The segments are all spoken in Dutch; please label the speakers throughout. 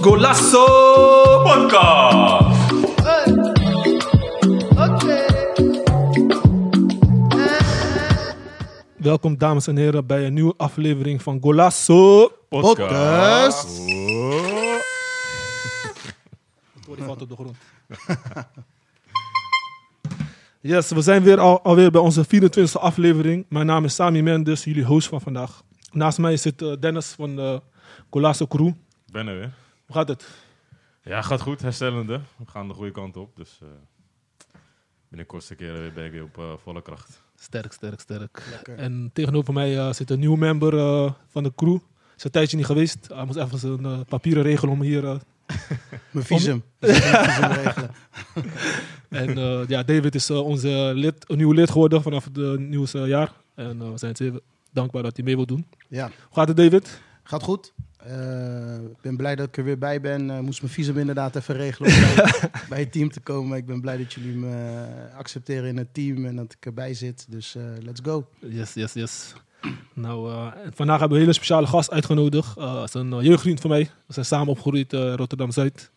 Speaker 1: Golasso Podcast.
Speaker 2: Welkom dames en heren bij een nieuwe aflevering van Golasso.
Speaker 3: Podcast.
Speaker 2: Sorry, valt op de grond. Yes, we zijn weer al, alweer bij onze 24e aflevering. Mijn naam is Sami Mendes, jullie host van vandaag. Naast mij zit eh, Dennis van de Golasso Crew.
Speaker 3: Ik ben er weer.
Speaker 2: Hoe gaat het?
Speaker 3: Ja, gaat goed. Herstellende. We gaan de goede kant op. Dus eh binnenkort een keer weer ben ik weer op eh, volle kracht.
Speaker 2: Sterk, sterk, sterk. En tegenover mij eh, zit een nieuwe member eh, van de crew. Is een tijdje niet geweest. Hij moest even zijn eh, papieren regelen om hier... eh,
Speaker 4: Mijn visum. Dus ik ga mijn visum regelen.
Speaker 2: en eh, ja, David is eh, onze lid, een nieuw lid geworden vanaf het eh, nieuwe jaar. En eh, we zijn zeer dankbaar dat hij mee wil doen.
Speaker 4: Ja,
Speaker 2: Hoe gaat het, David?
Speaker 4: gaat goed. Eh, Ik ben blij dat ik er weer bij ben. Eh, moest mijn visum inderdaad even regelen om bij, bij het team te komen. Ik ben blij dat jullie me eh, accepteren in het team en dat ik erbij zit. Dus eh, let's go.
Speaker 2: Yes, yes, yes. Nou, eh, en vandaag hebben we een hele speciale gast uitgenodigd. Eh, Dat is een eh, jeugdvriend van mij. We zijn samen opgegroeid in Rotterdam-Zuid.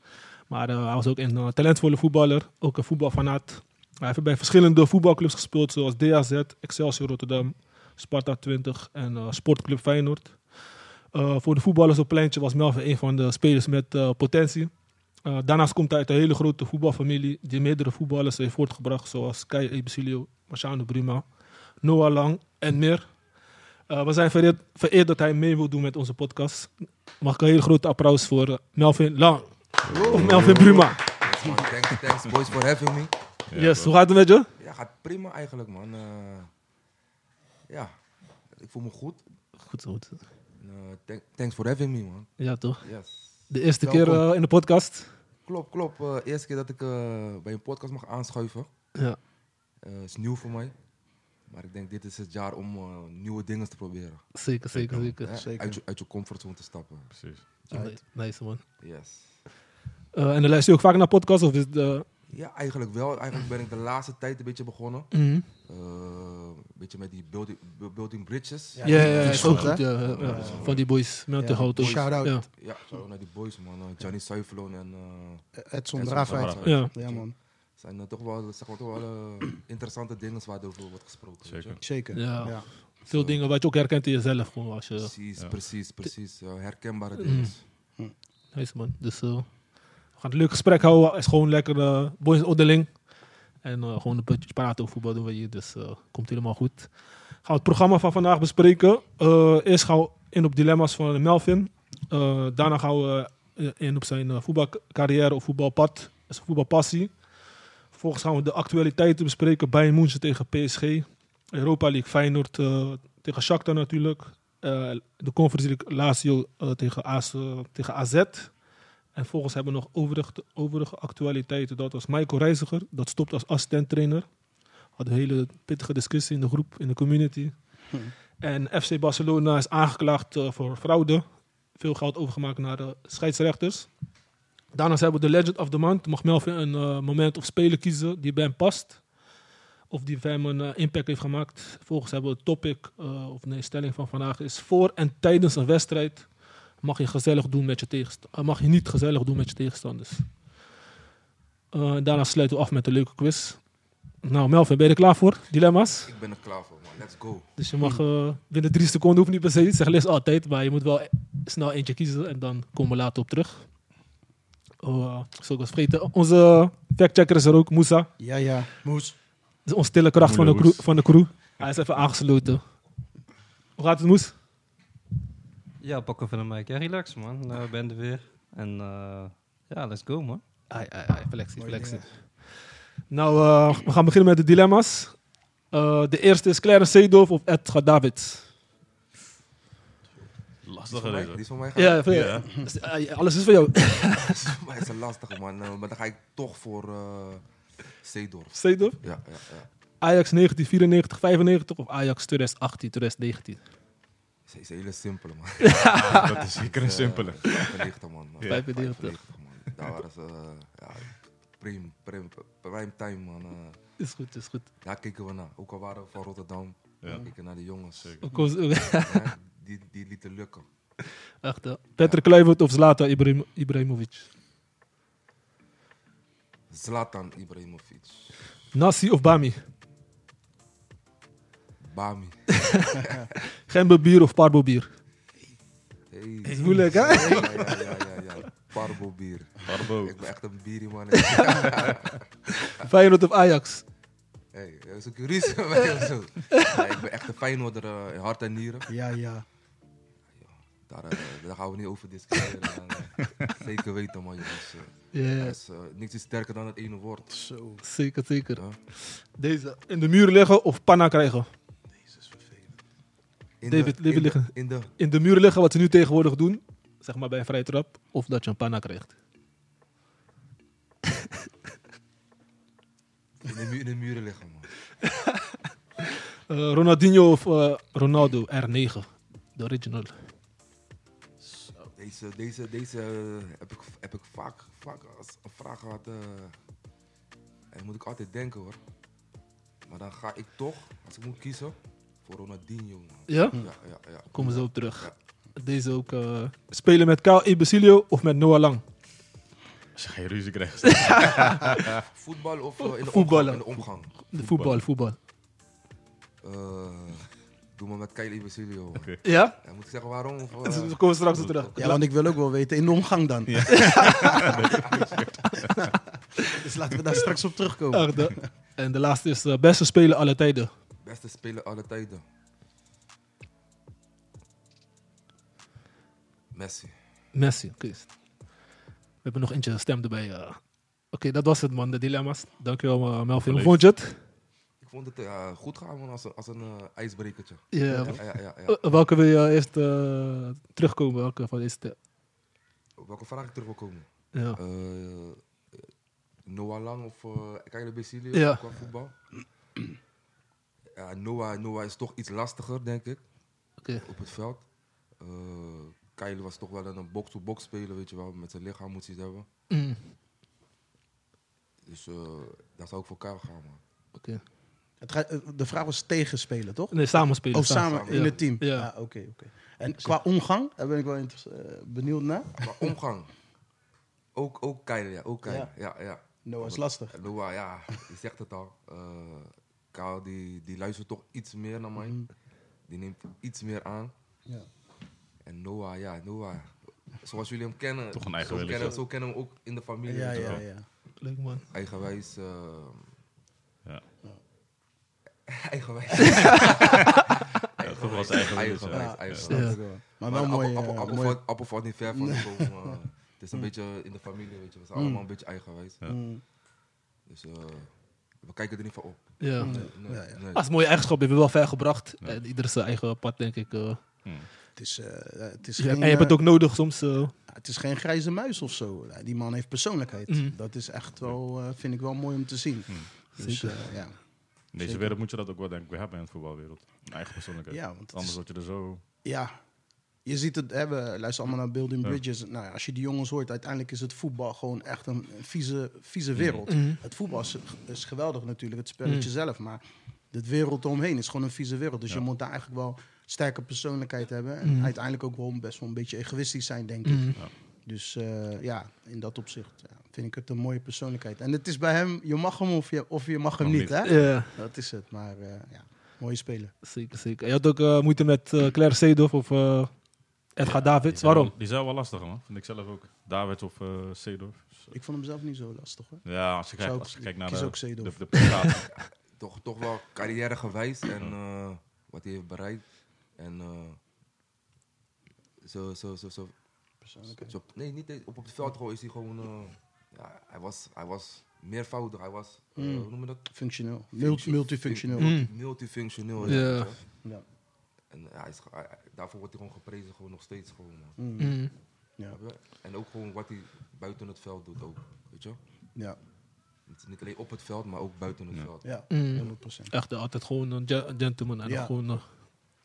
Speaker 2: Maar eh, hij was ook een eh, talentvolle voetballer, ook een voetbalfanaat. Hij heeft bij verschillende voetbalclubs gespeeld, zoals DAZ, Excelsior Rotterdam, Sparta 20 en eh, Sportclub Feyenoord. Eh, voor de voetballers op het pleintje was Melvin een van de spelers met eh, potentie. Eh, daarnaast komt hij uit een hele grote voetbalfamilie die meerdere voetballers heeft voortgebracht, zoals Kai Ebesilio, Marciano Bruma, Noah Lang en meer. Eh, we zijn vereerd, vereerd dat hij mee wil doen met onze podcast. Mag ik een hele grote applaus voor eh, Melvin Lang. Of Melvin Bruma.
Speaker 5: Yes, man. Thanks, thanks boys for having me.
Speaker 3: Ja,
Speaker 2: yes,
Speaker 3: bro.
Speaker 2: hoe gaat het met je?
Speaker 5: Ja, gaat prima eigenlijk, man. Eh, ja, ik voel me goed.
Speaker 2: Goed, goed.
Speaker 5: En, eh, thank- thanks for having me, man.
Speaker 2: Ja, toch?
Speaker 5: Yes.
Speaker 2: De eerste
Speaker 5: Welkom.
Speaker 2: keer eh, in de podcast.
Speaker 5: Klopt, klopt. Eh, eerste keer dat ik eh, bij een podcast mag aanschuiven.
Speaker 2: Ja.
Speaker 5: Eh, is nieuw voor mij. Maar ik denk, dit is het jaar om eh, nieuwe dingen te proberen.
Speaker 2: Zeker, zeker, zeker.
Speaker 5: Hè?
Speaker 4: Zeker.
Speaker 5: Uit, je, uit je comfortzone te stappen.
Speaker 3: Precies.
Speaker 2: Nice man.
Speaker 5: Yes.
Speaker 2: Eh, en dan luister je ook vaak naar podcasts? Of is het, eh,
Speaker 5: Ja, eigenlijk wel. Eigenlijk ben ik de laatste tijd een beetje begonnen.
Speaker 2: mhm.
Speaker 5: Eh, een beetje met die building, building bridges.
Speaker 2: Ja, ja,
Speaker 4: die-
Speaker 2: ja,
Speaker 4: die
Speaker 2: is ook goed.
Speaker 4: hè?
Speaker 2: ja, ja, ja. Van die boys, Mountain
Speaker 4: Ja,
Speaker 2: Hout. ook.
Speaker 4: shout-out.
Speaker 2: Ja,
Speaker 5: Ja, zo naar die boys, man. Eh, Johnny Suifelon en... eh,
Speaker 4: Edson
Speaker 5: Edson
Speaker 4: Draafheid.
Speaker 3: Draafheid.
Speaker 2: ja.
Speaker 4: Ja man,
Speaker 5: zijn er toch wel, zeg maar, toch wel eh, interessante dingen waar over wordt gesproken. weet je.
Speaker 3: Zeker.
Speaker 4: zeker.
Speaker 2: Ja.
Speaker 4: Ja.
Speaker 2: Veel dingen wat je ook herkent in jezelf. Gewoon als je,
Speaker 5: Precies,
Speaker 3: Ja.
Speaker 5: precies, precies. Ja, herkenbare
Speaker 2: Mm.
Speaker 5: dingen.
Speaker 2: nice man. Dus eh, we gaan een leuk gesprek houden. Het is gewoon lekker eh, boys onderling. En eh, gewoon een beetje praten over voetbal doen we hier. Dus eh, komt helemaal goed. Gaan we het programma van vandaag bespreken. Eh, eerst gaan we in op dilemma's van Melvin. Eh, daarna gaan we eh, in op zijn eh, voetbalcarrière of voetbalpad. Zijn voetbalpassie. Vervolgens gaan we de actualiteiten bespreken. Bayern München tegen PSG. Europa League Feyenoord eh, tegen Shakhtar natuurlijk. Eh, de Conference League Lazio eh, tegen, AS, eh, tegen AZ. En volgens hebben we nog overige, overige actualiteiten. Dat was Michael Reiziger. Dat stopt als assistenttrainer. Had een hele pittige discussie in de groep, in de community. En FC Barcelona is aangeklaagd eh, voor fraude. Veel geld overgemaakt naar de scheidsrechters. Daarnaast hebben we de Legend of the Month. Mag Melvin een eh, moment of speler kiezen die bij hem past. Of die bij hem een eh, impact heeft gemaakt. Volgens hebben we het topic, eh, of nee, stelling van vandaag is voor en tijdens een wedstrijd mag je gezellig doen met je tegenstanders. Mag je niet gezellig doen met je tegenstanders. Eh, daarna sluiten we af met een leuke quiz. Nou, Melvin, ben je er klaar voor? Dilemma's?
Speaker 5: Ik ben er klaar voor, man. Let's go.
Speaker 2: Dus je mag eh, binnen drie seconden, hoeft niet per se, zeg les altijd, maar je moet wel e- snel eentje kiezen en dan komen we later op terug. Oh, eh, ik zal ik eens vergeten. Onze factchecker is er ook, Moussa. Dat
Speaker 4: Ja, ja. Moes.
Speaker 2: is onze stille kracht van de, crew,
Speaker 3: Moeloes.
Speaker 2: van de crew. Hij is even aangesloten. Hoe gaat het, Moes?
Speaker 6: Ja, pak even een mic. Ja, relax man. Eh, Ik ben er weer. En eh, ja, let's go man.
Speaker 2: Ai, ai, ai, flexie, flexie. Nou, eh, we gaan beginnen met de dilemma's. Eh, de eerste is Clarence Seedorf of Ed Davids.
Speaker 5: Die is
Speaker 3: Lastig
Speaker 5: van mij, die
Speaker 3: reden.
Speaker 5: is van mij gaan.
Speaker 2: Ja,
Speaker 3: Ja.
Speaker 2: alles is voor jou.
Speaker 5: Maar het is een lastige, man. Eh, maar dan ga ik toch voor eh Seedorf.
Speaker 2: Seedorf?
Speaker 5: Ja, ja, ja.
Speaker 2: Ajax 1994, 95 of Ajax 2018, 2019?
Speaker 5: Ze is een hele simpele, man. Eh,
Speaker 3: Dat is zeker een simpele.
Speaker 5: 95, man.
Speaker 3: Ja.
Speaker 2: 95.
Speaker 5: man. Daar waren ze... eh, ja, prime, prime, prime time, man. Eh,
Speaker 2: Is goed, is goed.
Speaker 5: daar keken we naar. Ook al waren we van Rotterdam.
Speaker 3: Ja.
Speaker 5: Kijken naar de jongens.
Speaker 3: Zeker.
Speaker 2: Of course,
Speaker 5: Ja, die, die lieten lukken.
Speaker 2: Echt, ja. Peter Kluivert of Zlatan Ibrahim, Ibrahimovic.
Speaker 5: Zlatan Ibrahimovic.
Speaker 2: Nassi of Bami.
Speaker 5: Bami.
Speaker 2: Gemberbier of Parbobier.
Speaker 5: Hey.
Speaker 2: is moeilijk, hè?
Speaker 5: Ja, ja, ja. ja, ja. Parbo bier.
Speaker 2: Oh.
Speaker 3: Arbo.
Speaker 5: Ik ben echt een bierieman.
Speaker 2: Feyenoord of Ajax.
Speaker 5: Hey, dat is ook ruzie met mij of zo. Ja, ik ben echt een Feyenoorder eh, in hart en nieren.
Speaker 4: Ja, ja.
Speaker 5: Daar, eh, daar gaan we niet over discussiëren. man. zeker weten, man, jongens. eh.
Speaker 2: Ja,
Speaker 5: Er
Speaker 2: ja,
Speaker 5: is eh, niks is sterker dan het ene woord.
Speaker 4: Zo.
Speaker 2: zeker, zeker.
Speaker 5: Ja.
Speaker 2: Deze. In de muur liggen of panna krijgen.
Speaker 5: In
Speaker 2: David,
Speaker 5: de,
Speaker 2: David
Speaker 5: in
Speaker 2: liggen.
Speaker 5: De, in de,
Speaker 2: In de muur liggen, wat ze nu tegenwoordig doen. Zeg maar bij een vrije trap. Of dat je een panna krijgt.
Speaker 5: in, de, mu- in de muren liggen, man.
Speaker 2: Eh, Ronaldinho of eh, Ronaldo R9. De original.
Speaker 5: Deze, deze, deze eh, heb ik, heb ik vaak, vaak als een vraag gehad. eh, en moet ik altijd denken hoor. Maar dan ga ik toch, als ik moet kiezen, voor Ronaldinho. Man.
Speaker 2: Ja?
Speaker 5: Ja, ja, ja.
Speaker 2: Komen ze op terug. Deze ook. eh, spelen met Kaal Ibesilio of met Noah Lang.
Speaker 3: Als je geen ruzie krijgt.
Speaker 5: Voetbal of eh, in, de
Speaker 2: Voetballen.
Speaker 5: omgang, in de omgang?
Speaker 2: De voetbal,
Speaker 3: Voetbal.
Speaker 2: voetbal.
Speaker 5: Eh, doe maar met Kyle Ibesilio. man.
Speaker 2: Ja?
Speaker 5: Ja, moet ik zeggen waarom? Of, eh,
Speaker 2: Dus We komen straks op terug.
Speaker 4: Ja, want ik wil ook wel weten in de omgang dan. dus laten we daar straks op terugkomen.
Speaker 2: Echt, hè? En de laatste is eh, beste speler alle tijden.
Speaker 5: beste speler aller tijden. Messi.
Speaker 2: Messi, oké. We hebben nog eentje stem erbij. eh. Oké, dat was het man, de dilemma's. Dankjewel eh, Melvin. Hoe
Speaker 3: Beleefd.
Speaker 2: vond je het?
Speaker 5: Ik vond het eh, goed gaan man, als, een- als een eh, ijsbrekertje.
Speaker 2: Ja.
Speaker 5: Ja, ja, ja, ja.
Speaker 2: Eh, welke wil je eerst eh, terugkomen? Welke van deze? te-
Speaker 5: Op welke vraag ik terug wil komen?
Speaker 4: Oh.
Speaker 2: Ja.
Speaker 5: Eh, Noah Lang of eh Kyle Basilio
Speaker 2: Ja.
Speaker 5: qua voetbal? Ja, Noah, Noah is toch iets lastiger, denk ik,
Speaker 2: Oké.
Speaker 5: op het veld. Eh Kyle was toch wel een box-to-box speler, weet je wel. Met zijn lichaam moet hij het hebben.
Speaker 2: Mm,
Speaker 5: Dus eh daar zou ik voor Kyle gaan, man.
Speaker 2: oké.
Speaker 4: Het gaat- eh, de vraag was tegenspelen, toch?
Speaker 2: Nee, samen spelen.
Speaker 4: Of Oh, samen in
Speaker 2: Ja.
Speaker 4: het team.
Speaker 2: Ja.
Speaker 4: Ja, oké. oké. En qua omgang, daar ben ik wel inter- eh, benieuwd naar.
Speaker 5: Maar omgang. Ook, ook Kyle, ja. Ook Kyle,
Speaker 4: Ja.
Speaker 5: ja. ja, ja.
Speaker 4: Noah is lastig.
Speaker 5: En Noah, ja, je zegt het al. Eh Kyle, die, die luistert toch iets meer naar mij. Die neemt iets meer aan.
Speaker 4: Ja.
Speaker 5: En Noah, ja, Noah. Zoals jullie hem kennen.
Speaker 3: Toch een eigen
Speaker 5: zo,
Speaker 3: willen,
Speaker 5: kennen,
Speaker 3: zo.
Speaker 5: zo kennen we hem ook in de familie.
Speaker 4: Ja,
Speaker 5: weet je
Speaker 4: ja,
Speaker 5: wel.
Speaker 4: ja.
Speaker 2: Leuk man.
Speaker 5: Eigenwijs. eh,
Speaker 3: Ja.
Speaker 5: eigenwijs.
Speaker 3: Ja, toch wel zijn eigen wil is, ja.
Speaker 5: Eigenwijs,
Speaker 4: Ja.
Speaker 5: eigenwijs.
Speaker 4: Snap ik wel. Maar wel
Speaker 5: Maar
Speaker 4: mooi.
Speaker 5: appel-
Speaker 4: eh,
Speaker 5: appel- appel
Speaker 4: mooi-
Speaker 5: valt- Appel valt niet ver van de boom. eh. Het is een beetje in de familie, weet je. We zijn allemaal een beetje eigenwijs.
Speaker 4: Mm.
Speaker 5: Dus eh, we kijken er niet van op.
Speaker 2: Ja.
Speaker 4: Mm.
Speaker 5: Nee, nee,
Speaker 4: Ja, ja.
Speaker 5: nee.
Speaker 2: Als mooie eigenschap hebben we wel ver gebracht. En ieder zijn eigen pad, denk ik. eh.
Speaker 3: Hmm.
Speaker 4: Het is, eh, het, is
Speaker 2: Ja,
Speaker 4: geen,
Speaker 2: en je hebt het
Speaker 4: eh,
Speaker 2: ook nodig soms. eh,
Speaker 4: het is geen grijze muis of zo. Eh, Die man heeft persoonlijkheid.
Speaker 2: Mm.
Speaker 4: Dat is echt wel, eh, vind ik wel mooi om te zien. Dus,
Speaker 2: Zeker.
Speaker 4: eh, ja.
Speaker 3: In deze wereld moet je dat ook wel denk ik weer hebben in de voetbalwereld. Een eigen persoonlijkheid.
Speaker 4: Ja, want het
Speaker 3: Anders
Speaker 4: is-
Speaker 3: word je er zo...
Speaker 4: ja, je ziet het, hè, we luisteren allemaal naar Building
Speaker 3: Ja.
Speaker 4: Bridges. Nou ja, als je die jongens hoort, uiteindelijk is het voetbal gewoon echt een vieze, vieze wereld.
Speaker 2: Mhm.
Speaker 4: Het voetbal is, is geweldig natuurlijk, het spelletje
Speaker 2: Mm.
Speaker 4: zelf. Maar het wereld omheen is gewoon een vieze wereld. Dus je moet daar eigenlijk wel sterke persoonlijkheid hebben. En
Speaker 2: Mm.
Speaker 4: uiteindelijk ook wel best wel een beetje egoïstisch zijn, denk ik.
Speaker 2: Mhm.
Speaker 4: Dus eh, ja, in dat opzicht ja, vind ik het een mooie persoonlijkheid. En het is bij hem, je mag hem of je, of je mag hem
Speaker 3: Mag
Speaker 4: niet, hè?
Speaker 2: Ja,
Speaker 4: Dat is het, maar eh, ja, mooie speler.
Speaker 2: zeker, zeker. Je had ook eh, moeite met eh, Claire Seedorf of eh Edgar Davids.
Speaker 3: Die zijn
Speaker 2: Waarom?
Speaker 3: wel- Die zijn wel lastig, man. Vind ik zelf ook. David of eh Seedorf. Dus, eh,
Speaker 4: Ik vond hem zelf niet zo lastig, hoor.
Speaker 3: Ja, als je kijkt,
Speaker 4: Zou ik-
Speaker 3: als je kijkt naar
Speaker 4: kies
Speaker 3: de,
Speaker 4: ook Seedorf.
Speaker 3: de, de prestatie.
Speaker 5: toch, toch wel carrièregewijs en eh, wat hij heeft bereikt. En eh, zo, zo, zo, zo. zo- nee, niet eens- op, op het veld gewoon is hij gewoon. eh, ja, hij, was, hij was meervoudig. Hij was, eh, hoe noem je dat?
Speaker 4: Functioneel.
Speaker 5: Functie-
Speaker 4: multifunctioneel.
Speaker 2: Mm. Mhm.
Speaker 5: multi- Multifunctioneel. ja,
Speaker 2: Ja.
Speaker 5: weet je.
Speaker 4: Ja.
Speaker 5: En eh, hij is, ge- hij- hij- daarvoor wordt hij gewoon geprezen, gewoon nog steeds. Gewoon, man.
Speaker 2: Mm.
Speaker 4: Ja.
Speaker 5: Snap je? En ook gewoon wat hij buiten het veld doet ook. Weet je?
Speaker 4: Ja.
Speaker 5: Het is niet alleen op het veld, maar ook buiten het veld.
Speaker 4: Ja.
Speaker 2: Mm.
Speaker 4: 100 procent.
Speaker 2: Echt eh, altijd gewoon een gen- een gentleman. En
Speaker 4: Ja.
Speaker 2: gewoon,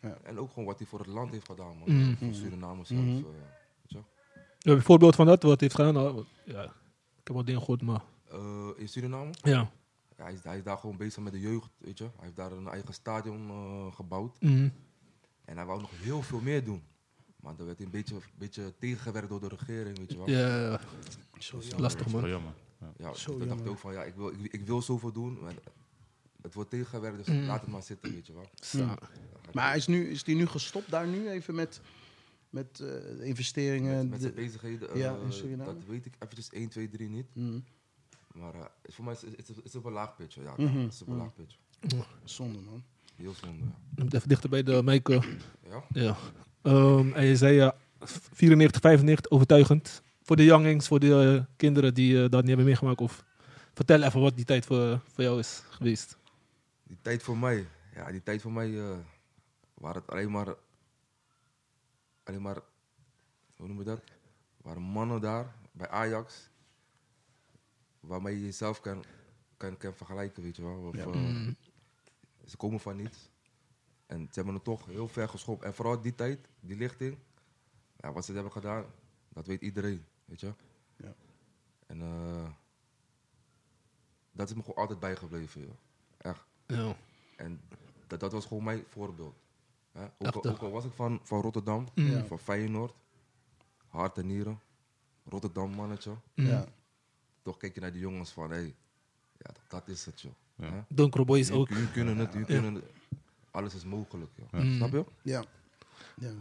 Speaker 2: eh,
Speaker 5: En ook gewoon wat hij voor het land heeft gedaan, man.
Speaker 2: Mm.
Speaker 5: Voor Suriname zelf.
Speaker 4: Mhm.
Speaker 5: eh, weet je?
Speaker 2: ja, een nou, voorbeeld van dat, wat hij heeft gedaan. eh, wat- ja, ik heb wat dingen gehoord, maar...
Speaker 5: Eh, in Suriname?
Speaker 2: Ja.
Speaker 5: Ja, hij, is, hij is daar gewoon bezig met de jeugd, weet je. Hij heeft daar een eigen stadion eh, gebouwd.
Speaker 2: Mhm.
Speaker 5: En hij wou nog heel veel meer doen. Maar dat werd een beetje, beetje tegengewerkt door de regering, weet je wel.
Speaker 2: Ja,
Speaker 4: Zo
Speaker 2: is
Speaker 4: jammer.
Speaker 3: Dat
Speaker 2: lastig
Speaker 3: is wel
Speaker 2: man.
Speaker 3: jammer.
Speaker 5: Ja,
Speaker 4: Zo
Speaker 5: toen dacht ik
Speaker 4: jammer.
Speaker 5: ook van, ja, ik wil, ik, ik wil zoveel doen, maar het wordt tegengewerkt, dus
Speaker 2: Mm.
Speaker 5: laat het maar zitten, weet je wel.
Speaker 2: Sa-
Speaker 4: Maar is, nu, is die nu gestopt daar nu even met, met eh, de investeringen?
Speaker 5: Met, met zijn
Speaker 4: de-
Speaker 5: bezigheden, eh,
Speaker 4: ja, in Suriname?
Speaker 5: dat weet ik eventjes 1, 2, 3 niet.
Speaker 4: Mhm.
Speaker 5: Maar eh, is- voor mij is het is, is op een laag pitje, ja.
Speaker 4: Mhm,
Speaker 5: Het is op een
Speaker 4: mhm.
Speaker 5: laag pitje.
Speaker 4: Zonde man.
Speaker 5: Heel zonde, ja.
Speaker 2: Je moet Even dichter bij de mic. eh.
Speaker 5: Ja,
Speaker 2: Ja. Ehm, en je zei ja, 94, 95, overtuigend. Voor de youngings, voor de eh, kinderen die eh, dat niet hebben meegemaakt. Of vertel even wat die tijd voor, voor jou is geweest.
Speaker 5: die tijd voor mij, ja, die tijd voor mij eh waren het alleen maar, alleen maar, hoe noem je dat? Waren mannen daar bij Ajax, waarmee je jezelf kan, kan, kan vergelijken, weet je wel. Of,
Speaker 3: Oh.
Speaker 5: eh,
Speaker 2: Mm.
Speaker 5: Ze komen van niets. En ze hebben het toch heel ver geschopt. En vooral die tijd, die lichting. Ja, wat ze hebben gedaan, dat weet iedereen. Weet je?
Speaker 4: Ja.
Speaker 5: En eh, dat is me gewoon altijd bijgebleven. joh. Echt.
Speaker 2: Ja.
Speaker 5: En dat, dat was gewoon mijn voorbeeld. Hè? Ook,
Speaker 2: Echt,
Speaker 5: al,
Speaker 2: hè?
Speaker 5: ook al was ik van, van Rotterdam,
Speaker 2: Mm.
Speaker 4: Ja.
Speaker 5: van Feyenoord. Hart en nieren. Rotterdam mannetje.
Speaker 2: Mm.
Speaker 4: Ja.
Speaker 5: Toch kijk je naar die jongens van, hey, ja, dat, dat is het joh.
Speaker 3: Ja.
Speaker 5: Hè?
Speaker 2: Donkere boys ook.
Speaker 5: Jullie kunnen het, jullie kunnen het. Alles is mogelijk, joh.
Speaker 2: Mm.
Speaker 5: Snap je?
Speaker 4: Ja. ja, 100%.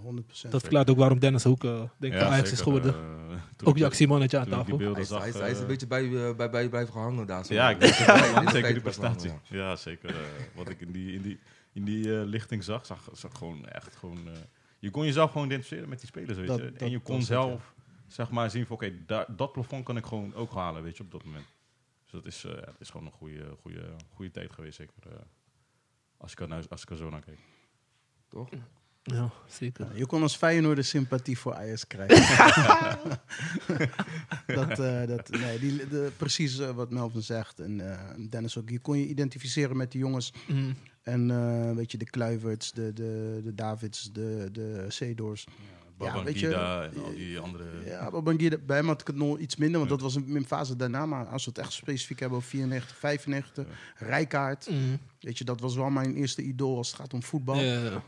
Speaker 2: Dat verklaart ook waarom Dennis ook eh, denk ik Ajax is geworden. ook die actiemannetje aan
Speaker 3: eh, Toen
Speaker 2: tafel.
Speaker 3: ik die beelden
Speaker 5: Hij is,
Speaker 3: zag...
Speaker 5: hij is, hij is een
Speaker 3: eh,
Speaker 5: beetje bij, eh, bij, bij blijven gehangen daar. zo.
Speaker 3: Ja, ik denk het wel,
Speaker 5: Dit
Speaker 3: man.
Speaker 5: is
Speaker 3: Zeker die
Speaker 5: tijd best wel,
Speaker 3: prestatie.
Speaker 5: ja.
Speaker 3: Ja, zeker. eh, wat ik in die, in die, in die eh, lichting zag, zag, zag gewoon echt gewoon... eh, je kon jezelf gewoon identificeren met die spelers, weet
Speaker 4: Dat-
Speaker 3: je.
Speaker 4: dat-
Speaker 3: en je
Speaker 4: dat
Speaker 3: kon
Speaker 4: is het, ja.
Speaker 3: zelf, zeg maar, zien van... Oké, daar- dat plafond kan ik gewoon ook halen, weet je, op dat moment. Dus dat is, eh, ja, het is gewoon een goede, goede, goede tijd geweest, zeker. eh, als, ik er, nou- als ik er zo naar keek.
Speaker 5: Toch?
Speaker 2: Ja, zeker.
Speaker 4: Ja, Je kon als Feyenoorder sympathie voor Ajax krijgen. dat, eh, dat, nee, die, de, precies eh, wat Melvin zegt en eh, Dennis ook. Je kon je identificeren met die jongens.
Speaker 2: Mm.
Speaker 4: En eh, weet je, de Kluiverts, de, de, de Davids, de, de Seedors.
Speaker 3: Baban
Speaker 4: weet je, eh,
Speaker 3: Gida en al die andere...
Speaker 4: Ja, Babangida, bij hem had ik het nog iets minder, want dat was een, een fase daarna. Maar als we het echt specifiek hebben over 94, 95, Rijkaard.
Speaker 2: Mm.
Speaker 4: Weet je, dat was wel mijn eerste idool als het gaat om voetbal.
Speaker 2: Ja.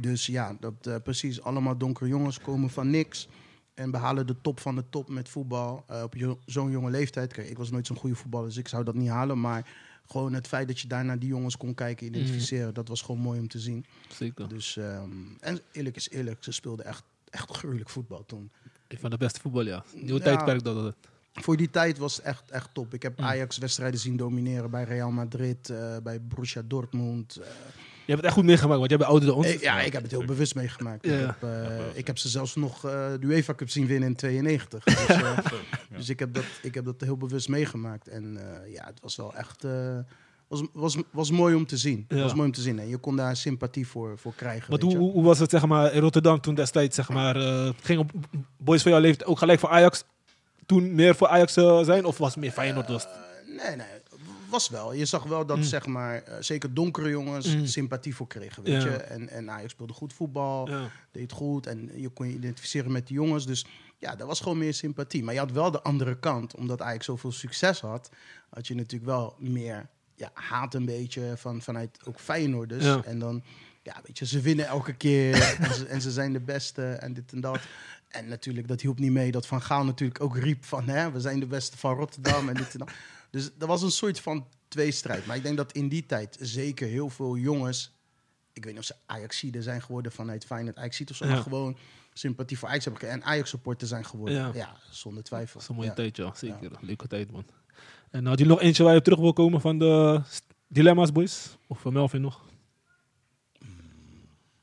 Speaker 4: Dus ja, dat eh, precies. Allemaal donkere jongens komen van niks. En behalen de top van de top met voetbal. eh, op jo- zo'n jonge leeftijd. Kijk, ik was nooit zo'n goede voetballer, dus ik zou dat niet halen. Maar gewoon het feit dat je daarna die jongens kon kijken, identificeren. Dat was gewoon mooi om te zien.
Speaker 2: Zeker.
Speaker 4: Dus, ehm, en eerlijk is eerlijk, ze speelden echt, echt gruwelijk voetbal toen.
Speaker 2: Een van de beste voetbal, ja. Nieuw
Speaker 4: Ja.
Speaker 2: tijdperk dat. dat.
Speaker 4: Voor die tijd was het echt, echt top. Ik heb
Speaker 2: Mm.
Speaker 4: Ajax wedstrijden zien domineren bij Real Madrid, eh, bij Borussia Dortmund. eh,
Speaker 2: Je hebt het echt goed meegemaakt, want jij bent ouder dan ons.
Speaker 4: Ik- ja, ik heb het heel bewust meegemaakt.
Speaker 2: Ja.
Speaker 4: Ik, heb, eh, ik heb ze zelfs nog eh, de UEFA Cup zien winnen in 92. Dus, eh, dus ik, heb dat, ik heb dat heel bewust meegemaakt. En eh, ja, het was wel echt... eh, was, was, was mooi om te zien.
Speaker 2: Ja.
Speaker 4: was mooi om te zien. En je kon daar sympathie voor, voor krijgen.
Speaker 2: Want
Speaker 4: weet
Speaker 2: hoe,
Speaker 4: je.
Speaker 2: hoe hoe was het zeg maar, in Rotterdam toen destijds? Zeg maar, eh, ging op boys van jouw leeftijd ook gelijk voor Ajax toen meer voor Ajax eh, zijn? Of was het meer Feyenoord? Was het?
Speaker 4: Eh, Nee, nee. Was wel. Je zag wel
Speaker 2: Mm.
Speaker 4: dat, zeg maar, eh, zeker donkere jongens sympathie voor kregen, weet
Speaker 2: Ja.
Speaker 4: je. En, en Ajax speelde goed voetbal,
Speaker 2: Ja.
Speaker 4: deed goed. En je kon je identificeren met die jongens. Dus ja, daar was gewoon meer sympathie. Maar je had wel de andere kant. Omdat Ajax zoveel succes had, had je natuurlijk wel meer ja, haat een beetje van, vanuit ook Feyenoord dus.
Speaker 2: Ja.
Speaker 4: En dan, ja, weet je, ze winnen elke keer. en, ze, en ze zijn de beste en dit en dat. En natuurlijk, dat hielp niet mee dat Van Gaal natuurlijk ook riep van... Hè, we zijn de beste van Rotterdam en dit en dat. Dus dat was een soort van tweestrijd. Maar ik denk dat in die tijd zeker heel veel jongens... Ik weet niet of ze Ajaxiden zijn geworden vanuit Feyenoord Ajax of zo.
Speaker 2: Ja.
Speaker 4: Maar gewoon sympathie voor Ajax hebben gekregen. En Ajax-supporter zijn geworden.
Speaker 2: Ja.
Speaker 4: Ja, zonder twijfel.
Speaker 2: Dat is een mooie
Speaker 4: Ja.
Speaker 2: tijd, ja. Zeker. Leuke tijd, man. En had je nog eentje waar je op terug wil komen van de st- dilemma's, boys? Of van Melvin nog?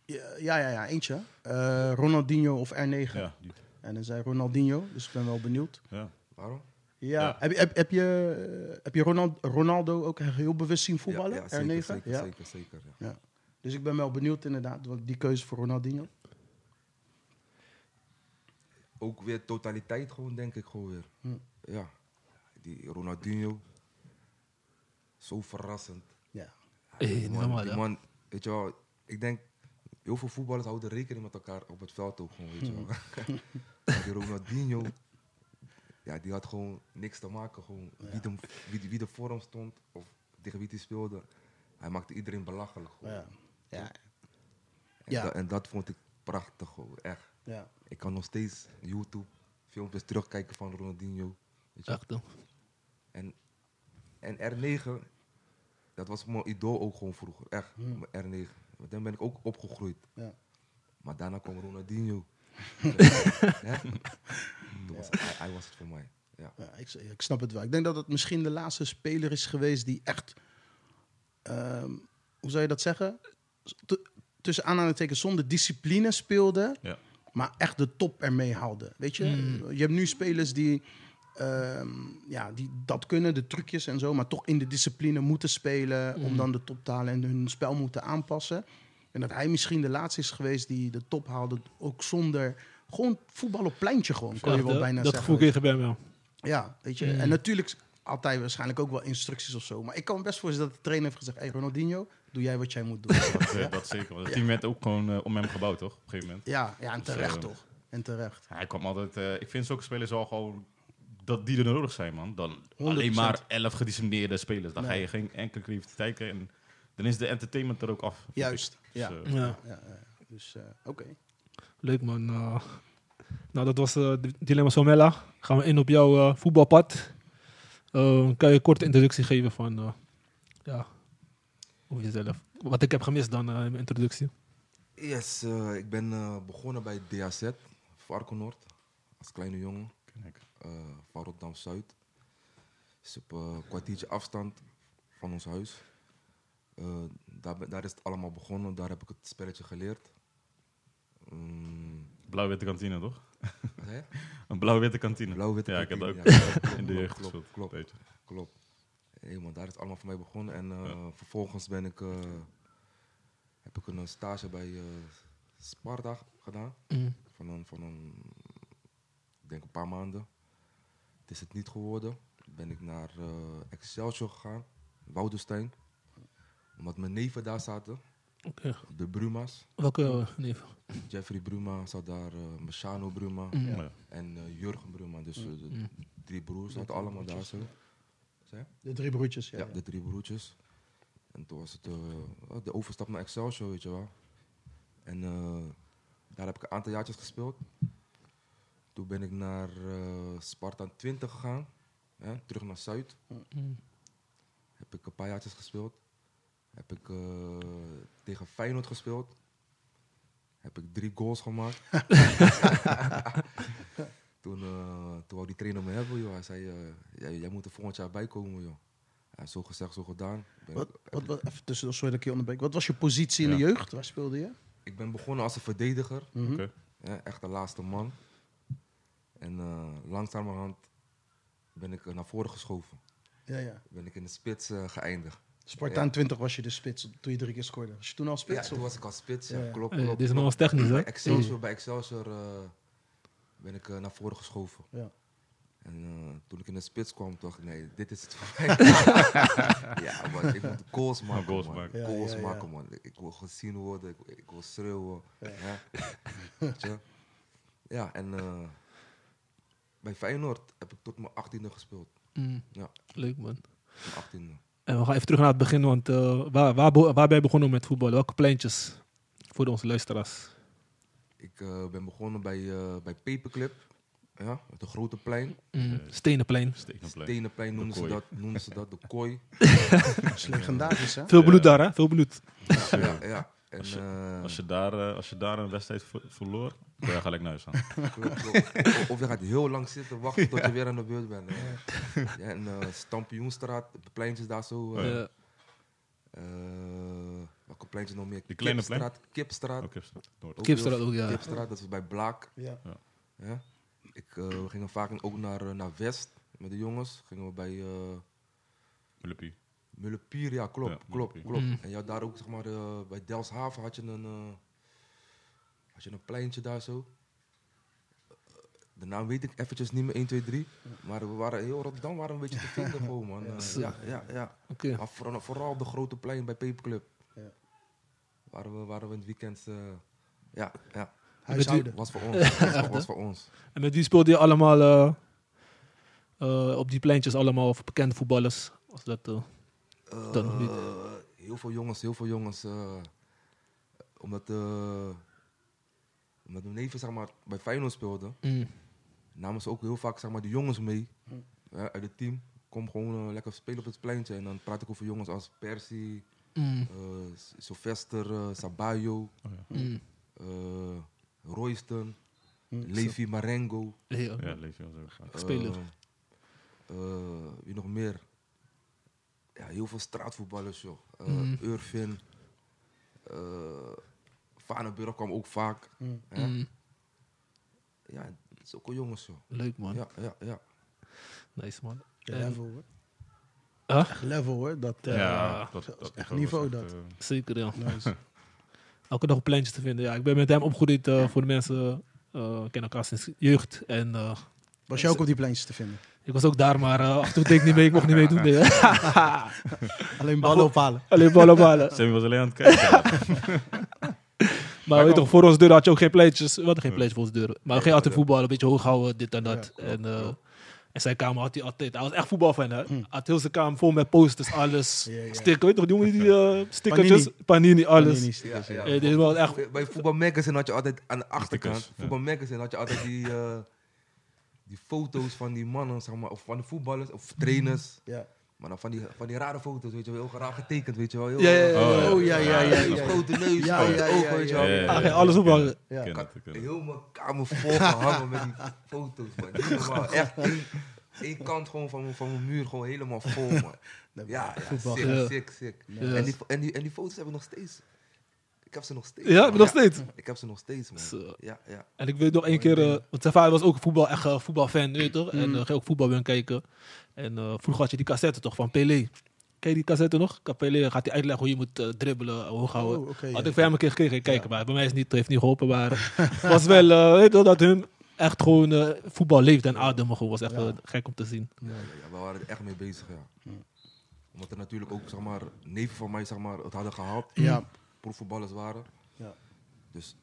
Speaker 4: Ja, ja, ja, ja, eentje. Eh, Ronaldinho of R9.
Speaker 3: Ja, die-
Speaker 4: En dan zei Ronaldinho, dus ik ben wel benieuwd.
Speaker 3: ja.
Speaker 5: Waarom?
Speaker 4: Ja.
Speaker 3: Ja.
Speaker 4: Heb, je- heb, heb je, eh, heb je Ronald, Ronaldo ook heel bewust zien voetballen?
Speaker 5: Ja, ja,
Speaker 4: R9?
Speaker 5: zeker, zeker,
Speaker 4: ja.
Speaker 5: zeker, zeker, ja.
Speaker 4: Ja. Dus ik ben wel benieuwd inderdaad, want die keuze voor Ronaldinho.
Speaker 5: Ook weer totaliteit gewoon, denk ik gewoon weer.
Speaker 2: Hm.
Speaker 5: Ja. Die Ronaldinho. Zo verrassend.
Speaker 4: Ja.
Speaker 2: Eh,
Speaker 5: Die
Speaker 2: niet
Speaker 5: man-
Speaker 2: normaal,
Speaker 5: die
Speaker 2: ja.
Speaker 5: man, weet je wel, ik denk, heel veel voetballers houden rekening met elkaar op het veld ook gewoon, weet je wel.
Speaker 2: Hm.
Speaker 5: Maar die Ronaldinho, ja, die had gewoon niks te maken. Gewoon wie, de, wie, de- wie de vorm stond, of tegen wie hij speelde. Hij maakte iedereen belachelijk. gewoon.
Speaker 4: Ja. Ja.
Speaker 5: En,
Speaker 4: Ja.
Speaker 5: da- en dat vond ik prachtig, gewoon, echt.
Speaker 4: ja.
Speaker 5: Ik kan nog steeds YouTube filmpjes terugkijken van Ronaldinho. Weet je?
Speaker 2: Echt, hè.
Speaker 5: En, en R9, dat was mijn idool ook gewoon vroeger. Echt, mijn R9. Met hem ben ik ook opgegroeid.
Speaker 4: Ja.
Speaker 5: Maar daarna kwam Ronaldinho. Hè? Toen was, hij, hij was het voor mij. Ja.
Speaker 4: Ja, ik, ik snap het wel. Ik denk dat het misschien de laatste speler is geweest die echt, ehm, hoe zou je dat zeggen? T- tussen aanhalingstekens zonder discipline speelde,
Speaker 3: Ja.
Speaker 4: maar echt de top ermee haalde. Weet je,
Speaker 2: Hmm.
Speaker 4: je hebt nu spelers die, ehm, ja, die dat kunnen, de trucjes en zo, maar toch in de discipline moeten spelen
Speaker 2: Hmm.
Speaker 4: om dan de top te halen en hun spel moeten aanpassen. En dat hij misschien de laatste is geweest die de top haalde, ook zonder gewoon voetbal op pleintje gewoon. Kan je
Speaker 2: Echt,
Speaker 4: wel
Speaker 2: hè.
Speaker 4: bijna
Speaker 2: dat
Speaker 4: zeggen.
Speaker 2: gevoel kreeg je bij hem, ja.
Speaker 4: Ja, weet je.
Speaker 2: Mm.
Speaker 4: En natuurlijk had hij waarschijnlijk ook wel instructies of zo. Maar ik kan me best voorstellen dat de trainer heeft gezegd... hey Ronaldinho, doe jij wat jij moet doen.
Speaker 3: Dat, eh, dat zeker. Want het team werd ook gewoon eh, om hem gebouwd, toch? Op een gegeven moment.
Speaker 4: ja, ja, en terecht
Speaker 3: Dus, eh,
Speaker 4: toch. En terecht.
Speaker 3: Hij kwam altijd... eh, ik vind zulke spelers al gewoon... Dat die er nodig zijn, man. Dan
Speaker 4: 100%.
Speaker 3: alleen maar elf gedisciplineerde spelers. Dan ga
Speaker 4: Nee.
Speaker 3: je geen enkele creativiteit krijgen. En dan is de entertainment er ook af. vind ik.
Speaker 4: Juist,
Speaker 3: Dus,
Speaker 4: ja.
Speaker 3: eh,
Speaker 2: ja.
Speaker 4: Ja, ja, ja. dus eh, oké.
Speaker 2: Leuk man. Eh, nou, dat was eh, D- Dilemma Somella. Gaan we in op jouw eh, voetbalpad. Eh, kan je een korte introductie geven van eh, ja, over jezelf? Wat ik heb gemist dan eh, in mijn introductie.
Speaker 5: Yes, eh, ik ben eh, begonnen bij DAZ, Varkenoord. Als kleine jongen,
Speaker 3: ken ik.
Speaker 5: eh van Rotterdam-Zuid. is op eh, een kwartiertje afstand van ons huis. Eh, daar, ben- daar is het allemaal begonnen, daar heb ik het spelletje geleerd. Mm,
Speaker 3: Blauw-witte kantine, toch?
Speaker 5: wat zei je?
Speaker 3: Een blauw-witte kantine.
Speaker 5: Blauw-witte
Speaker 3: Ja, ik heb dat
Speaker 5: kantine,
Speaker 3: ook
Speaker 5: ja, klopt,
Speaker 3: in de
Speaker 5: klopt,
Speaker 3: jeugd
Speaker 5: klopt,
Speaker 3: gespeeld.
Speaker 5: klopt.
Speaker 3: Weet je.
Speaker 5: Klopt. Hey man, daar is het allemaal voor mij begonnen. En eh, vervolgens ben ik, eh, heb ik een eh, stage bij eh, Sparta gedaan. Van, een, van een, ik denk een paar maanden. Het is het niet geworden. Ben ik naar eh, Excelsior gegaan, Woudenstein. Omdat mijn neven daar zaten,
Speaker 2: Oké.
Speaker 5: de Bruma's.
Speaker 2: Welke eh, neef?
Speaker 5: Jeffrey Bruma zat daar, eh Machano Bruma
Speaker 3: Ja.
Speaker 5: en eh, Jurgen Bruma. Dus eh, de drie broers zaten allemaal daar zo. Zeg?
Speaker 4: De drie broertjes, ja.
Speaker 5: Ja, de drie broertjes. En toen was het eh, oh, de overstap naar Excelsior, weet je wel. En eh, daar heb ik een aantal jaartjes gespeeld. Toen ben ik naar eh, Sparta 20 gegaan, hè, terug naar Zuid.
Speaker 2: Mm.
Speaker 5: Heb ik een paar jaartjes gespeeld. Heb ik eh, tegen Feyenoord gespeeld. Heb ik drie goals gemaakt. toen, eh, toen wou die trainer me hebben, joh. Hij zei, eh, jij, jij moet er volgend jaar bij komen, joh. Ja, zo gezegd, zo gedaan. Ben
Speaker 4: Wat,
Speaker 5: ik-
Speaker 4: wat, wat, even tussendoor, sorry dat ik je onderbreek. Wat was je positie in de jeugd? Waar speelde je?
Speaker 5: Ik ben begonnen als een verdediger.
Speaker 4: Mhm.
Speaker 3: Oké.
Speaker 5: hè, echt de laatste man. En eh langzamerhand ben ik eh, naar voren geschoven.
Speaker 4: Ja, ja.
Speaker 5: Ben ik in de spits eh, geëindigd.
Speaker 4: Spartaan 20 was je de spits toen je drie keer scoorde. Was je toen al
Speaker 5: Ja,
Speaker 4: spits?
Speaker 5: toen
Speaker 4: of-
Speaker 5: was ik als spits. Ja,
Speaker 4: Ja, ja.
Speaker 5: Klopt,
Speaker 2: Eh,
Speaker 5: klopt.
Speaker 2: dit is nog
Speaker 5: klopt.
Speaker 2: eens technisch, hè?
Speaker 5: Bij Mm,
Speaker 4: Mm.
Speaker 5: Excelsior, bij Excelsior eh, ben ik eh, naar voren geschoven.
Speaker 4: Ja.
Speaker 5: En eh, toen ik in de spits kwam, dacht ik, nee, dit is het voor mij. ja, man, ik moet goals maken,
Speaker 3: goals
Speaker 5: man.
Speaker 3: maken.
Speaker 4: Ja,
Speaker 5: Goals
Speaker 4: ja, ja.
Speaker 5: maken, man. Ik wil gezien worden, ik, ik wil schreeuwen. Ja, ja. ja en eh, bij Feyenoord heb ik tot mijn achttiende gespeeld.
Speaker 2: Mm,
Speaker 5: Ja,
Speaker 2: Leuk man.
Speaker 5: mijn achttiende.
Speaker 2: En we gaan even terug naar het begin, want eh, waar, waar, be- waar ben je begonnen met voetbal? Welke pleintjes voor onze luisteraars?
Speaker 5: Ik eh, ben begonnen bij, eh, bij Paperclip, ja, het grote plein.
Speaker 2: Mm, Stenenplein.
Speaker 3: Steek een plek.
Speaker 5: Stenenplein noemden ze,
Speaker 3: kooi.
Speaker 5: dat, noemden ze dat, de kooi.
Speaker 4: Dat is legendarisch, hè?
Speaker 2: Veel
Speaker 5: Eh,
Speaker 2: bloed daar, hè? Veel bloed.
Speaker 5: Ja, ja, ja. En,
Speaker 3: Als je-
Speaker 5: eh,
Speaker 3: Als je, daar, eh, als je daar een wedstrijd ver- verloor, kon je gelijk naar huis gaan.
Speaker 5: Klopt, klopt. O- Of je gaat heel lang zitten wachten tot je weer aan de beurt bent. hè. Ja, en eh Stampioenstraat, de pleintjes daar
Speaker 3: Oh,
Speaker 5: zo. eh,
Speaker 2: Ja.
Speaker 5: eh, welke pleintje nog meer?
Speaker 3: Die kleine plein?
Speaker 5: Kipstraat, Kipstraat.
Speaker 3: Ook Kipstraat. Noord.
Speaker 5: Ook
Speaker 2: Kipstraat
Speaker 5: heel-
Speaker 2: ook, ja.
Speaker 5: Kipstraat, dat is bij Blaak.
Speaker 4: Ja.
Speaker 5: Ja. Ik eh, we gingen vaak ook naar, eh, naar West met de jongens. Gingen we bij eh
Speaker 3: Luppie.
Speaker 5: Mullepier, ja, klopt,
Speaker 3: Ja,
Speaker 5: klopt,
Speaker 3: Mullepier.
Speaker 5: klopt.
Speaker 2: Mm.
Speaker 5: En je had daar ook, zeg maar, eh, bij Delshaven had je een, eh, had je een pleintje daar zo. Eh, De naam weet ik eventjes niet meer, 1, 2, 3. Maar we waren heel Rotterdam waren we een beetje te vinden gewoon, man. Eh,
Speaker 2: Zo.
Speaker 5: ja, ja, ja.
Speaker 2: Oké.
Speaker 5: Maar vooral, vooral op de grote plein bij Paperclub.
Speaker 4: Ja.
Speaker 5: Waren, we, waren we in het weekend... eh, ja, ja.
Speaker 4: Huishouden.
Speaker 5: Was voor ons. Was, voor- was voor ons.
Speaker 2: En met wie speelde je allemaal eh, eh, op die pleintjes allemaal of bekende voetballers? Als dat, eh,
Speaker 5: Eh,
Speaker 2: Dan nog niet.
Speaker 5: Heel veel jongens, heel veel jongens. eh, omdat, eh, omdat mijn neven zeg maar, bij Feyenoord speelden, namen ze ook heel vaak zeg maar, de jongens mee eh, uit het team. Kom gewoon eh, lekker spelen op het pleintje. En dan praat ik over jongens als Percy, eh, S- Sylvester, eh, Sabayo, eh, Royston, Levi Marengo.
Speaker 2: Ja.
Speaker 3: Ja, leef je wel zo.
Speaker 2: Speler.
Speaker 5: Eh, eh, wie nog meer? Ja, heel veel straatvoetballers, joh. Eh
Speaker 2: Mm.
Speaker 5: Urfin. eh Vaneburg kwam ook vaak.
Speaker 4: Mhm.
Speaker 5: Hè?
Speaker 2: Mm.
Speaker 5: Ja, zulke jongens, joh.
Speaker 2: Leuk man.
Speaker 5: Ja, ja, ja.
Speaker 2: Nice man.
Speaker 4: Ja,
Speaker 2: En-
Speaker 4: level hoor.
Speaker 2: Huh?
Speaker 4: Echt level hoor. Dat, eh,
Speaker 3: Ja, dat,
Speaker 4: dat is
Speaker 3: dat
Speaker 4: echt
Speaker 3: was
Speaker 4: niveau,
Speaker 3: echt,
Speaker 4: dat.
Speaker 3: eh,
Speaker 2: Zeker ja.
Speaker 4: nice.
Speaker 2: elke dag op pleintjes te vinden. Ja, ik ben met hem opgegroeid eh, voor de mensen. eh kennen elkaar sinds jeugd. En eh,
Speaker 4: Was jij ook op die pleintjes te vinden?
Speaker 2: ik was ook daar, maar eh, af en toe deed ik niet mee. Ik mocht niet meedoen. Nee.
Speaker 4: Alleen ballen ophalen.
Speaker 2: Alleen ballen ballen.
Speaker 3: Sammy was alleen aan het kijken.
Speaker 2: Maar weet toch, voor onze deur had je ook geen pleintjes. We hadden geen pleintjes voor onze deur. Maar we gingen altijd
Speaker 5: ja.
Speaker 2: voetballen. Een beetje hoog houden, dit en dat.
Speaker 4: Ja,
Speaker 2: en, eh, en zijn kamer had hij altijd. Hij was echt voetbalfan. Hè? Hij had heel zijn kamer vol met posters, alles.
Speaker 4: Ja, ja.
Speaker 2: Sticker, weet toch, die jongen die eh, stickertjes. Panini, alles.
Speaker 4: Nee, niet.
Speaker 5: ja, ja.
Speaker 2: Eh, dit was echt
Speaker 5: Bij- Bij Voetbal Magazine had je altijd aan de achterkant.
Speaker 3: Stickers, ja.
Speaker 5: Voetbal Magazine had je altijd die, eh, die foto's van die mannen, zeg maar, of van de voetballers of trainers.
Speaker 4: Ja.
Speaker 5: Maar dan van die, van die rare foto's, weet je wel, heel raar getekend, weet je wel. Heel, eh,
Speaker 2: Ja, ja, ja.
Speaker 3: Oh,
Speaker 4: Oh ja, ja, ja.
Speaker 5: Die
Speaker 4: ja, ja.
Speaker 5: grote neus,
Speaker 4: Ja,
Speaker 5: grote
Speaker 4: ja, ja,
Speaker 5: ogen, weet je
Speaker 3: Ja,
Speaker 5: wel.
Speaker 3: ja, ja,
Speaker 2: Ah,
Speaker 3: ja.
Speaker 2: ja, alles ophangen.
Speaker 3: Ik ken
Speaker 4: Ja.
Speaker 3: het,
Speaker 5: Ik had
Speaker 3: ik ken het.
Speaker 5: heel mijn kamer volgehangen met die foto's, man. Niet normaal. Echt één, één kant gewoon van, mijn- van mijn muur gewoon helemaal vol, man. Ja, ja
Speaker 4: Voetbal.
Speaker 5: sick,
Speaker 2: Ja.
Speaker 5: sick, sick.
Speaker 2: Ja.
Speaker 5: En, die, en, die, en die foto's heb ik nog steeds. Ik heb ze nog steeds.
Speaker 2: Ja,
Speaker 5: man.
Speaker 2: nog steeds.
Speaker 5: Ik heb ze nog steeds, man.
Speaker 2: Zo.
Speaker 5: Ja, ja.
Speaker 2: En ik weet nog één keer, eh, want zijn vader was ook voetbal, echt eh, voetbalfan, weet je toch?
Speaker 4: Mm.
Speaker 2: En eh, ging ook voetbal bij hem kijken. En eh, vroeger had je die cassette toch van Pelé. Ken je die cassette nog? Kan Pelé gaat hij uitleggen hoe je moet eh, dribbelen, hoog houden.
Speaker 4: Oh, oké,
Speaker 2: had
Speaker 4: ja.
Speaker 2: ik van hem een keer gekeken, ik kijk, maar bij mij is het niet, heeft niet geholpen. Maar het was wel, eh, weet je toch, dat hun echt gewoon eh, voetbal leefde en ademen gewoon. was echt eh, gek om te zien.
Speaker 5: Ja, ja, we waren er echt mee bezig, ja. Omdat er natuurlijk ook, zeg maar, neven van mij, zeg maar, het hadden gehaald.
Speaker 4: Ja.
Speaker 5: Proefvoetballers waren.
Speaker 4: Ja.
Speaker 5: Dus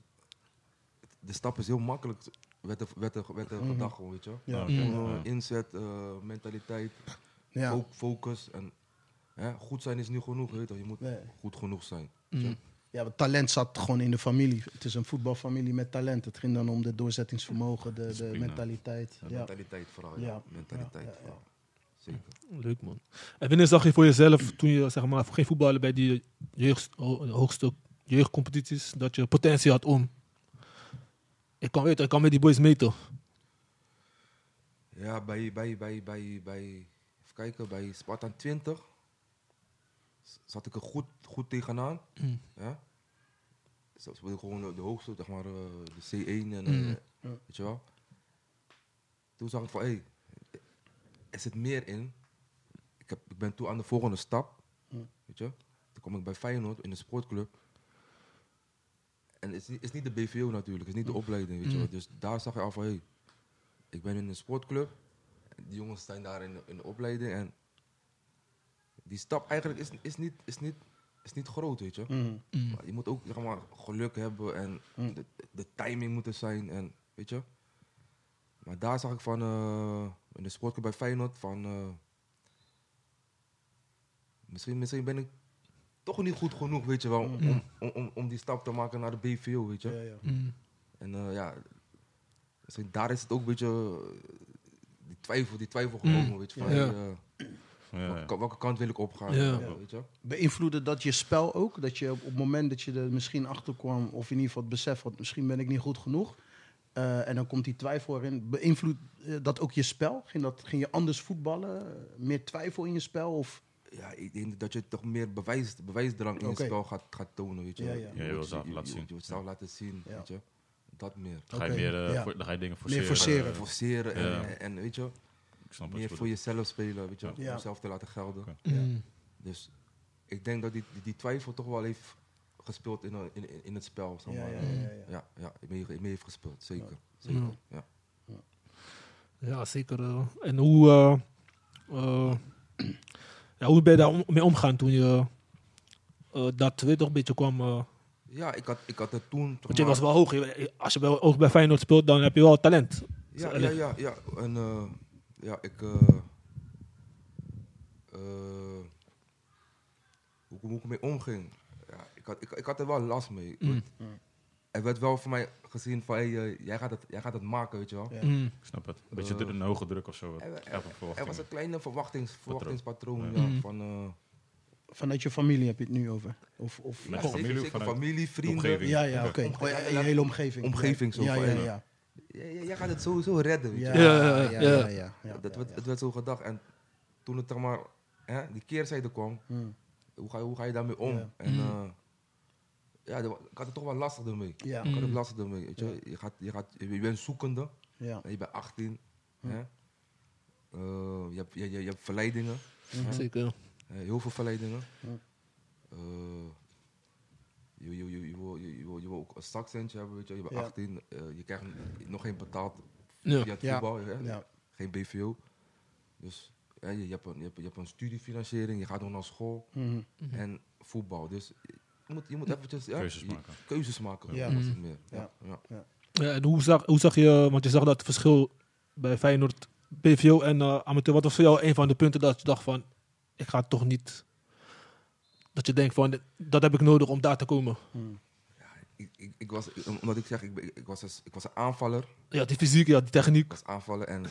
Speaker 5: de stap is heel makkelijk, werd er, werd er, werd er gedacht gewoon, weet je wel.
Speaker 4: Ja.
Speaker 3: Oh, oké.
Speaker 5: Gewoon, eh,
Speaker 3: Ja.
Speaker 5: inzet, eh, mentaliteit,
Speaker 4: Ja.
Speaker 5: fo- focus. En, hè, goed zijn is niet genoeg, weet je, wel. je moet
Speaker 4: Nee.
Speaker 5: goed genoeg zijn.
Speaker 4: Ja, want talent zat gewoon in de familie. Het is een voetbalfamilie met talent. Het ging dan om de doorzettingsvermogen, de, de
Speaker 3: Discipline.
Speaker 4: mentaliteit. Ja.
Speaker 5: Mentaliteit vooral, ja.
Speaker 4: Ja.
Speaker 5: Mentaliteit
Speaker 4: Ja, ja, ja.
Speaker 5: vooral. Zeker.
Speaker 2: Leuk man. En wanneer zag je voor jezelf, toen je zeg maar, ging voetballen bij die jeugd, ho- hoogste jeugdcompetities, dat je potentie had om? Ik kan, weten, ik kan met die boys mee toch?
Speaker 5: Ja, bij, bij, bij, bij, bij, even kijken, bij Sparta 20 z- zat ik er goed, goed tegenaan. Ja? Zo speelde ik gewoon eh, de hoogste, zeg maar, eh, de C1 en eh, weet je wel. Toen zag ik van, hé, hey, er zit meer in. Ik, heb, ik ben toe aan de volgende stap, weet je. Toen kom ik bij Feyenoord in de sportclub. En het is niet, is niet de BVO natuurlijk, het is niet de opleiding, weet je wel. Dus daar zag je al van, hé, hey, ik ben in een sportclub. Die jongens zijn daar in de, in de opleiding. En die stap eigenlijk is, is, niet, is, niet, is niet groot, weet je.
Speaker 4: Mm.
Speaker 5: Maar je moet ook zeg maar, geluk hebben en de, de timing moet er zijn. En, weet je? Maar daar zag ik van, eh, in de sportclub bij Feyenoord, van... eh, misschien, misschien ben ik toch niet goed genoeg, weet je wel, om, om, om, om die stap te maken naar de BVO, weet je.
Speaker 4: Ja, ja.
Speaker 2: Mm.
Speaker 5: En eh, ja, misschien daar is het ook een beetje eh, die twijfel, die twijfel
Speaker 4: Mm.
Speaker 5: gekomen, weet je. Van,
Speaker 2: Ja.
Speaker 5: eh,
Speaker 3: Ja, ja.
Speaker 5: welke, welke kant wil ik opgaan,
Speaker 2: Ja.
Speaker 5: eh, weet je.
Speaker 4: Beïnvloedde dat je spel ook? Dat je op het moment dat je er misschien achter kwam, of in ieder geval het besef had, misschien ben ik niet goed genoeg. eh, en dan komt die twijfel erin. Beïnvloedt eh, dat ook je spel? Ging, dat, ging je anders voetballen? Eh, Meer twijfel in je spel? Of
Speaker 5: Ja, ik denk dat je toch meer bewijs, bewijsdrang in
Speaker 4: Oké.
Speaker 5: je spel gaat, gaat tonen, weet je.
Speaker 4: Ja,
Speaker 5: wel.
Speaker 4: ja. Ja,
Speaker 3: je wil zelf
Speaker 5: je-
Speaker 3: laten
Speaker 5: je-
Speaker 3: zien.
Speaker 5: Je wilt zelf laten zien,
Speaker 4: Ja.
Speaker 5: weet je. Dat meer.
Speaker 3: Dan ga je
Speaker 4: Oké,
Speaker 3: meer, eh,
Speaker 4: ja.
Speaker 3: voor- dan ga je dingen forceren.
Speaker 4: Meer forceren.
Speaker 3: Eh,
Speaker 5: Forceren en,
Speaker 3: Ja.
Speaker 5: en, en, weet je,
Speaker 3: ik snap het
Speaker 5: meer
Speaker 3: goed.
Speaker 5: voor jezelf spelen, weet je. Om
Speaker 4: Ja.
Speaker 5: jezelf te laten gelden.
Speaker 3: Oké.
Speaker 2: Mm.
Speaker 5: Dus ik denk dat die, die, die twijfel toch wel heeft gespeeld in, eh, in, in, in het spel, zeg
Speaker 4: Ja,
Speaker 5: maar.
Speaker 4: ja,
Speaker 5: Eh,
Speaker 4: ja, ja.
Speaker 5: ja, ja, mee, mee heeft gespeeld, zeker. zeker.
Speaker 2: Ja.
Speaker 5: Ja.
Speaker 2: Ja, zeker. eh. en hoe, eh, eh, ja, hoe ben je daar om- mee omgaan toen je eh, dat weet toch een beetje kwam? eh,
Speaker 5: Ja, ik had, ik had het toen.
Speaker 2: want je was wel hoog. Je- Als je bij, ook bij Feyenoord speelt, dan heb je wel talent.
Speaker 5: Ja, ja,
Speaker 2: Allee.
Speaker 5: ja, ja. En eh, ja, ik. eh, eh, hoe, ik- hoe ik ermee omging. Ja, ik, had, ik, ik had er wel last mee.
Speaker 2: Mm.
Speaker 5: Er werd wel voor mij gezien van, hey, eh, jij, gaat het, jij gaat het maken, weet je wel.
Speaker 4: Ja.
Speaker 2: Mm.
Speaker 3: Ik snap het. Een beetje
Speaker 5: Eh,
Speaker 3: de een hoge druk of zo. wat-
Speaker 5: Er, er-
Speaker 3: ja, van
Speaker 5: er eh, was
Speaker 3: verwachtingen.
Speaker 5: een kleine verwachtings, verwachtingspatroon
Speaker 3: Ja.
Speaker 5: ja,
Speaker 2: Mm.
Speaker 5: van... eh,
Speaker 4: Vanuit je familie heb je het nu over? Of, of,
Speaker 3: Met
Speaker 5: ja,
Speaker 3: familie,
Speaker 5: zeker, zeker
Speaker 3: vanuit
Speaker 5: familie, vrienden.
Speaker 3: omgeving.
Speaker 4: ja, ja, oké.
Speaker 5: Omge-
Speaker 4: Oh, ja, je hele omgeving.
Speaker 5: Omgeving zo
Speaker 4: Ja,
Speaker 5: van,
Speaker 4: ja,
Speaker 5: ja.
Speaker 4: ja.
Speaker 5: Jij, jij- jij gaat het sowieso redden, weet je
Speaker 4: Ja,
Speaker 5: wel.
Speaker 2: Ja,
Speaker 4: ja,
Speaker 2: ja,
Speaker 4: ja,
Speaker 2: ja.
Speaker 4: ja, ja.
Speaker 5: dat werd, Het werd zo gedacht. En toen het zeg maar, hè, die keerzijde kwam,
Speaker 4: Hmm.
Speaker 5: hoe ga, je- hoe ga je daarmee om?
Speaker 4: Ja.
Speaker 5: En
Speaker 2: Mm.
Speaker 5: eh, ja, dat wa- ik had het toch wel lastig ermee.
Speaker 4: Ja,
Speaker 5: Ik had het
Speaker 2: Mm.
Speaker 5: lastig ermee, weet je. Je, gaat, je, gaat, je, je bent zoekende,
Speaker 4: ja.
Speaker 5: en je bent 18, hè. Eh, je, hebt, je, je, je hebt verleidingen,
Speaker 4: Mm-hmm.
Speaker 2: Zeker.
Speaker 5: hè, heel veel verleidingen.
Speaker 4: Hmm.
Speaker 5: Eh, je, je, je, je, wil, je, je wil, je wil ook een zakcentje hebben, weet je. Je bent
Speaker 4: Ja.
Speaker 5: 18, eh, je krijgt nog geen betaald
Speaker 2: Ja.
Speaker 5: via het
Speaker 4: Ja.
Speaker 5: voetbal, hè.
Speaker 4: ja.
Speaker 5: geen BVO. Dus hè, je, je, hebt een, je, hebt, je hebt een studiefinanciering, je gaat nog naar school
Speaker 4: Mhm.
Speaker 5: en voetbal. Dus je moet, je moet eventjes ja,
Speaker 3: Keuzes
Speaker 5: je-
Speaker 3: maken.
Speaker 5: keuzes maken,
Speaker 4: Ja.
Speaker 5: dat was het meer.
Speaker 4: Ja.
Speaker 5: Ja. Ja.
Speaker 2: Ja, en hoe zag, hoe zag je, want je zag dat het verschil bij Feyenoord, BVO en eh, amateur. Wat was voor jou een van de punten dat je dacht van, ik ga toch niet... Dat je denkt van, dat heb ik nodig om daar te komen.
Speaker 4: Mm-hmm.
Speaker 5: Ik, ik, ik was, omdat ik zeg, ik, ben- ik, was, een- ik was een aanvaller.
Speaker 2: Ja, die fysiek, ja, die
Speaker 5: Ik
Speaker 2: techniek.
Speaker 5: was aanvallen en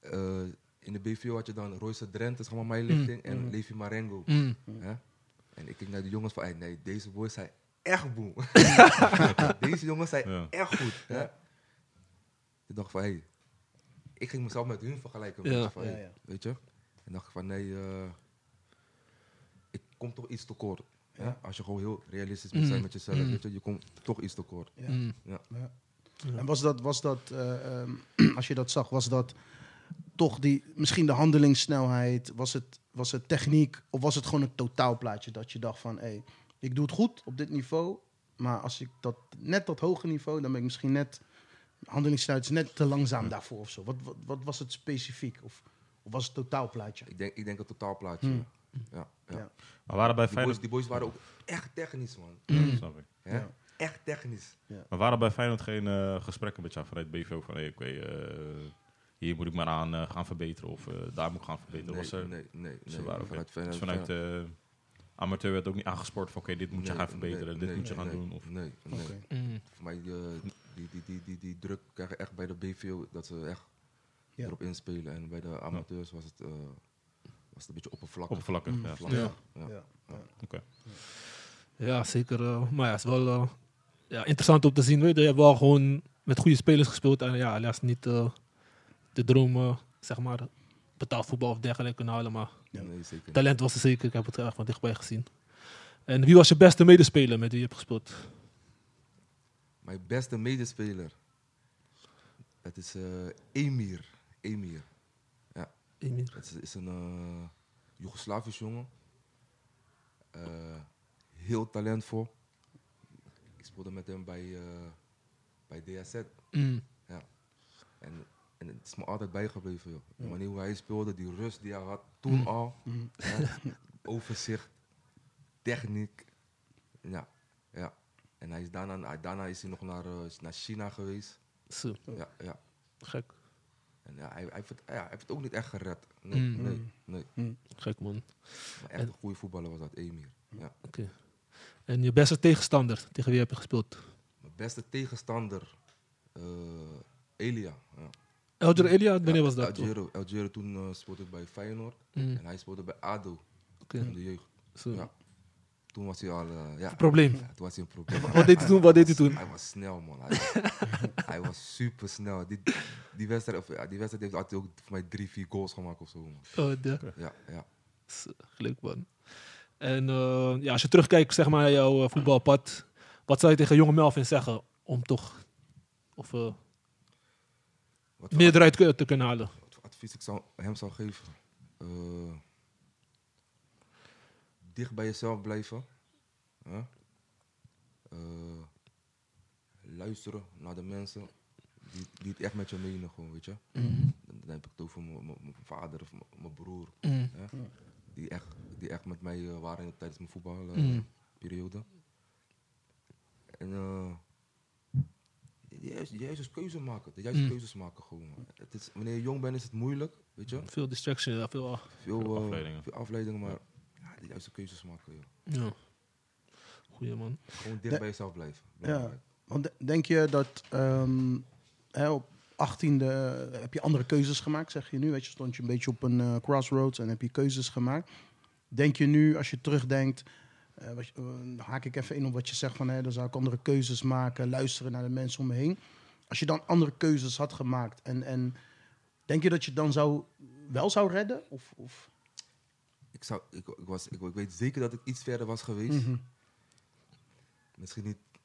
Speaker 5: eh, in de BVO had je dan Royce Drenthe, zeg maar mijn lichting, en Levi Marengo.
Speaker 2: Mm.
Speaker 5: Hè? En ik keek naar de jongens van, "Ey, nee, deze boys zijn echt boem. deze jongens zijn
Speaker 3: Ja.
Speaker 5: echt goed. Hè? Ik dacht van, hey, ik ging mezelf met hun vergelijken.
Speaker 2: Ja.
Speaker 5: Weet, je, van,
Speaker 4: Ja,
Speaker 5: hey,
Speaker 4: ja.
Speaker 5: weet je? En dacht ik van, nee, eh, ik kom toch iets tekort. Hè? Als je gewoon heel realistisch moet
Speaker 4: Mm.
Speaker 5: zijn met jezelf, weet je, je komt toch iets tekort.
Speaker 4: Ja.
Speaker 2: Mm.
Speaker 5: Ja.
Speaker 4: En was dat, was dat eh, ehm, als je dat zag, was dat toch die, misschien de handelingssnelheid, was het, was het techniek of was het gewoon een totaalplaatje dat je dacht van, hé, ik doe het goed op dit niveau, maar als ik dat net dat hoger niveau, dan ben ik misschien net, handelingssnelheid is net te langzaam daarvoor of zo. Wat, wat, wat was het specifiek of, of was het totaalplaatje?
Speaker 5: Ik, denk, ik denk een totaalplaatje. Ja, ja.
Speaker 4: Mm. Ja.
Speaker 3: Maar waren bij
Speaker 5: Die, boys,
Speaker 3: Feyenoord...
Speaker 5: die boys waren ook echt technisch, man.
Speaker 3: Ja, snap ik.
Speaker 5: Hè?
Speaker 4: Ja.
Speaker 5: Echt technisch.
Speaker 3: Maar waren bij Feyenoord geen eh, gesprekken met jou vanuit BVO van... Hey, oké, eh, hier moet ik maar aan eh, gaan verbeteren of eh, daar moet ik gaan verbeteren?
Speaker 5: Nee,
Speaker 3: was er,
Speaker 5: nee, nee,
Speaker 3: ze
Speaker 5: nee,
Speaker 3: waren ook
Speaker 5: vanuit-
Speaker 3: niet- dus vanuit eh, amateur werd ook niet aangespoord van... Oké, dit moet je
Speaker 5: Nee,
Speaker 3: gaan verbeteren,
Speaker 5: nee,
Speaker 3: dit
Speaker 5: nee,
Speaker 3: moet je gaan
Speaker 5: nee,
Speaker 3: doen. Of,
Speaker 5: Nee, nee.
Speaker 4: Oké.
Speaker 2: Mm.
Speaker 5: Voor mij, eh, die, die, die, die, die druk krijgen echt bij de BVO, dat ze echt
Speaker 4: Ja.
Speaker 5: erop inspelen. En bij de amateurs was het, eh, was het een beetje oppervlakkig.
Speaker 3: oppervlakkig, ja.
Speaker 5: Vlak,
Speaker 2: Ja.
Speaker 5: ja.
Speaker 4: Ja.
Speaker 3: Oké.
Speaker 2: Ja, zeker. eh, maar ja, het is wel eh, ja, interessant om te zien. Weet je, je hebt wel gewoon met goede spelers gespeeld. En ja, helaas niet eh, de droom, eh, zeg maar, betaald voetbal of dergelijke nou kunnen halen. Maar
Speaker 4: Ja.
Speaker 5: Nee, zeker niet.
Speaker 2: talent was er zeker. Ik heb het erg van dichtbij gezien. En wie was je beste medespeler met wie je hebt gespeeld?
Speaker 5: Mijn beste medespeler, dat is eh, Emir. Emir.
Speaker 2: Emir.
Speaker 5: Het is, is een eh Joegoslavisch jongen. Eh, heel talentvol. Ik speelde met hem bij, eh, bij DSZ.
Speaker 2: Mm.
Speaker 5: En, en het is me altijd bijgebleven, joh. De manier hoe hij speelde, die rust die hij had toen al. hè, Overzicht, techniek. Ja, ja. En hij is daarna, hij- daarna is hij nog naar, eh, naar China geweest.
Speaker 2: Zo,
Speaker 5: Ja, ja.
Speaker 2: gek.
Speaker 5: En ja, hij, hij, heeft het, ja, hij heeft het ook niet echt gered. Nee,
Speaker 2: Mm.
Speaker 5: nee, nee.
Speaker 2: Gek man.
Speaker 5: Maar echt een goede voetballer was dat, Emir. Ja.
Speaker 2: Oké. En je beste tegenstander tegen wie heb je gespeeld?
Speaker 5: Mijn beste tegenstander, eh, Elia. Ja.
Speaker 2: Elder
Speaker 5: Mm.
Speaker 2: Elia, wanneer was dat?
Speaker 5: Algero, Algero toen eh, speelde ik bij Feyenoord.
Speaker 2: Mm.
Speaker 5: En hij speelde bij ADO,
Speaker 2: Oké.
Speaker 5: in de jeugd.
Speaker 2: Zo.
Speaker 5: Ja. Toen was hij al... eh, ja,
Speaker 2: Probleem.
Speaker 5: Ja, toen was hij een probleem.
Speaker 2: Wat deed hij toen? Wat deed hij toen?
Speaker 5: Hij was snel, man. Hij, hij was super snel. Die, die, wedstrijd, of, ja, die wedstrijd heeft altijd ook voor mij drie, vier goals gemaakt of zo. Man.
Speaker 2: Oh, de.
Speaker 5: Ja, ja.
Speaker 2: Zo, Leuk man. En eh, ja, als je terugkijkt zeg maar, naar jouw eh, voetbalpad, wat zou je tegen jonge Melvin zeggen om toch of, eh,
Speaker 5: Wat voor
Speaker 2: meer eruit ku- te kunnen halen?
Speaker 5: wat voor advies ik zou, hem zou geven. Eh, dicht bij jezelf blijven. hè? Eh, luisteren naar de mensen die, die het echt met je menen, gewoon, weet je. Dan, dan heb ik het over mijn- mijn mijn vader of mijn- mijn broer. hè? Die, echt, die echt met mij eh, waren tijdens mijn
Speaker 2: Mhm. Mm.
Speaker 5: voetbalperiode. En eh, de juiste, de juiste keuze maken. De juiste keuzes maken gewoon. Het is, wanneer je jong bent is het moeilijk, weet je.
Speaker 2: Veel ah. distraction, ja, veel...
Speaker 5: Veel, eh,
Speaker 3: afleidingen.
Speaker 5: Veel afleidingen, maar ja, de juiste keuzes maken, joh.
Speaker 2: Ja. Goeie man.
Speaker 5: Gewoon dicht
Speaker 4: De-
Speaker 5: bij jezelf blijven.
Speaker 4: Ja.
Speaker 5: Belangrijk.
Speaker 4: Want de- denk je dat ehm, hè, op 18e heb je andere keuzes gemaakt, zeg je nu? Weet je, stond je een beetje op een eh, crossroads en heb je keuzes gemaakt. Denk je nu, als je terugdenkt, eh, wat je- eh, dan haak ik even in op wat je zegt van hè, dan zou ik andere keuzes maken, luisteren naar de mensen om me heen. Als je dan andere keuzes had gemaakt en, en denk je dat je het dan zou, wel zou redden? Of, of?
Speaker 5: Ik, zou, ik, ik, was, ik, ik weet zeker dat ik iets verder was geweest.
Speaker 4: Mhm.
Speaker 5: Misschien niet het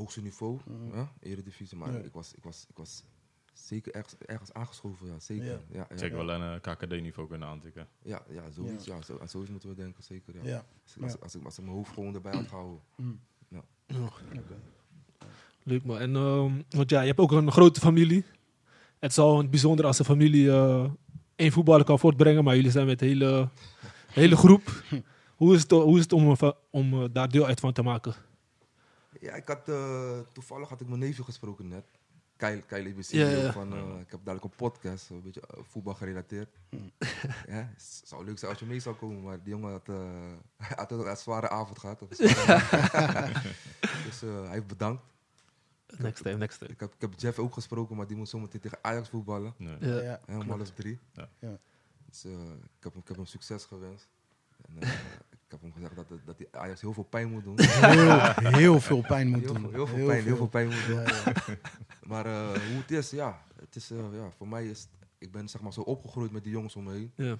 Speaker 5: hoogste niveau, ja, eredivisie, maar
Speaker 4: Mhm. Ja.
Speaker 5: ik, was, ik, was, ik was zeker ergens, ergens aangeschoven. Ja, zeker.
Speaker 4: Ja.
Speaker 5: Ja, ja, ja,
Speaker 3: Zeker wel een eh, KKD-niveau kunnen aantikken.
Speaker 5: Ja, ja, zoiets, ja. zo, aan zoiets moeten we denken, zeker. Ja.
Speaker 4: Ja.
Speaker 5: Als, ik- als, ik- als, ik, als ik mijn hoofd gewoon erbij had gehouden.
Speaker 2: Ja. Leuk man. En, ehm, want ja, je hebt ook een grote familie. Het zal een bijzonder als een familie eh, één voetballer kan voortbrengen, maar jullie zijn met een hele, hele groep. Hoe is het, hoe is het om, een va- om eh, daar deel uit van te maken?
Speaker 5: Ja, ik had, eh, toevallig had ik mijn neefje gesproken net. Kyle, Kyle ABC,
Speaker 2: Ja, ja, ja.
Speaker 5: Van, eh, ik heb dadelijk een podcast, een beetje eh, voetbal gerelateerd. ja, het zou leuk zijn als je mee zou komen, maar die jongen had, eh, hij had ook een zware avond gehad. Een zware avond. dus eh, hij heeft bedankt.
Speaker 2: Next time, next time.
Speaker 5: Ik heb, ik heb Jeff ook gesproken, maar die moet zometeen tegen Ajax voetballen.
Speaker 3: Nee.
Speaker 2: Ja.
Speaker 4: Ja.
Speaker 5: Hè, om half drie.
Speaker 3: Ja.
Speaker 4: Ja.
Speaker 5: Dus eh, ik, heb, hem- ik heb hem succes gewenst. En, eh, ik heb hem gezegd dat, dat hij Ajax heel veel pijn moet doen.
Speaker 4: Heel, heel veel pijn moet
Speaker 5: heel,
Speaker 4: doen.
Speaker 5: veel, heel veel pijn, heel veel pijn moet doen. maar eh, hoe het is, ja, het is, eh, ja, voor mij is, het- ik ben zeg maar zo opgegroeid met die jongens om me heen.
Speaker 2: Ja.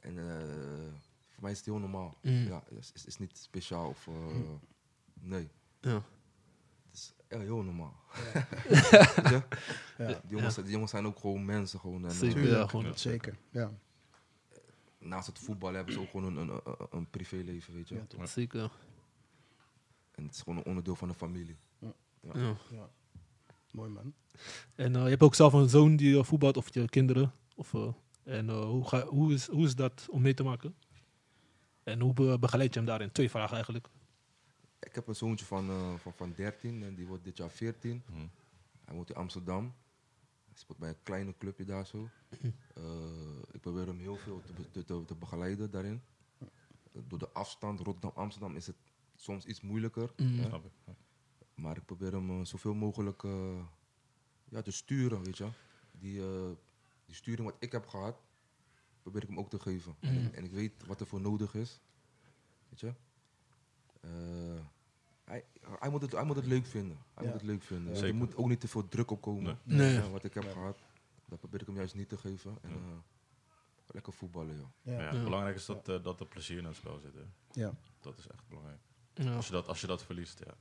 Speaker 5: En eh, voor mij is het heel normaal.
Speaker 2: Mm.
Speaker 5: Ja, het is, is- is niet speciaal of, eh, nee,
Speaker 2: Ja.
Speaker 5: het is eh, heel normaal. Weet je?
Speaker 4: Ja.
Speaker 5: Die, jongens, die jongens zijn ook gewoon mensen gewoon. En, eh,
Speaker 2: Zeker. Ja,
Speaker 4: Tuurlijk,
Speaker 2: gewoon.
Speaker 4: dat zeker. Ja,
Speaker 5: naast het voetbal hebben ze ook gewoon een, een, een- een privéleven, weet je.
Speaker 4: Ja,
Speaker 2: Zeker.
Speaker 5: En het is gewoon een onderdeel van de familie.
Speaker 2: Ja.
Speaker 4: mooi man.
Speaker 2: En eh, je hebt ook zelf een zoon die eh, voetbalt, of je kinderen. Of, eh, en eh, hoe, ga, hoe, is, hoe is dat om mee te maken? En hoe be- begeleid je hem daarin? Twee vragen eigenlijk.
Speaker 5: Ik heb een zoontje van, eh, van, van 13 en die wordt dit jaar 14.
Speaker 3: Mhm.
Speaker 5: Hij woont in Amsterdam. Hij speelt bij een kleine clubje daar zo. Eh, ik probeer hem heel veel te, be- te, te, te begeleiden daarin. Eh, Door de afstand Rotterdam-Amsterdam is het soms iets moeilijker. hè.
Speaker 3: Snap ik. Ja.
Speaker 5: Maar ik probeer hem eh, zoveel mogelijk eh, ja, te sturen, weet je. Die, eh, die sturing wat ik heb gehad, probeer ik hem ook te geven. En, ik, en ik weet wat er voor nodig is, weet je. Eh, hij, hij, moet het, hij moet het leuk vinden. Hij
Speaker 4: Ja.
Speaker 5: moet het leuk vinden.
Speaker 3: Zeker.
Speaker 5: Er moet ook niet te veel druk op komen.
Speaker 2: Nee.
Speaker 5: Ja, wat ik heb gehad, dat probeer ik hem juist niet te geven. En, eh, lekker voetballen, joh.
Speaker 4: Ja.
Speaker 3: Ja, Belangrijk is dat, eh, dat er plezier in het spel zit. hè.
Speaker 4: Ja.
Speaker 3: Dat is echt belangrijk.
Speaker 2: Ja.
Speaker 3: Als je dat, als je dat verliest, ja.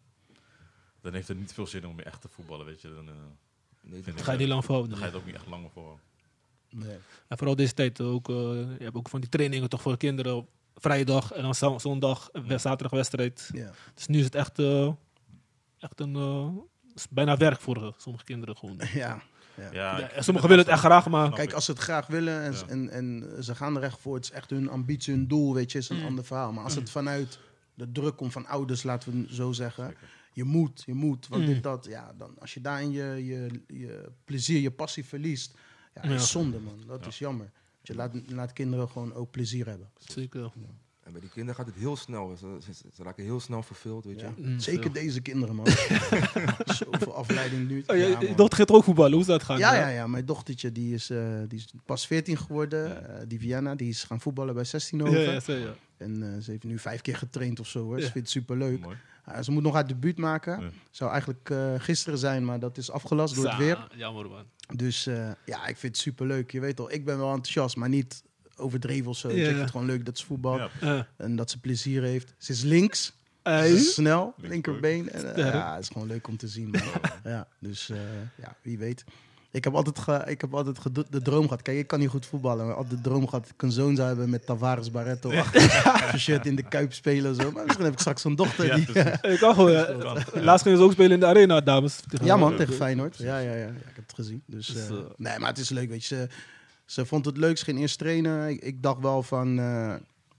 Speaker 3: Dan heeft het niet veel zin om meer echt te voetballen, weet je. Dan, eh,
Speaker 5: Nee,
Speaker 3: vind ik
Speaker 2: Ga je die
Speaker 3: dat-
Speaker 2: lang verhouden?
Speaker 3: Dan ga je het ook niet echt langer voor.
Speaker 4: Nee.
Speaker 2: En vooral deze tijd ook. eh, je hebt ook van die trainingen toch voor kinderen. Vrijdag en dan za- zondag, eh, zaterdag wedstrijd.
Speaker 4: Ja.
Speaker 2: Dus nu is het echt, eh, echt een, eh, is bijna werk voor eh, sommige kinderen gewoon.
Speaker 4: Ja. ja.
Speaker 3: Ja,
Speaker 2: Ja,
Speaker 3: ik-
Speaker 2: en sommigen willen het echt graag,
Speaker 3: Snap
Speaker 2: maar
Speaker 4: Kijk,
Speaker 3: ik.
Speaker 4: als ze het graag willen en,
Speaker 3: Ja.
Speaker 4: en, en ze gaan er echt voor, het is echt hun ambitie, hun doel, weet je, is
Speaker 2: Mm.
Speaker 4: een ander verhaal. Maar als
Speaker 3: Mm.
Speaker 4: het vanuit de druk komt van ouders, laten we het zo zeggen, je moet, je moet, want
Speaker 2: Mm.
Speaker 4: dit, dat, ja, dan als je daarin je, je, je plezier, je passie verliest, ja, dat
Speaker 2: Ja.
Speaker 4: is zonde, man. Dat
Speaker 3: Ja.
Speaker 4: is jammer. Want Je laat, laat kinderen gewoon ook plezier hebben.
Speaker 2: zeker.
Speaker 5: En bij die kinderen gaat het heel snel. Ze, ze, ze raken heel snel verveeld, weet je.
Speaker 4: Ja.
Speaker 2: Mm,
Speaker 4: Zeker
Speaker 2: zo.
Speaker 4: deze kinderen, man. Zoveel afleiding nu.
Speaker 2: Oh, je,
Speaker 4: Ja,
Speaker 2: je
Speaker 4: man.
Speaker 2: dochter gaat ook voetballen, hoe is dat gaan?
Speaker 4: Ja, ja, ja. Mijn dochtertje die is, eh, die is pas 14 geworden. Eh, die Vianna, die is gaan voetballen bij 16
Speaker 2: ja,
Speaker 4: over.
Speaker 2: ja, zo, ja.
Speaker 4: En eh, ze heeft nu vijf keer getraind of zo. Hoor.
Speaker 2: Ja.
Speaker 4: Ze vindt het superleuk.
Speaker 3: Mooi.
Speaker 4: Eh, ze moet nog haar debuut maken.
Speaker 3: Ja.
Speaker 4: Zou eigenlijk eh, gisteren zijn, maar dat is afgelast door het
Speaker 2: Sa-
Speaker 4: weer.
Speaker 2: Jammer man.
Speaker 4: Dus eh, ja, ik vind het superleuk. Je weet al, ik ben wel enthousiast, maar niet overdreven of zo. Dus
Speaker 2: Ja.
Speaker 4: Ik vind het gewoon leuk dat ze voetbalt
Speaker 3: Ja,
Speaker 2: Eh,
Speaker 4: en dat ze plezier heeft. Ze is links,
Speaker 2: eh,
Speaker 4: ze is snel,
Speaker 3: Linksbeuk.
Speaker 4: linkerbeen. En, eh,
Speaker 2: Sterk.
Speaker 4: ja, het is gewoon leuk om te zien. man. ja, dus eh, ja, wie weet. Ik heb altijd, ge- ik heb altijd gedo- de droom gehad. Kijk, ik kan niet goed voetballen. Maar altijd de droom gehad dat ik een zoon zou hebben met Tavares Barretto. achter. Zo'n shirt in de kuip spelen. Zo. Maar misschien heb ik straks een dochter.
Speaker 3: Ja,
Speaker 4: die,
Speaker 3: precies.
Speaker 2: ik kan gewoon. eh, laatst gingen ze ook spelen in de arena, dames. Tegen-
Speaker 4: Ja, man, tegen Feyenoord. Ja, ja, ja, ja. Ik heb het gezien. Dus,
Speaker 2: eh, Dus,
Speaker 4: eh,
Speaker 2: eh,
Speaker 4: nee, maar het is leuk, weet je. Ze, ze vond het leuk, ze ging eerst trainen. Ik, ik dacht wel van, eh,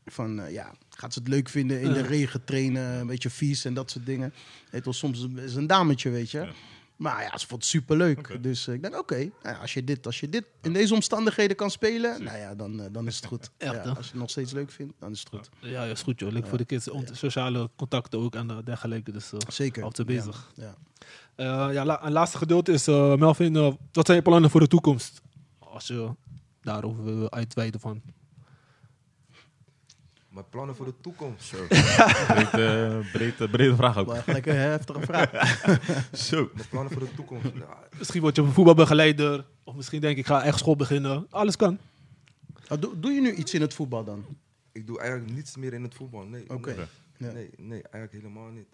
Speaker 4: van eh, ja, gaat ze het leuk vinden in de
Speaker 2: Ja.
Speaker 4: regen trainen? Een beetje vies en dat soort dingen. Het was soms een- is een dametje, weet je. Maar ja, ze vond het superleuk.
Speaker 3: Oké.
Speaker 4: Dus eh, ik denk, oké, nou ja, als je dit, als je dit in deze omstandigheden kan spelen, nou ja, dan, eh, dan is het goed.
Speaker 2: Echt,
Speaker 4: ja,
Speaker 2: hè?
Speaker 4: als je het nog steeds leuk vindt, dan is het goed.
Speaker 2: Ja, is goed joh. Leuk voor de kids. ont- Sociale contacten ook en eh, dergelijke. Dus eh,
Speaker 4: Zeker.
Speaker 2: altijd bezig.
Speaker 4: Ja.
Speaker 2: Eh, ja, la- een laatste gedeelte is eh, Melvin. eh, wat zijn je plannen voor de toekomst? Als je daarover wil uitweiden van.
Speaker 5: Mijn plannen voor de toekomst.
Speaker 3: Breed, eh, breed, eh, brede vraag ook.
Speaker 4: Maar gelijk een heftige vraag.
Speaker 3: Zo.
Speaker 5: Mijn plannen voor de toekomst. Ja,
Speaker 2: Misschien word je een voetbalbegeleider. Of misschien denk ik, ik ga echt school beginnen. Alles kan.
Speaker 4: Ah, Doe, doe je nu iets in het voetbal dan?
Speaker 5: ik doe eigenlijk niets meer in het voetbal. Nee,
Speaker 4: Oké.
Speaker 5: nee,
Speaker 4: Ja. Hm.
Speaker 5: nee, nee, eigenlijk helemaal niet.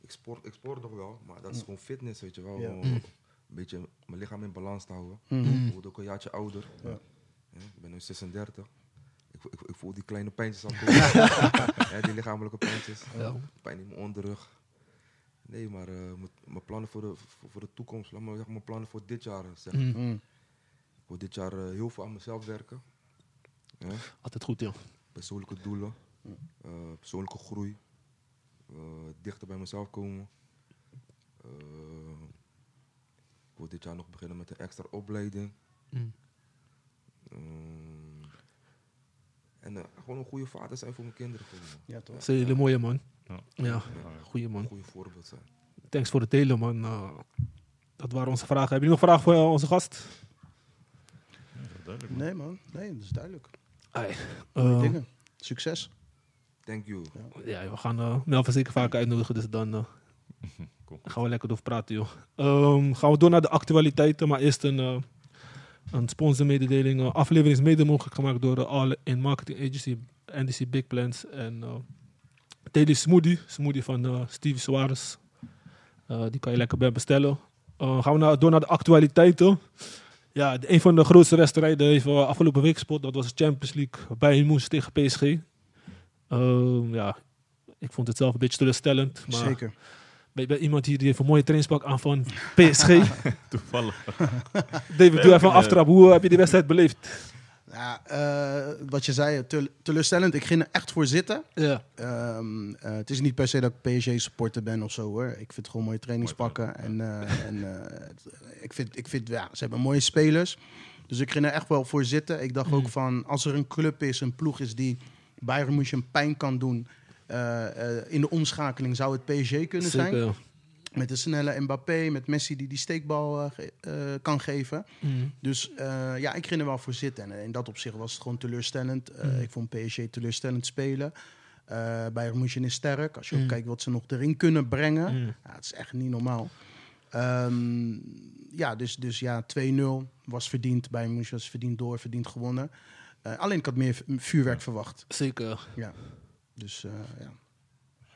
Speaker 5: Ik, sport, ik sport nog wel, maar dat is gewoon fitness, weet je wel.
Speaker 4: Ja. Hm.
Speaker 5: Om Een beetje mijn lichaam in balans te houden. Ik word ook een jaartje ouder.
Speaker 4: Ja.
Speaker 5: Ja, ik ben nu 36. Ik, voel- ik, voel- ik voel die kleine pijntjes al komen. ja, die lichamelijke pijntjes. Pijn in mijn onderrug. Nee, maar eh, mijn- mijn plannen voor de, voor, voor de toekomst. Laat maar zeggen, mijn plannen voor dit jaar. Zeg.
Speaker 2: Mm.
Speaker 4: Mm.
Speaker 5: Ik wil dit jaar eh, heel veel aan mezelf werken. Ja,
Speaker 2: Altijd goed joh.
Speaker 5: persoonlijke doelen. eh, persoonlijke groei. eh, dichter bij mezelf komen. Eh, ik wil dit jaar nog beginnen met een extra opleiding.
Speaker 2: Mm.
Speaker 5: Ehm, en eh, gewoon een goede vader zijn voor mijn kinderen. Gewoon, man.
Speaker 4: Ja, toch?
Speaker 2: Dat is een hele mooie man.
Speaker 3: Ja.
Speaker 2: Ja,
Speaker 5: Ja.
Speaker 2: goeie man.
Speaker 5: Een goede voorbeeld zijn.
Speaker 2: Thanks voor het delen man. Eh, dat waren onze vragen. Hebben jullie nog vragen voor eh, onze gast?
Speaker 3: Duidelijk, man.
Speaker 4: Nee, man. Nee, dat is duidelijk.
Speaker 2: Ai,
Speaker 4: Mooie
Speaker 2: eh,
Speaker 4: Dingen. Succes.
Speaker 5: Thank you.
Speaker 2: ja, we gaan eh Melvin zeker vaker uitnodigen, dus dan eh,
Speaker 3: Cool.
Speaker 2: gaan we lekker door praten, joh. Ehm, gaan we door naar de actualiteiten, maar eerst een, eh een sponsormededeling. Eh, aflevering is mede mogelijk gemaakt door de All in Marketing Agency, NDC Big Plans en eh Daily Smoothie, smoothie van eh, Steve Suarez. Eh, die kan je lekker bij bestellen. Eh, gaan we naar, door naar de actualiteiten. Ja, de- een van de grootste wedstrijden heeft eh, afgelopen week gespot. Dat was de Champions League bij Moes tegen PSG. Ehm, ja, ik vond het zelf een beetje teleurstellend. Maar
Speaker 4: Zeker.
Speaker 2: bij, bij iemand hier die heeft een mooie trainingspak aan van PSG. David,
Speaker 3: Toevallig.
Speaker 2: doe even een aftrap. Hoe eh, heb je die wedstrijd beleefd?
Speaker 4: Ja, eh, wat je zei, tel- teleurstellend. Ik ging er echt voor zitten.
Speaker 2: Ja.
Speaker 4: Ehm, eh, het is niet per se dat ik PSG-supporter ben of zo hoor. Ik vind het gewoon mooie trainingspakken. en eh, en eh, het- ik vind, ik vind ja, ze hebben mooie spelers. Dus ik ging er echt wel voor zitten. Ik dacht
Speaker 2: Mm.
Speaker 4: ook van, als er een club is, een ploeg is die Bayern München pijn kan doen... eh, eh, in de omschakeling zou het PSG kunnen zijn.
Speaker 2: Zeker.
Speaker 4: Met de snelle Mbappé, met Messi die die steekbal eh, ge- eh, kan geven.
Speaker 2: Mm.
Speaker 4: Dus eh, ja, ik ging er wel voor zitten. En in dat opzicht was het gewoon teleurstellend. Eh,
Speaker 3: Hmm.
Speaker 4: Ik vond PSG teleurstellend spelen. Eh Bayern München is sterk. Als je
Speaker 3: Hmm.
Speaker 4: ook kijkt wat ze nog erin kunnen brengen.
Speaker 2: Mm.
Speaker 4: Ja, het is echt niet normaal. Ehm, ja, dus, dus ja, 2-0 was verdiend. Bayern München was verdiend door, verdiend gewonnen. Eh, alleen ik had meer vu- vuurwerk verwacht.
Speaker 2: Zeker.
Speaker 4: Ja. Dus eh, ja.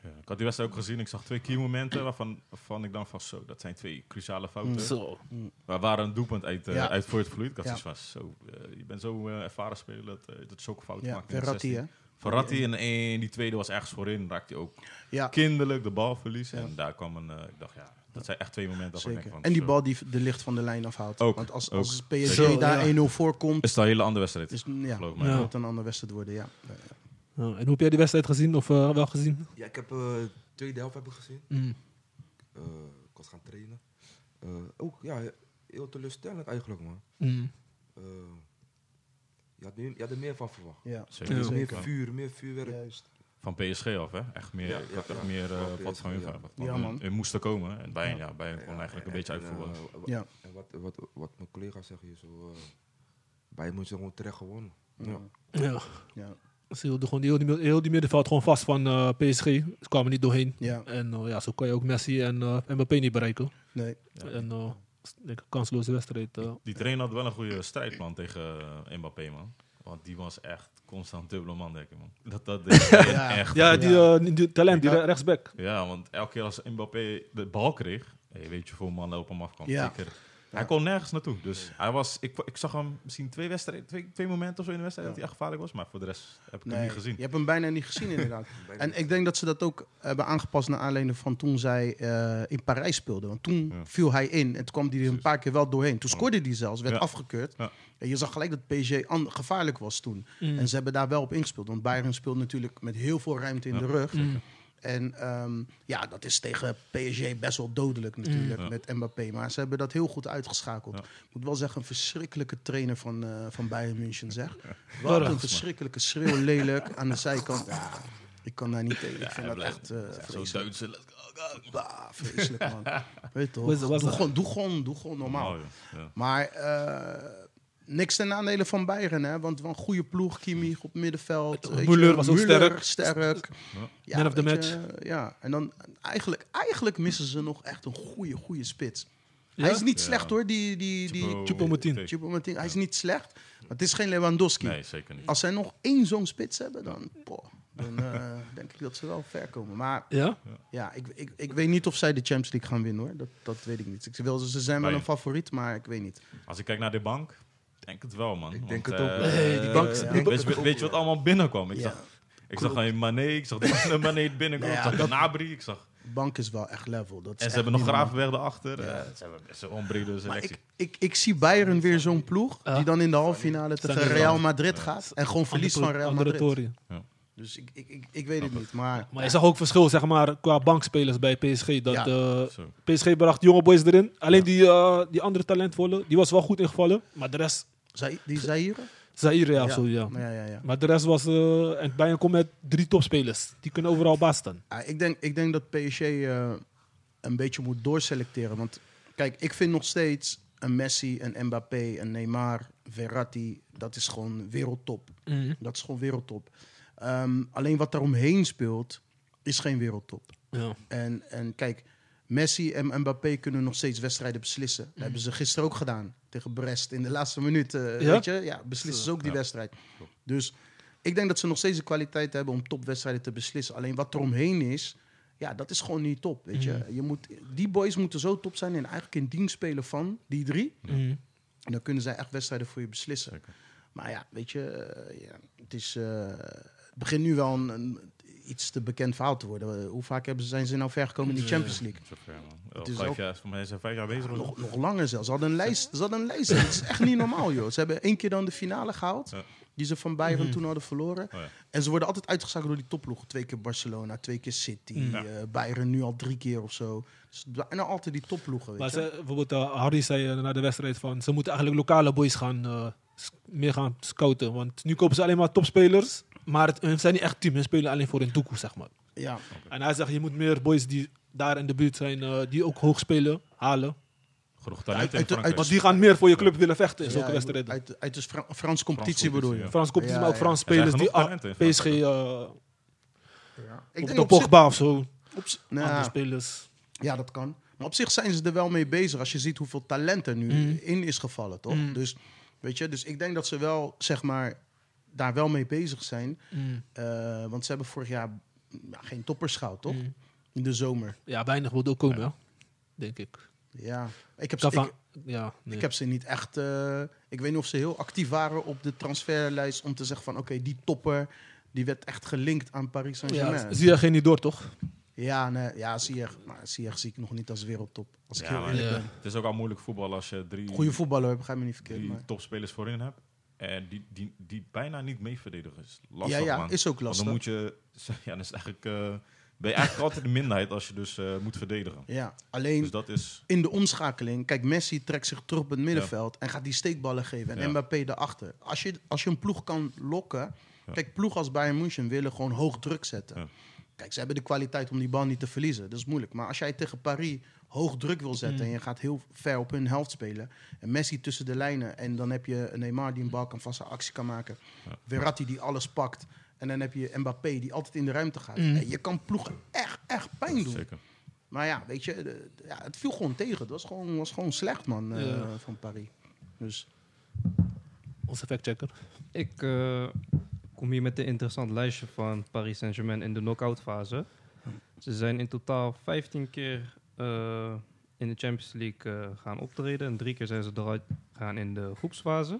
Speaker 3: Ja, ik had die wedstrijd ook gezien. Ik zag twee key momenten waarvan, waarvan ik dan van zo, dat zijn twee cruciale fouten.
Speaker 2: Zo.
Speaker 3: Waar waren een doelpunt uit, eh
Speaker 4: Mm, Ja.
Speaker 3: uit voor het vloeit. Ik had
Speaker 4: Ja.
Speaker 3: zoiets van, zo, eh, je bent zo eh, ervaren speler dat, eh, dat zulke fouten
Speaker 4: ja.
Speaker 3: maakt. in de
Speaker 4: Verratti,
Speaker 3: 16.
Speaker 4: hè?
Speaker 3: Verratti en één, die tweede was ergens voorin. Raakte hij ook
Speaker 4: Ja,
Speaker 3: kinderlijk de bal verliezen. En daar kwam een, eh, ik dacht ja, dat zijn echt twee momenten waarvan ik
Speaker 4: zeker.
Speaker 3: denk van,
Speaker 4: En
Speaker 3: zo.
Speaker 4: die bal die de licht van de lijn afhoudt.
Speaker 3: Ook,
Speaker 4: Want als,
Speaker 3: ook.
Speaker 4: als PSG
Speaker 2: Zeker.
Speaker 4: daar
Speaker 2: Ja.
Speaker 4: 1-0 voor komt,
Speaker 3: Is dat een hele andere wedstrijd.
Speaker 4: is mm, ja,
Speaker 3: geloof
Speaker 4: het
Speaker 3: ik mij.
Speaker 2: Ja.
Speaker 4: een ander wedstrijd worden. Ja. Ja, ja.
Speaker 2: Ja, en hoe heb jij die wedstrijd gezien of eh, wel gezien?
Speaker 5: Ja, ik heb de tweede helft heb ik gezien.
Speaker 2: Mm.
Speaker 5: Eh, ik was gaan trainen. Eh, ook ja, heel teleurstellend eigenlijk man.
Speaker 2: Mm.
Speaker 5: Eh, je, had meer, je had er meer van verwacht.
Speaker 4: Ja,
Speaker 3: Zeker.
Speaker 2: Ja.
Speaker 5: Meer
Speaker 4: Zeker.
Speaker 5: vuur, meer vuurwerk.
Speaker 4: juist.
Speaker 3: Van PSG af, hè? Echt meer,
Speaker 5: Ja,
Speaker 3: ik
Speaker 5: ja,
Speaker 3: had echt
Speaker 5: ja.
Speaker 3: meer eh,
Speaker 5: Van PSG,
Speaker 3: wat van hun
Speaker 5: ja.
Speaker 3: verwacht.
Speaker 4: Ja,
Speaker 3: Want
Speaker 4: man.
Speaker 3: hun moesten komen en Bayern, ja, Bayern kon
Speaker 5: Ja,
Speaker 3: eigenlijk
Speaker 5: en-
Speaker 3: een beetje
Speaker 5: en,
Speaker 3: uitvoeren.
Speaker 5: eh, wa-
Speaker 4: Ja.
Speaker 5: En wat, wat, wat mijn collega zegt hier zo. eh bij moet gewoon terecht gewonnen. Ja.
Speaker 2: Ja.
Speaker 4: Ja.
Speaker 2: Ze hielden gewoon heel die, mid- heel die middenveld gewoon vast van eh, PSG. Ze kwamen niet doorheen.
Speaker 4: Ja,
Speaker 2: En eh, ja, zo kan je ook Messi en eh, Mbappé niet bereiken.
Speaker 4: nee.
Speaker 2: En eh, s- denk ik, een kansloze wedstrijd. eh.
Speaker 3: Die trainer had wel een goede strijdplan tegen eh, Mbappé, man. Want die was echt constant dubbele man, denk ik, man. Dat, dat deed hij
Speaker 4: Ja.
Speaker 3: echt.
Speaker 2: ja,
Speaker 3: goed.
Speaker 2: die, eh, die talent, die rechtsback.
Speaker 3: Ja, want elke keer als Mbappé de bal kreeg, hey, weet je hoeveel mannen op hem afkwam.
Speaker 4: Ja.
Speaker 3: Zeker. Hij kon nergens naartoe. Dus hij was, ik, ik zag hem misschien twee, wedstrijden, twee, twee momenten of zo in de wedstrijd dat hij echt gevaarlijk was. Maar voor de rest heb ik hem
Speaker 4: nee.
Speaker 3: niet gezien.
Speaker 4: Je hebt hem bijna niet gezien, inderdaad.
Speaker 5: Bijna
Speaker 4: en
Speaker 5: niet.
Speaker 4: ik denk dat ze dat ook eh, hebben aangepast naar aanleiding van toen zij eh, in Parijs speelden. Want toen viel hij in en toen kwam hij er een paar keer wel doorheen. Toen scoorde hij zelfs, werd
Speaker 3: Ja.
Speaker 4: afgekeurd.
Speaker 3: Ja.
Speaker 4: En je zag gelijk dat PSG an-
Speaker 2: Mm.
Speaker 4: Mm.
Speaker 2: Mm.
Speaker 4: gevaarlijk was toen. En ze hebben daar wel op ingespeeld. Want Bayern speelt natuurlijk met heel veel ruimte in de rug. En ehm, ja, dat is tegen PSG best wel dodelijk natuurlijk
Speaker 3: Ja.
Speaker 4: met Mbappé. Maar ze hebben dat heel goed uitgeschakeld.
Speaker 3: Ja.
Speaker 4: Ik moet wel zeggen, een verschrikkelijke trainer van, eh, van Bayern München zeg.
Speaker 2: Lorach,
Speaker 4: Wat een
Speaker 2: man.
Speaker 4: verschrikkelijke schreeuw lelijk aan de zijkant. Ja, ik kan daar niet tegen. Ik vind dat
Speaker 3: blijft-
Speaker 4: echt eh,
Speaker 3: Zo
Speaker 4: vreselijk.
Speaker 3: Duitse, let's go, go.
Speaker 4: Bah, vreselijk man. Weet je toch?
Speaker 2: Was- was
Speaker 4: doe,
Speaker 2: dat-
Speaker 4: gewoon, doe, gewoon, doe gewoon normaal.
Speaker 3: Normaal, joh. Ja.
Speaker 4: Maar eh, niks ten nadele van Bayern, hè? Want wel een goede ploeg, Kimi op middenveld. weet je,
Speaker 2: Müller was ook
Speaker 4: Müller
Speaker 2: sterk.
Speaker 4: sterk.
Speaker 3: Ja.
Speaker 2: Man of the
Speaker 4: weet je, ja, en dan eigenlijk, eigenlijk missen ze nog echt een goede, goede spits. Hij is niet
Speaker 3: Ja.
Speaker 4: slecht hoor, die, die, die
Speaker 3: Chupo-
Speaker 2: Choupo-Moting.
Speaker 3: Moting.
Speaker 4: Choupo-Moting. Hij is niet slecht, maar het is geen Lewandowski.
Speaker 3: Nee, zeker niet.
Speaker 4: Als zij nog één zo'n spits hebben, dan, poh, dan eh, denk ik dat ze wel ver komen. Maar
Speaker 2: Ja?
Speaker 4: ja, ik, ik, ik weet niet of zij de Champions League gaan winnen hoor. Dat, dat weet ik niet. Ik wil, ze zijn wel
Speaker 3: Nee.
Speaker 4: een favoriet, maar ik weet niet.
Speaker 3: Als ik kijk naar de bank, denk het wel, man.
Speaker 5: Ik
Speaker 3: Want,
Speaker 5: denk het
Speaker 3: eh,
Speaker 5: ook.
Speaker 4: Nee, die bank-
Speaker 3: eh,
Speaker 4: die
Speaker 3: weet-
Speaker 4: bank-
Speaker 3: weet- Weet, je wat allemaal binnenkwam? Ik
Speaker 4: Ja.
Speaker 3: zag, ik zag een Mané, ik zag de Mané binnenkomen,
Speaker 4: Nou ja,
Speaker 3: ik zag Nabri, ik zag...
Speaker 4: Bank is wel echt level. Dat is
Speaker 3: En
Speaker 4: echt
Speaker 3: ze hebben nog
Speaker 4: niet normaal.
Speaker 3: Graafweg erachter. Eh, ze hebben best een onbrede
Speaker 4: Maar
Speaker 3: selectie.
Speaker 4: ik, ik, ik zie Bayern weer zo'n ploeg
Speaker 2: Ja.
Speaker 4: die dan in de halve finale tegen
Speaker 2: Sandy.
Speaker 4: Real Madrid gaat. En gewoon verlies van Real
Speaker 2: Andere
Speaker 4: Madrid.
Speaker 2: toren.
Speaker 4: Dus ik, ik, ik, ik weet het niet. Maar
Speaker 2: Maar je zag ook verschil zeg maar, qua bankspelers bij PSG. Dat,
Speaker 4: Ja.
Speaker 2: eh,
Speaker 3: Zo.
Speaker 2: PSG bracht jonge boys erin. Alleen die, eh, die andere talentvolle, die was wel goed ingevallen. Maar de rest,
Speaker 4: Zai- die Zaire?
Speaker 2: Zaire ja, of zo, ja.
Speaker 4: ja, ja, ja.
Speaker 2: Maar de rest was... eh en Bayern komt met drie topspelers. Die kunnen overal baas staan.
Speaker 4: Ah, ik, denk, ik denk dat PSG eh, een beetje moet doorselecteren. Want kijk, ik vind nog steeds een Messi, een Mbappé, een Neymar, Verratti... dat is gewoon wereldtop. Dat is gewoon wereldtop. Ehm, alleen wat daaromheen speelt, is geen wereldtop.
Speaker 2: Ja.
Speaker 4: En, en kijk, Messi en Mbappé kunnen nog steeds wedstrijden beslissen. Dat hebben ze gisteren ook gedaan tegen Brest in de laatste minuut. eh,
Speaker 2: Ja?
Speaker 4: Weet je, ja, beslissen ze ook die
Speaker 3: Ja.
Speaker 4: wedstrijd. Dus ik denk dat ze nog steeds de kwaliteit hebben om topwedstrijden te beslissen. Alleen wat er omheen is, ja, dat is gewoon niet top. Weet je. Je moet, die boys moeten zo top zijn en eigenlijk in dienst spelen van die drie.
Speaker 2: Mhm.
Speaker 4: En dan kunnen zij echt wedstrijden voor je beslissen.
Speaker 3: Zeker.
Speaker 4: Maar ja, weet je, eh, ja, het, is, eh, het begint nu wel een, een- iets te bekend verhaal te worden. Eh, Hoe vaak hebben ze, zijn ze nou ver gekomen in de Champions League?
Speaker 3: Zo ver, man.
Speaker 4: Het
Speaker 3: Al
Speaker 4: is
Speaker 3: vijf
Speaker 4: ook-
Speaker 3: jaar, voor mij zijn vijf jaar bezig. hoor.
Speaker 4: Nog, nog langer zelfs. Ze hadden een lijst. Ze hadden een lijst. Dat is echt niet normaal, joh. Ze hebben één keer dan de finale gehaald.
Speaker 3: Ja.
Speaker 4: Die ze van Bayern
Speaker 2: Mhm.
Speaker 4: toen hadden verloren.
Speaker 3: Oh ja.
Speaker 4: En ze worden altijd uitgezakeld door die topploegen. Twee keer Barcelona, twee keer City.
Speaker 2: Mhm.
Speaker 3: Ja.
Speaker 4: eh, Bayern nu al drie keer of zo. Dus bijna altijd die topploegen, weet
Speaker 2: Maar
Speaker 4: je.
Speaker 2: ze, bijvoorbeeld eh, Harry zei eh, na de wedstrijd van... Ze moeten eigenlijk lokale boys gaan, eh, s- meer gaan scouten. Want nu kopen ze alleen maar topspelers. Maar het, hun zijn niet echt team. Hun spelen alleen voor hun toekomst, zeg maar.
Speaker 4: Ja.
Speaker 2: En hij zegt, je moet meer boys die daar in de buurt zijn, eh, die ook hoog spelen, halen.
Speaker 3: Genoeg talent in
Speaker 4: uit- uit-
Speaker 3: Frankrijk.
Speaker 2: Want die gaan meer voor je club willen vechten in
Speaker 4: Ja,
Speaker 2: zulke
Speaker 4: je moet-
Speaker 2: wedstrijden.
Speaker 4: Uit, uit de Fra- Franse competitie bedoel je?
Speaker 3: competitie,
Speaker 2: Frans komt
Speaker 4: Ja,
Speaker 2: maar ook
Speaker 4: ja.
Speaker 2: Frans
Speaker 3: Er zijn
Speaker 2: spelers die ah,
Speaker 3: genoeg talenten in Frankrijk.
Speaker 2: PSG, eh
Speaker 4: Ik
Speaker 2: op
Speaker 4: denk
Speaker 2: de
Speaker 4: op zich-
Speaker 2: Pogba of zo,
Speaker 4: op z-
Speaker 2: andere
Speaker 4: nou,
Speaker 2: spelers.
Speaker 4: Ja, dat kan. Maar op zich zijn ze er wel mee bezig als je ziet hoeveel talent er nu in is gevallen, toch? Dus, weet je, dus ik denk dat ze wel, zeg maar, daar wel mee bezig zijn. Eh, want ze hebben vorig jaar ja, geen toppers gehaald,
Speaker 2: Mm.
Speaker 4: toch? In de zomer.
Speaker 2: Ja, weinig wil ook komen, hè, denk ik.
Speaker 4: Ja. Ik heb, ze,
Speaker 2: Kava,
Speaker 4: ik,
Speaker 2: ja, nee.
Speaker 4: ik heb ze niet echt... eh, ik weet niet of ze heel actief waren op de transferlijst om te zeggen van... Oké, die topper, die werd echt gelinkt aan Paris
Speaker 2: ja,
Speaker 4: Saint-Germain. Ja,
Speaker 2: zie je geen niet door, toch?
Speaker 4: nee, ja Ziyech. Maar Ziyech zie ik nog niet als wereldtop. Als ik
Speaker 3: Ja,
Speaker 4: heel
Speaker 3: maar-
Speaker 4: eerlijk
Speaker 2: Ja.
Speaker 4: ben.
Speaker 3: Het is ook al moeilijk voetbal als je drie,
Speaker 4: Goede voetballer, begrijp me niet verkeerd.
Speaker 3: drie
Speaker 4: maar-
Speaker 3: topspelers voorin hebt. En die, die, die bijna niet meeverdedigen is. Lastig,
Speaker 4: Ja, ja,
Speaker 3: man.
Speaker 4: is ook
Speaker 3: Want
Speaker 4: lastig.
Speaker 3: dan moet je... Ja, dan is het eigenlijk, eh, ben je eigenlijk altijd de minderheid als je dus eh, moet verdedigen.
Speaker 4: Ja, alleen
Speaker 3: Dus dat is...
Speaker 4: in de omschakeling. Kijk, Messi trekt zich terug op het middenveld en gaat die steekballen geven. En
Speaker 3: Ja.
Speaker 4: Mbappé daarachter. Als je, als je een ploeg kan lokken.
Speaker 3: Ja.
Speaker 4: Kijk, ploeg als Bayern München willen gewoon hoog druk zetten.
Speaker 3: Ja.
Speaker 4: Kijk, ze hebben de kwaliteit om die bal niet te verliezen. Dat is moeilijk. Maar als jij tegen Paris hoog druk wil zetten en je gaat heel ver op hun helft spelen. En Messi tussen de lijnen. En dan heb je een Neymar die een bal kan vast actie kan maken. Verratti die alles pakt. En dan heb je Mbappé die altijd in de ruimte gaat. En je kan ploegen echt, echt pijn doen.
Speaker 3: Zeker.
Speaker 4: Maar ja, weet je, de- de- ja, het viel gewoon tegen. Het was gewoon, was gewoon slecht, man, eh,
Speaker 2: Ja.
Speaker 4: van Paris. Dus
Speaker 2: Onze factchecker.
Speaker 6: Ik eh, kom hier met een interessant lijstje van Paris Saint-Germain in de knock-out fase. Ze zijn in totaal 15 keer eh, in de Champions League eh, gaan optreden. En drie keer zijn ze eruit gegaan in de groepsfase.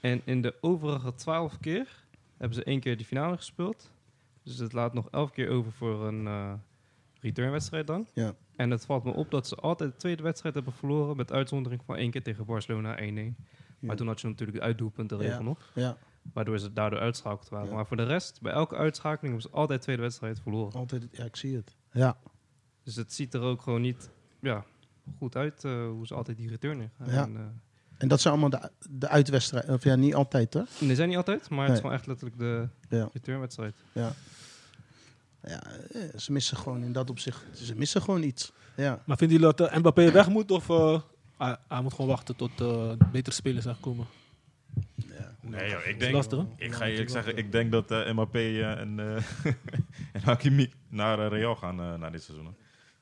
Speaker 6: En in de overige 12 keer hebben ze één keer de finale gespeeld. Dus het laat nog 11 keer over voor een eh, returnwedstrijd dan.
Speaker 4: Ja.
Speaker 6: En het valt me op dat ze altijd de tweede wedstrijd hebben verloren. Met uitzondering van één keer tegen Barcelona 1-1. Maar
Speaker 4: Ja.
Speaker 6: toen had je natuurlijk de uitdoelpuntenregel
Speaker 4: Ja.
Speaker 6: nog.
Speaker 4: ja,
Speaker 6: Waardoor ze daardoor uitschakeld waren.
Speaker 4: Ja.
Speaker 6: Maar voor de rest, bij elke uitschakeling hebben ze altijd tweede wedstrijd verloren.
Speaker 4: Altijd, ja, ik zie het. Ja,
Speaker 6: Dus het ziet er ook gewoon niet ja, goed uit eh, hoe ze altijd die return in gaan.
Speaker 4: Ja.
Speaker 6: En, eh,
Speaker 4: en dat zijn allemaal de, de uitwedstrijden. Of ja, niet altijd hoor.
Speaker 6: eh, nee, zijn niet altijd, maar het
Speaker 4: Nee.
Speaker 6: is gewoon echt letterlijk de
Speaker 4: Ja.
Speaker 6: returnwedstrijd.
Speaker 4: Ja, eh, ze missen gewoon in dat opzicht. Ze missen gewoon iets. Ja.
Speaker 2: Maar vinden jullie dat eh, Mbappé weg moet of eh, hij, hij moet gewoon wachten tot eh, betere spelers zijn gekomen?
Speaker 3: Nee, joh, ik
Speaker 2: Dat is
Speaker 3: denk...
Speaker 2: lastig, hè?
Speaker 3: Ik ga eerlijk zeggen, ik denk dat eh MAP en, eh en Hakimi naar eh, Real gaan eh, na dit seizoen. hè.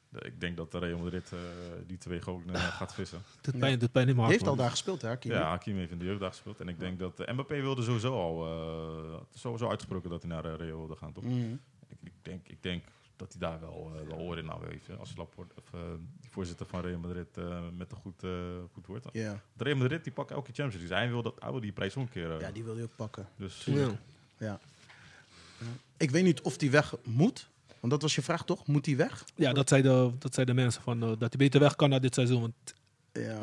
Speaker 3: De- Ik denk dat de Real Madrid eh, die twee gewoon eh, gaat vissen.
Speaker 2: Dit pijn, dit pijn in mijn
Speaker 4: Die
Speaker 2: hart.
Speaker 4: heeft al
Speaker 2: man.
Speaker 4: daar gespeeld, hè? Hakimi?
Speaker 3: Ja, Hakimi heeft in de jeugddag gespeeld. En ik denk dat eh, Mbappé wilde sowieso al eh, sowieso uitgesproken dat hij naar eh, Real wilde gaan, toch?
Speaker 4: Mhm.
Speaker 3: Ik, ik, denk, ik denk dat hij daar wel, eh, wel oren in aan heeft. hè. Als Laporte, of, eh, die voorzitter van Real Madrid, eh, met een goed, eh, goed woord. had.
Speaker 4: Ja.
Speaker 3: Want Real Madrid die pakt elke Champions League. Dus hij wil, dat, hij wil die prijs omkeren.
Speaker 4: ja, die wil je ook pakken.
Speaker 3: eh, dus,
Speaker 2: Ja.
Speaker 4: Ik weet niet of die weg moet. Want dat was je vraag toch? Moet die weg?
Speaker 2: Ja, dat zeiden, dat zeiden mensen van, eh, dat hij beter weg kan na dit seizoen. Want
Speaker 4: Ja.
Speaker 2: eh,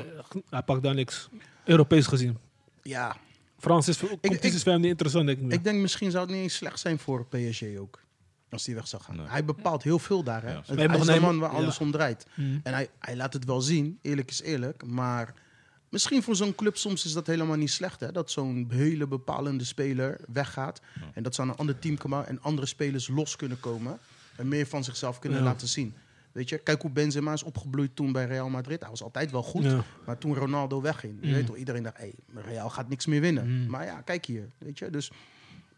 Speaker 2: hij pakt daar niks. Europees gezien.
Speaker 4: ja.
Speaker 2: Frans is, competitie is voor hem niet interessant, denk ik. meer.
Speaker 4: Ik denk misschien zou het niet eens slecht zijn voor PSG ook. Als die weg zou gaan.
Speaker 3: Nee.
Speaker 4: Hij bepaalt heel veel daar. Hè?
Speaker 3: Ja,
Speaker 4: Het-
Speaker 3: zeker.
Speaker 4: hij is
Speaker 2: Wij
Speaker 4: de
Speaker 2: mogen
Speaker 4: man waar
Speaker 2: nemen-
Speaker 4: alles om draait.
Speaker 2: Mm.
Speaker 3: Eh,
Speaker 4: En hij, hij laat het wel zien, eerlijk is eerlijk. Maar misschien voor zo'n club soms is dat helemaal niet slecht. Hè? Dat zo'n hele bepalende speler weggaat. En dat ze aan een ander team komen en andere spelers los kunnen komen. En meer van zichzelf kunnen
Speaker 2: Ja.
Speaker 4: laten zien. Weet je, kijk hoe Benzema is opgebloeid toen bij Real Madrid. Hij was altijd wel goed.
Speaker 2: Ja.
Speaker 4: Maar toen Ronaldo wegging, je
Speaker 2: Mm.
Speaker 4: weet toch, iedereen dacht, hey, Real gaat niks meer winnen.
Speaker 2: Mm.
Speaker 4: Maar ja, kijk hier, weet je. Dus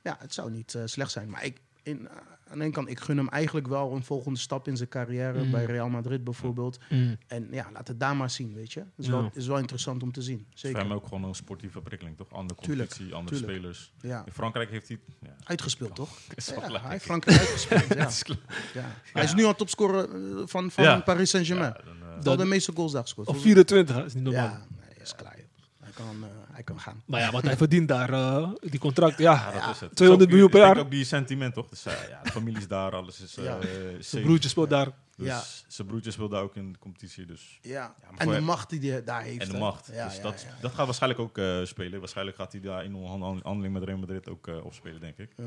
Speaker 4: ja, het zou niet eh, slecht zijn. Maar ik, in, eh, aan de ene kant, ik gun hem eigenlijk wel een volgende stap in zijn carrière.
Speaker 2: Mm.
Speaker 4: Bij Real Madrid bijvoorbeeld.
Speaker 2: Mm.
Speaker 4: En ja, laat het daar maar zien, weet je. Is,
Speaker 2: Ja.
Speaker 4: wel, is wel interessant om te zien,
Speaker 3: Het is voor
Speaker 4: zeker.
Speaker 3: hem ook gewoon een sportieve prikkeling, toch? Andere
Speaker 4: Tuurlijk,
Speaker 3: competitie, andere
Speaker 4: tuurlijk.
Speaker 3: spelers.
Speaker 4: Ja.
Speaker 3: In Frankrijk heeft hij... Ja,
Speaker 4: Uitgespeeld, toch?
Speaker 3: is wel
Speaker 4: Ja,
Speaker 3: lekker.
Speaker 4: hij heeft Frankrijk uitgespeeld, ja.
Speaker 3: is klaar.
Speaker 4: ja. Hij is nu al topscorer eh, van, van
Speaker 3: Ja.
Speaker 4: Paris Saint-Germain.
Speaker 3: Ja, dan, eh,
Speaker 4: Hij heeft al de meeste goals daar gescoord.
Speaker 2: Of 24, hè, is niet normaal.
Speaker 4: Ja, nee, is klaar. joh. Hij kan, eh, hij kan gaan.
Speaker 2: Maar ja, wat hij verdient daar, eh, die contract, ja.
Speaker 3: ja, dat is het.
Speaker 2: 200 miljoen per
Speaker 3: Ik denk
Speaker 2: jaar.
Speaker 3: ook die sentiment, toch? Dus, eh, ja, de familie is daar, alles is eh
Speaker 4: Ja.
Speaker 3: safe.
Speaker 2: Zijn broertje speelt daar.
Speaker 3: Dus
Speaker 4: Ja.
Speaker 3: Zijn broertje speelt daar ook in de competitie, dus...
Speaker 4: Ja.
Speaker 3: maar
Speaker 4: en
Speaker 3: voor
Speaker 4: de
Speaker 3: hem-
Speaker 4: macht die hij daar heeft.
Speaker 3: En de
Speaker 4: hè.
Speaker 3: macht.
Speaker 4: Ja,
Speaker 3: dus
Speaker 4: ja,
Speaker 3: dat,
Speaker 4: ja.
Speaker 3: dat gaat waarschijnlijk ook eh, spelen. Waarschijnlijk gaat hij daar in onderhandeling met Real Madrid ook eh, opspelen, denk ik.
Speaker 4: Ja.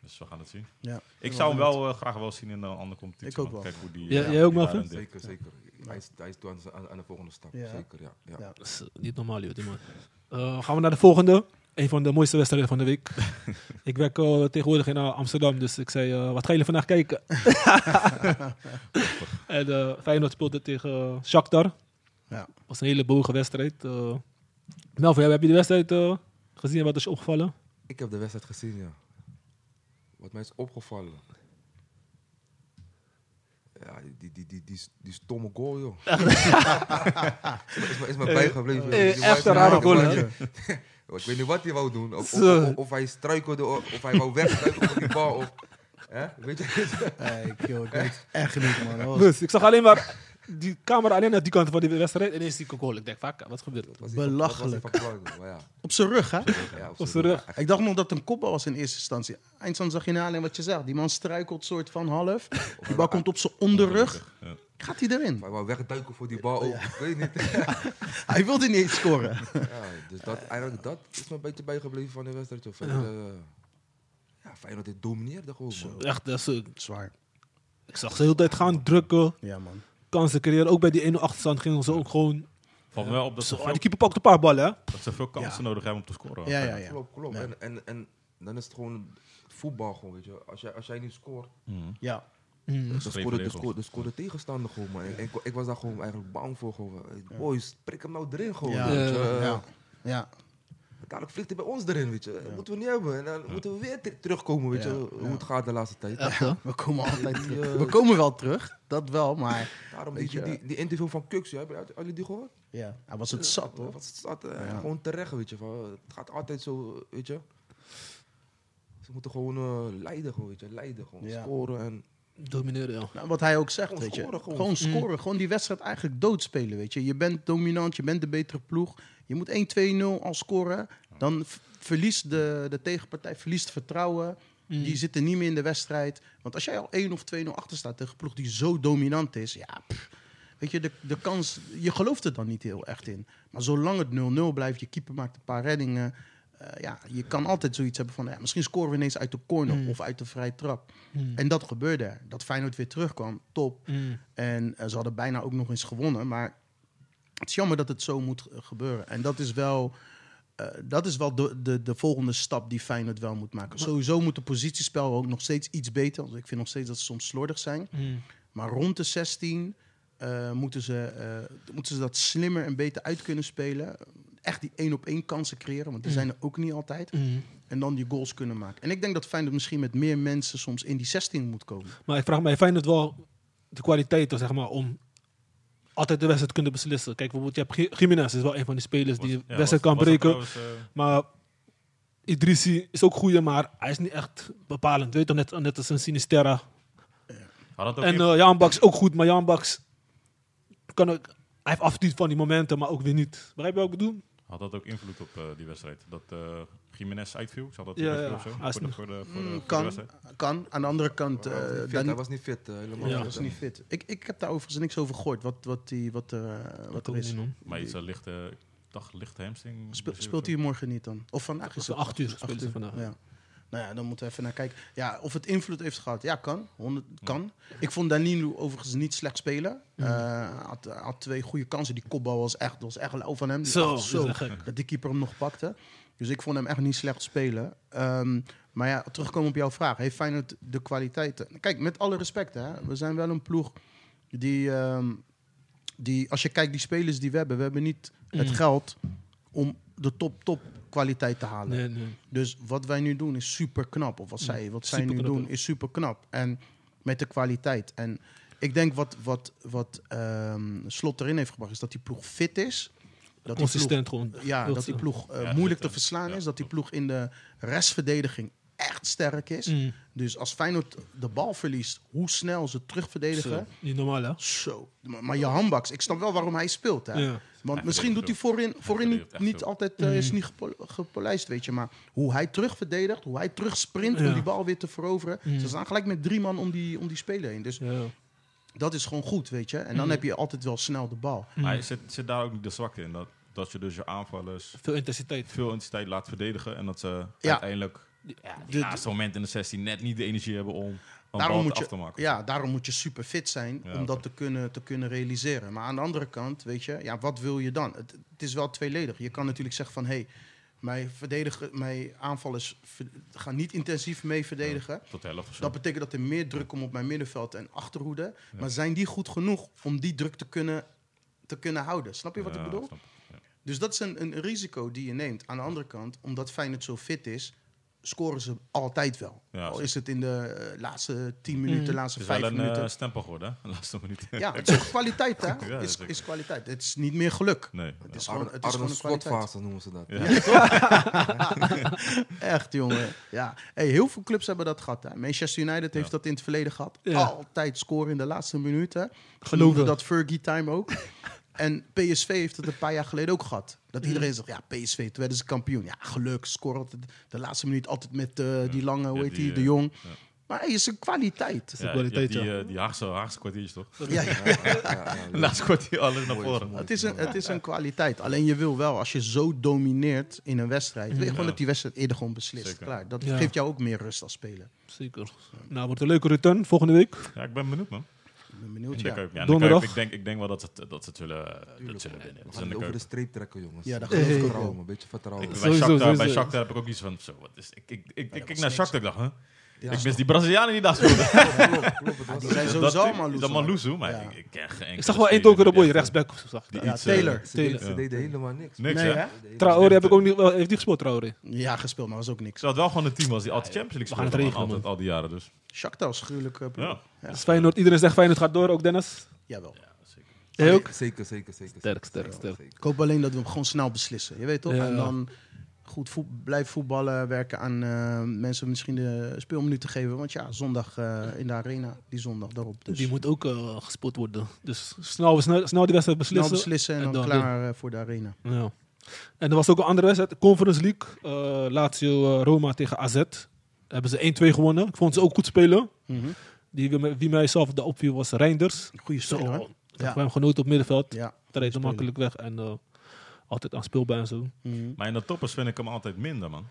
Speaker 3: Dus we gaan het zien.
Speaker 4: Ja.
Speaker 3: Ik zou hem wel eh, graag wel zien in een andere competitie.
Speaker 4: Ik ook
Speaker 3: want
Speaker 4: wel.
Speaker 3: Kijk hoe die,
Speaker 2: Ja,
Speaker 3: eh,
Speaker 2: jij ook,
Speaker 3: die
Speaker 2: Melvin?
Speaker 3: daar in dit-
Speaker 5: Zeker, zeker. Hij is, hij is toe aan, zijn- aan- aan de volgende stap.
Speaker 4: Ja.
Speaker 5: Zeker, ja. ja.
Speaker 4: Ja.
Speaker 2: Dat is eh, niet normaal, joh, die man. Eh, gaan we naar de volgende. Een van de mooiste wedstrijden van de week. ik werk eh, tegenwoordig in eh, Amsterdam, dus ik zei, eh, wat gaan jullie vandaag kijken? en eh Feyenoord speelde tegen eh, Shakhtar.
Speaker 4: Ja.
Speaker 2: was een hele boge wedstrijd. Eh Melvin, heb je de wedstrijd eh, gezien en wat is je opgevallen?
Speaker 5: Ik heb de wedstrijd gezien, ja. Wat mij is opgevallen. Ja, die, die, die, die, die stomme goal, joh. is me- is me- is me bijgebleven. joh. Die
Speaker 2: Eh, echt
Speaker 5: wijze-
Speaker 2: een rare
Speaker 5: Ja,
Speaker 2: goal,
Speaker 5: maar-
Speaker 2: hè?
Speaker 5: Ik weet niet wat hij wou doen. Of, of,
Speaker 2: Zo.
Speaker 5: of- of hij struikelde, of of hij wou wegstruikelen op die bal. Of, hè? Weet je?
Speaker 4: Hey, joh, ik weet het echt niet, man. Dat was
Speaker 2: Dus ik zag alleen maar die camera alleen naar die kant van die wedstrijd en ineens die goal. Ik denk, vaak, wat gebeurt er?
Speaker 5: Dat was die van-
Speaker 4: Belachelijk.
Speaker 5: Dat was die van Kluivert, maar ja.
Speaker 4: Op zijn rug, hè?
Speaker 5: Ja,
Speaker 2: Op zijn rug.
Speaker 4: Ik dacht nog dat het een kopbal was in eerste instantie. Eindstand zag je na alleen wat je zegt. Die man struikelt soort van half. Die bal komt op zijn onderrug.
Speaker 3: Ja.
Speaker 4: Gaat hij erin?
Speaker 5: Hij wou wegduiken voor die bal. ook. Ik weet niet.
Speaker 4: Hij wilde niet eens scoren.
Speaker 5: Ja, dus dat,
Speaker 4: Eh,
Speaker 5: eigenlijk dat is me een beetje bijgebleven van de wedstrijd. Joh. Verder, eh, ja, Feyenoord dit domineerde gewoon, man.
Speaker 2: Echt, dat is, eh,
Speaker 4: Zwaar.
Speaker 2: ik zag ze de hele tijd gaan drukken,
Speaker 4: Ja, man.
Speaker 2: kansen creëren. Ook bij die 1-0 achterstand gingen ze ook gewoon...
Speaker 3: Valt me wel op dat ze
Speaker 2: Zo, Ah,
Speaker 3: veel,
Speaker 2: die keeper pakt een paar ballen, hè?
Speaker 3: dat ze veel kansen nodig hebben om te scoren.
Speaker 4: Ja, ja, ja.
Speaker 5: Klopt, klopt. En, en, en dan is het gewoon voetbal gewoon, weet je. Als jij, als jij niet scoort,
Speaker 3: Mhm.
Speaker 4: Ja.
Speaker 2: Mm.
Speaker 5: dan scoort de,
Speaker 3: regels.
Speaker 5: scoort, dan scoort de tegenstander gewoon, man. En, ik, ik was daar gewoon eigenlijk bang voor, gewoon. Eh, Boys, prik hem nou erin,
Speaker 3: Oh,
Speaker 5: gewoon.
Speaker 4: Ja.
Speaker 5: weet je.
Speaker 2: Ja.
Speaker 5: Eh,
Speaker 4: Ja. Ja.
Speaker 5: Dadelijk vliegt hij bij ons erin, weet je. Dat moeten we niet hebben. En dan moeten we weer ter- terugkomen, weet je.
Speaker 4: Ja.
Speaker 5: Hoe het gaat de laatste tijd.
Speaker 4: We komen altijd
Speaker 5: Die,
Speaker 4: terug.
Speaker 5: eh,
Speaker 4: We komen wel terug. Dat wel, maar...
Speaker 5: Daarom die,
Speaker 4: Weet
Speaker 5: die,
Speaker 4: je.
Speaker 5: die- die interview van Kux, ja, hebben jullie die gehoord?
Speaker 4: Ja. Hij was het zat, hoor.
Speaker 5: Wat is dat? eh, Gewoon terecht, weet je. Van, eh, het gaat altijd zo, eh, weet je. Ze moeten gewoon eh, leiden, gewoon, weet je. Leiden, gewoon.
Speaker 4: Ja.
Speaker 5: Scoren en...
Speaker 2: Domineren, ja.
Speaker 4: Nou, wat hij ook zegt,
Speaker 5: Gewoon
Speaker 4: weet je.
Speaker 5: scoren, gewoon.
Speaker 4: gewoon. scoren. Gewoon die wedstrijd eigenlijk doodspelen, weet je. Je bent dominant, je bent de betere ploeg. Je moet 1-2-0 al scoren. Dan v- verliest de, de tegenpartij verliest vertrouwen.
Speaker 2: Mm.
Speaker 4: Die zitten niet meer in de wedstrijd. Want als jij al 1 of 2-0 achter staat tegen een ploeg die zo dominant is... Ja, pff, weet je, de, de kans... Je gelooft er dan niet heel echt in. Maar zolang het 0-0 blijft, je keeper maakt een paar reddingen... eh, eh, ja, je kan altijd zoiets hebben van... Ja, misschien scoren we ineens uit de corner
Speaker 2: Mm.
Speaker 4: of uit de vrije trap.
Speaker 2: Mm.
Speaker 4: En dat gebeurde er. Dat Feyenoord weer terugkwam, top.
Speaker 2: Mm.
Speaker 4: En eh, ze hadden bijna ook nog eens gewonnen. Maar het is jammer dat het zo moet eh, gebeuren. En dat is wel, eh, dat is wel de, de, de volgende stap die Feyenoord wel moet maken. Sowieso moet de positiespel ook nog steeds iets beter. Want ik vind nog steeds dat ze soms slordig zijn.
Speaker 2: Mm.
Speaker 4: Maar rond de 16 eh, moeten, ze, eh, moeten ze dat slimmer en beter uit kunnen spelen. Echt die één op één kansen creëren, want die zijn er ook niet altijd.
Speaker 2: Mm.
Speaker 4: En dan die goals kunnen maken. En ik denk dat Feyenoord misschien met meer mensen soms in die 16 moet komen.
Speaker 2: Maar ik vraag me, fijn het wel de kwaliteiten, zeg maar, om altijd de wedstrijd te kunnen beslissen. Kijk, bijvoorbeeld, je hebt Gi- Gimenez, is wel een van die spelers Dus die de wedstrijd kan breken.
Speaker 3: eh,
Speaker 2: Maar Idrissi is ook goeie, maar hij is niet echt bepalend. Weet je, toch, net, net als een Sinisterra. En eh Jan Baks ook goed, maar Jan Baks kan ook, hij heeft af en toe van die momenten, maar ook weer niet. Begrijp je wat ik bedoel?
Speaker 3: Had dat ook invloed op eh, die wedstrijd? Dat eh Jiménez uitviel? Zal dat
Speaker 2: Ja,
Speaker 3: invloed
Speaker 2: ja.
Speaker 3: of zo?
Speaker 2: Hij is
Speaker 3: Voor de,
Speaker 2: nog-
Speaker 3: voor de, voor de-
Speaker 4: Mm,
Speaker 3: voor de
Speaker 4: kan,
Speaker 3: wedstrijd?
Speaker 4: kan. Aan de andere kant, eh
Speaker 5: Hij was
Speaker 4: dan-
Speaker 5: niet fit, Hij was niet fit, eh, helemaal
Speaker 2: Ja.
Speaker 5: niet
Speaker 4: dat is
Speaker 5: fit.
Speaker 4: niet fit. Ik, ik heb daar overigens niks over gehoord, wat, wat, die, wat, eh wat er
Speaker 2: ook
Speaker 4: is.
Speaker 2: niet, man.
Speaker 3: Maar iets eh, lichte, ik dacht lichte hamstring.
Speaker 4: Spe- speelt hij morgen niet dan? Of vandaag is het?
Speaker 2: Acht uur spelen ze vandaag.
Speaker 4: Ja. Nou ja, dan moeten we even naar kijken. Ja, of het invloed heeft gehad. Ja, kan. 100, kan. Ik vond Danilo overigens niet slecht spelen.
Speaker 2: Mm.
Speaker 4: Eh, had, had twee goede kansen. Die kopbal was echt, was echt lauw van hem. Die
Speaker 2: Zo, dus
Speaker 4: dacht
Speaker 2: dat is echt gek.
Speaker 4: dat die keeper hem nog pakte. Dus ik vond hem echt niet slecht spelen. Ehm, maar ja, terugkomen op jouw vraag. Heeft Feyenoord de kwaliteiten? Kijk, met alle respect, hè, we zijn wel een ploeg die, ehm, die... Als je kijkt, die spelers die we hebben... We hebben niet het
Speaker 2: Mm.
Speaker 4: geld om de top-top kwaliteit te halen.
Speaker 2: Nee, nee.
Speaker 4: Dus wat wij nu doen is super knap. Of wat zij, wat zij nu
Speaker 2: superknap,
Speaker 4: doen
Speaker 2: ja.
Speaker 4: is super knap. En met de kwaliteit. En ik denk wat, wat, wat ehm, Slot erin heeft gebracht, is dat die ploeg fit is. Dat die ploeg,
Speaker 2: Consistent gewoon.
Speaker 4: ja, dat die
Speaker 2: ze-
Speaker 4: ploeg eh,
Speaker 3: Ja,
Speaker 4: moeilijk
Speaker 3: fit,
Speaker 4: te
Speaker 3: hè.
Speaker 4: verslaan
Speaker 3: Ja,
Speaker 4: is. Dat die ploeg in de restverdediging echt sterk is.
Speaker 2: Mm.
Speaker 4: Dus als Feyenoord de bal verliest, hoe snel ze terugverdedigen.
Speaker 2: Zo, Niet normaal, hè?
Speaker 4: Zo. Maar, maar Johan Baks, ik snap wel waarom hij speelt. Hè?
Speaker 2: Ja. Mm.
Speaker 4: Want
Speaker 3: Hij
Speaker 4: misschien doet hij
Speaker 3: verdedigt
Speaker 4: voorin, voorin
Speaker 3: verdedigt
Speaker 4: niet,
Speaker 3: echt
Speaker 4: niet
Speaker 3: zo.
Speaker 4: altijd eh, is niet gepo- gepolijst, weet je. Maar hoe hij terugverdedigt, hoe hij terugsprint
Speaker 2: Ja.
Speaker 4: om die bal weer te veroveren.
Speaker 2: Mm.
Speaker 4: Ze staan gelijk met drie man om die, om die speler heen. Dus
Speaker 2: Ja.
Speaker 4: dat is gewoon goed, weet je. En dan
Speaker 2: Mm.
Speaker 4: heb je altijd wel snel de bal.
Speaker 3: Maar zit, zit daar ook niet de zwakte in? Dat, dat je dus je aanvallers
Speaker 2: Veel intensiteit.
Speaker 3: veel intensiteit laat verdedigen. En dat ze
Speaker 4: Ja.
Speaker 3: uiteindelijk
Speaker 4: De-
Speaker 3: de laatste moment in de 16 net niet de energie hebben om een bal
Speaker 4: moet
Speaker 3: af
Speaker 4: je,
Speaker 3: te maken.
Speaker 4: Ja, daarom moet je super fit zijn
Speaker 3: Ja,
Speaker 4: om dat
Speaker 3: oké.
Speaker 4: te kunnen, te kunnen realiseren. Maar aan de andere kant, weet je, ja, wat wil je dan? Het, het is wel tweeledig. Je kan natuurlijk zeggen van, hé, hey, mijn, verdedigen- mijn aanvallers ver- gaan niet intensief mee verdedigen.
Speaker 3: Tot de helft of zo.
Speaker 4: Dat betekent dat er meer druk komt op mijn middenveld en achterhoede. Maar zijn die goed genoeg om die druk te kunnen, te kunnen houden? Snap je wat
Speaker 3: Ja,
Speaker 4: ik bedoel?
Speaker 3: snap ik.
Speaker 4: Dus dat is een, een risico die je neemt. Aan de andere kant, omdat Feyenoord zo fit is, scoren ze altijd wel.
Speaker 3: Ja,
Speaker 4: Al
Speaker 3: zo.
Speaker 4: Oh, is het in de eh, laatste tien minuten,
Speaker 3: Het
Speaker 4: laatste
Speaker 3: Hmm. is wel
Speaker 4: vijf
Speaker 3: een
Speaker 4: minuten.
Speaker 3: eh, stempel geworden, hè? De laatste minuut.
Speaker 4: ja, het is ook kwaliteit, hè?
Speaker 3: Ja,
Speaker 4: is,
Speaker 3: zeker.
Speaker 4: is kwaliteit. Het is niet meer geluk.
Speaker 3: Nee.
Speaker 4: Het is
Speaker 5: Arne-
Speaker 4: gewoon, het is
Speaker 5: Arne
Speaker 4: gewoon een kwaliteit.
Speaker 5: Slotfase noemen ze dat.
Speaker 4: Echt, jongen. Ja. Hey, heel veel clubs hebben dat gehad. Hè. Manchester United heeft dat in het verleden gehad.
Speaker 2: Ja.
Speaker 4: Altijd scoren in de laatste minuten.
Speaker 2: Geloven.
Speaker 4: Noemden Dat Fergie time ook. en PSV heeft het een paar jaar geleden ook gehad. Dat iedereen zegt, ja, PSV, toen werden ze kampioen. Ja, geluk, scoren altijd de laatste minuut altijd met eh, die lange, hoe
Speaker 3: Ja,
Speaker 4: heet
Speaker 3: die,
Speaker 4: die, de
Speaker 3: eh,
Speaker 4: jong.
Speaker 3: ja.
Speaker 4: Maar hey, het is een kwaliteit.
Speaker 2: Dat is de
Speaker 3: Ja, je hebt
Speaker 2: kwaliteit,
Speaker 3: die,
Speaker 2: ja.
Speaker 3: eh, die Haagse, Haagse kwartiertje, toch?
Speaker 4: Ja, ja.
Speaker 3: Laatste kwartier alles naar voren.
Speaker 4: Het is, een, het is een kwaliteit. Alleen je wil wel, als je zo domineert in een wedstrijd, wil je gewoon
Speaker 3: Ja.
Speaker 4: dat die wedstrijd eerder gewoon beslist.
Speaker 3: Zeker.
Speaker 4: Klaar. Dat
Speaker 2: Ja.
Speaker 4: geeft jou ook meer rust als speler.
Speaker 2: Zeker. Nou, wordt een leuke return volgende week.
Speaker 3: Ja, ik ben benieuwd, man.
Speaker 4: Ik ben
Speaker 3: In
Speaker 4: benieuwd.
Speaker 3: de
Speaker 4: Ja.
Speaker 3: Kuip. Ja, in de
Speaker 2: Donderdag.
Speaker 3: Kuip, ik, denk, ik denk wel dat ze het, dat ze het zullen, dat zullen winnen.
Speaker 5: We
Speaker 3: Het is
Speaker 5: gaan
Speaker 3: in
Speaker 5: het
Speaker 3: de
Speaker 5: over de
Speaker 3: Kuip.
Speaker 5: streep trekken, jongens.
Speaker 4: Ja, dat
Speaker 5: Beetje
Speaker 4: geloof ik ook
Speaker 5: vertrouwen,
Speaker 4: wel.
Speaker 5: een beetje vertrouwen.
Speaker 3: Ik- Oh, Bij
Speaker 2: Sowieso,
Speaker 3: Shakhtar, bij
Speaker 2: sowieso.
Speaker 3: Shakhtar heb ik ook iets van, zo, wat is, ik, ik, ik, ik kijk naar
Speaker 4: niks.
Speaker 3: Shakhtar, ik dacht, huh?
Speaker 5: Ja.
Speaker 3: ik mis die Brazilianen die daar speelden.
Speaker 5: Klopt, klopt, het was
Speaker 4: Die zijn
Speaker 3: Dat-
Speaker 4: sowieso
Speaker 3: dat-
Speaker 4: allemaal
Speaker 3: Dat
Speaker 4: loezo.
Speaker 3: Maluzu, maar
Speaker 4: Ja.
Speaker 3: ik, ik ken
Speaker 2: Ik
Speaker 3: geen enkele
Speaker 2: zag wel één
Speaker 3: speler
Speaker 2: donkere
Speaker 3: die
Speaker 2: boy,
Speaker 3: echt-
Speaker 2: rechtsback. of zo, Zag ik
Speaker 3: die
Speaker 2: daar.
Speaker 4: eh, Ja,
Speaker 3: iets, eh,
Speaker 4: Taylor.
Speaker 5: Ze deden-
Speaker 2: Taylor.
Speaker 5: Ze deden helemaal niks.
Speaker 3: Niks,
Speaker 4: Nee,
Speaker 3: hè?
Speaker 4: hè?
Speaker 5: Ze deden
Speaker 2: Traoré heb ik ook niet, wel, heeft niet gespeeld, Traoré.
Speaker 4: Ja, gespeeld, maar was ook niks.
Speaker 3: Terwijl het wel gewoon een team was die altijd Champions League
Speaker 2: we gaan
Speaker 3: speelde.
Speaker 2: het
Speaker 3: man,
Speaker 2: regelen,
Speaker 3: Altijd al die jaren dus.
Speaker 4: Shakhtar is gruwelijk. eh, ploeg.
Speaker 3: Ja,
Speaker 2: Dus Feyenoord, iedereen zegt Feyenoord gaat door, ook Dennis.
Speaker 4: Jawel.
Speaker 2: Jij ook?
Speaker 5: Zeker, zeker, zeker.
Speaker 2: Sterk, sterk,
Speaker 5: zeker,
Speaker 2: sterk.
Speaker 5: zeker.
Speaker 4: Ik hoop alleen dat we hem gewoon snel beslissen. Je weet toch?
Speaker 2: Ja.
Speaker 4: En dan goed voet, blijf voetballen, werken aan eh, mensen misschien de speelminuten geven. Want ja, zondag eh, in de arena, die zondag daarop. Dus
Speaker 2: Die moet ook eh, gespeeld worden. Dus snel, snel, snel die wedstrijd
Speaker 4: snel
Speaker 2: beslissen.
Speaker 4: beslissen en,
Speaker 2: en
Speaker 4: dan,
Speaker 2: dan
Speaker 4: klaar eh, voor de arena.
Speaker 2: Ja. En er was ook een andere wedstrijd, Conference League. eh, Lazio eh, Roma tegen AZ. Hebben ze 1-2 gewonnen. Ik vond ze ook goed spelen.
Speaker 4: Mhm.
Speaker 2: Die, wie- wie mij zelf de opviel was Reinders.
Speaker 4: Goeie
Speaker 2: Zo,
Speaker 4: speler, hè?
Speaker 2: ik heb
Speaker 4: Ja.
Speaker 2: hem genoten op middenveld.
Speaker 4: Ja.
Speaker 2: Dat reed hem makkelijk weg. En eh, altijd aanspeelbaar en zo.
Speaker 4: Mhm.
Speaker 3: Maar in de toppers vind ik hem altijd minder, man.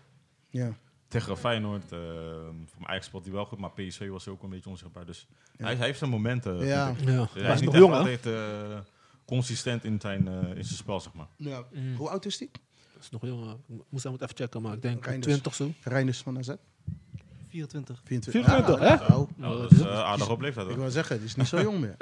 Speaker 4: Ja.
Speaker 3: Tegen Feyenoord, eh voor mijn eigen spot die wel goed, maar PSV was ook een beetje onzichtbaar. Dus
Speaker 4: Ja.
Speaker 3: hij, hij heeft zijn momenten. vind
Speaker 4: Ja.
Speaker 3: ik.
Speaker 2: Ja, maar
Speaker 3: Dus
Speaker 2: hij is nog
Speaker 3: echt
Speaker 2: jong, hè?
Speaker 3: altijd eh, consistent in zijn, eh, in zijn spel, zeg maar.
Speaker 4: Ja.
Speaker 2: Mm.
Speaker 4: Hoe oud is die?
Speaker 2: Hij is nog jong, hè. Ik Moest hij moet even checken, maar ik denk
Speaker 4: Reinders.
Speaker 2: 20 zo.
Speaker 4: Reinders van AZ?
Speaker 6: 24.
Speaker 4: 24.
Speaker 2: 24, hè?
Speaker 4: Nou,
Speaker 3: Nou,
Speaker 2: Nou,
Speaker 3: dat
Speaker 2: dat
Speaker 3: is
Speaker 2: is-
Speaker 3: eh, aardig op leeftijd.
Speaker 4: ik
Speaker 3: hoor.
Speaker 4: wil zeggen, die is niet zo jong meer.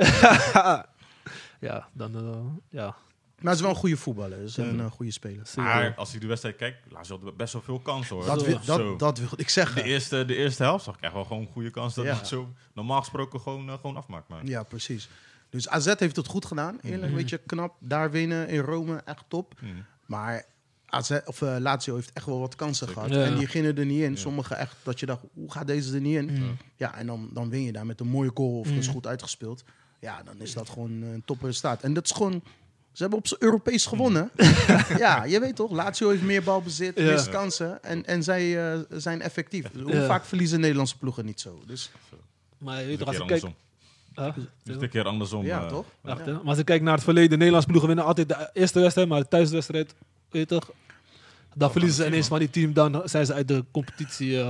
Speaker 2: ja, dan eh, ja.
Speaker 4: Maar het is wel een goede voetballer. Het is een eh, goede speler.
Speaker 3: Maar als ik de wedstrijd kijk, laat ze wel best wel veel kansen hoor.
Speaker 4: Dat,
Speaker 2: Zo.
Speaker 4: wil-
Speaker 3: Zo.
Speaker 4: dat, dat wilde ik
Speaker 3: de,
Speaker 4: zeggen.
Speaker 3: eerste, de eerste helft zag ik echt wel gewoon goede kans dat
Speaker 4: Ja.
Speaker 3: het zo normaal gesproken gewoon, eh, gewoon afmaakt. Maar
Speaker 4: Ja, precies. Dus AZ heeft het goed gedaan. Eerlijk, weet je, knap. Daar winnen in Rome, echt top.
Speaker 3: Hmm.
Speaker 4: Maar AZ, of, eh, Lazio heeft echt wel wat kansen
Speaker 3: Zeker.
Speaker 4: gehad.
Speaker 2: Ja.
Speaker 4: En die gingen er niet in. Sommige echt dat je dacht, hoe gaat deze er niet
Speaker 2: Mm.
Speaker 4: in? Ja, en dan, dan win je daar met een mooie goal of is goed uitgespeeld. Ja, dan is dat gewoon een topresultaat. En dat is gewoon... Ze hebben op z'n Europees gewonnen. ja, je weet toch? Lazio heeft meer balbezit,
Speaker 2: Mm. Ja.
Speaker 4: meer kansen. En, en zij eh, zijn effectief. Hoe
Speaker 2: Ja.
Speaker 4: vaak verliezen Nederlandse ploegen niet zo? Dus,
Speaker 2: Maar je
Speaker 3: het is
Speaker 2: weet
Speaker 3: een
Speaker 2: toch, als
Speaker 3: keer
Speaker 2: ik kijk...
Speaker 3: andersom.
Speaker 2: Huh?
Speaker 3: Het is een keer andersom.
Speaker 4: ja,
Speaker 3: eh,
Speaker 4: toch?
Speaker 2: Wacht,
Speaker 4: Ja.
Speaker 2: hè. Maar als ik kijk naar het verleden, Nederlandse ploegen winnen altijd de eerste wedstrijd, maar de thuiswedstrijd, weet je toch, dan verliezen ze ineens van die team, dan zijn ze uit de competitie. eh,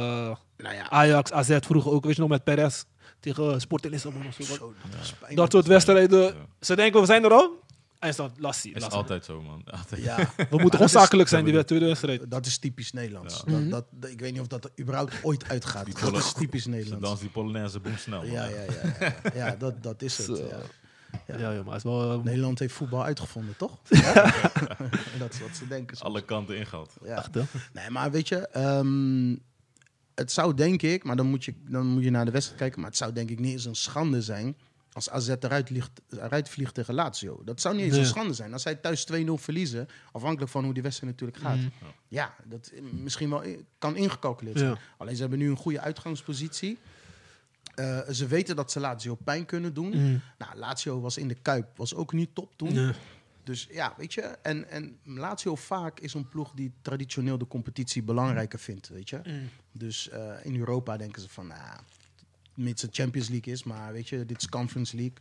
Speaker 4: Nou ja,
Speaker 2: Ajax, AZ vroeger ook, weet je nog, met Perez tegen Sporting Lissabon of zo. wat.
Speaker 4: Zo, dat is pijnlijk.
Speaker 2: Dat soort wedstrijden,
Speaker 3: Ja.
Speaker 2: ze denken we zijn er al, en is dat lastig.
Speaker 3: Is
Speaker 2: lastig.
Speaker 3: altijd zo, man. Altijd.
Speaker 4: Ja,
Speaker 2: We moeten
Speaker 4: dat
Speaker 2: gewoon
Speaker 4: is-
Speaker 2: zakelijk zijn die tweede wedstrijd.
Speaker 4: dat is typisch Nederlands.
Speaker 3: Ja.
Speaker 2: Mhm.
Speaker 4: Dat, dat, dat- ik weet niet of dat er überhaupt ooit uitgaat. Dat
Speaker 3: Polen-
Speaker 4: is typisch
Speaker 3: Ze
Speaker 4: Nederlands.
Speaker 3: dansen die Polonaise boem snel.
Speaker 4: Ja, ja, ja, ja, ja. Ja, dat, dat is het.
Speaker 2: Zo.
Speaker 4: ja.
Speaker 2: Ja, ja, maar het is wel... eh,
Speaker 4: Nederland heeft voetbal uitgevonden, toch? Ja. dat is wat ze denken. soms.
Speaker 3: Alle kanten ingehaald.
Speaker 4: Ja.
Speaker 2: echt, hè.
Speaker 4: Nee, maar weet je, ehm, het zou denk ik, maar dan moet, je, dan moet je naar de wedstrijd kijken, maar het zou denk ik niet eens een schande zijn als AZ eruit, ligt, eruit vliegt tegen Lazio. Dat zou niet eens een
Speaker 2: Nee.
Speaker 4: schande zijn. Als zij thuis 2-0 verliezen, afhankelijk van hoe die wedstrijd
Speaker 2: Mm.
Speaker 4: natuurlijk gaat. Ja, dat eh, misschien wel i- kan ingecalculeerd zijn.
Speaker 2: Ja.
Speaker 4: Alleen ze hebben nu een goede uitgangspositie. Eh, ze weten dat ze Lazio pijn kunnen doen.
Speaker 2: Mm.
Speaker 4: Nou, Lazio was in de Kuip, was ook niet top toen.
Speaker 2: Ja.
Speaker 4: Dus ja, weet je. En, en Lazio vaak is een ploeg die traditioneel de competitie belangrijker vindt, weet je. Dus eh, in Europa denken ze van, nou, mits het Champions League is, maar weet je, dit is Conference League.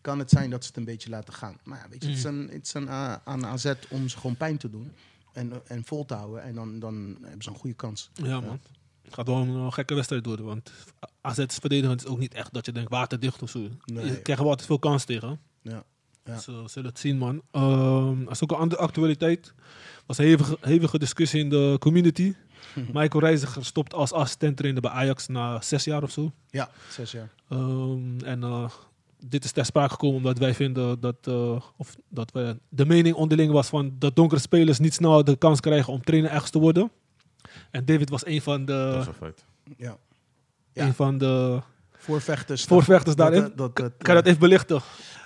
Speaker 4: Kan het zijn dat ze het een beetje laten gaan. Maar ja, weet je, het is, een, het is een, eh, aan AZ om ze gewoon pijn te doen. En, eh, en vol te houden. En dan, dan hebben ze een goede kans.
Speaker 2: Ja, man. Het gaat wel een eh, gekke wedstrijd worden, want AZ's verdedigend is ook niet echt dat je denkt waterdicht of zo.
Speaker 4: Nee.
Speaker 2: Je krijgt wel altijd veel kans tegen.
Speaker 4: Ja. Ja.
Speaker 2: Zo, we zullen het zien, man. Ehm dat is ook een andere actualiteit. Er was een hevige, hevige discussie in de community. Michael Reiziger stopt als assistent-trainer bij Ajax na zes jaar of zo.
Speaker 4: Ja, zes jaar.
Speaker 2: Ehm, en eh, dit is ter sprake gekomen omdat wij vinden dat, eh, of dat wij, de mening onderling was van dat donkere spelers niet snel de kans krijgen om trainer ergens te worden. En David was een van
Speaker 3: Dat
Speaker 2: de,
Speaker 3: is een feit.
Speaker 4: Ja. ja.
Speaker 2: een van de
Speaker 4: Voorvechters.
Speaker 2: voorvechters
Speaker 4: Dat-
Speaker 2: daarin.
Speaker 4: dat- dat- dat-
Speaker 2: kan je dat even belichten?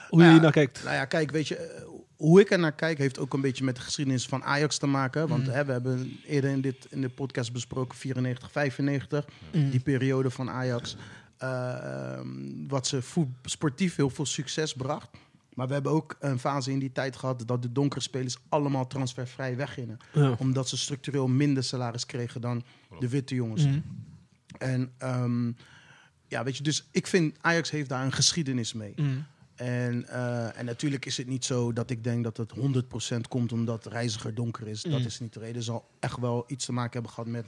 Speaker 2: Hoe je
Speaker 4: Nou ja,
Speaker 2: hier naar kijkt?
Speaker 4: Nou ja, kijk, weet je, eh, hoe ik er naar kijk heeft ook een beetje met de geschiedenis van Ajax te maken. Want hè, we hebben eerder in, dit, in de podcast besproken 94, 95,
Speaker 2: Mhm. Mm.
Speaker 4: die periode van Ajax. Eh, ehm, wat ze voet- sportief heel veel succes bracht. Maar we hebben ook een fase in die tijd gehad dat de donkere spelers allemaal transfervrij weggingen.
Speaker 2: Ja.
Speaker 4: Omdat ze structureel minder salaris kregen dan de witte jongens.
Speaker 2: Mhm. Mm.
Speaker 4: En ehm, ja, weet je, dus ik vind Ajax heeft daar een geschiedenis mee.
Speaker 2: Mm.
Speaker 4: En, eh, en natuurlijk is het niet zo dat ik denk dat het 100% komt omdat Reiziger donker is. Dat is niet de reden. Het zal echt wel iets te maken hebben gehad met,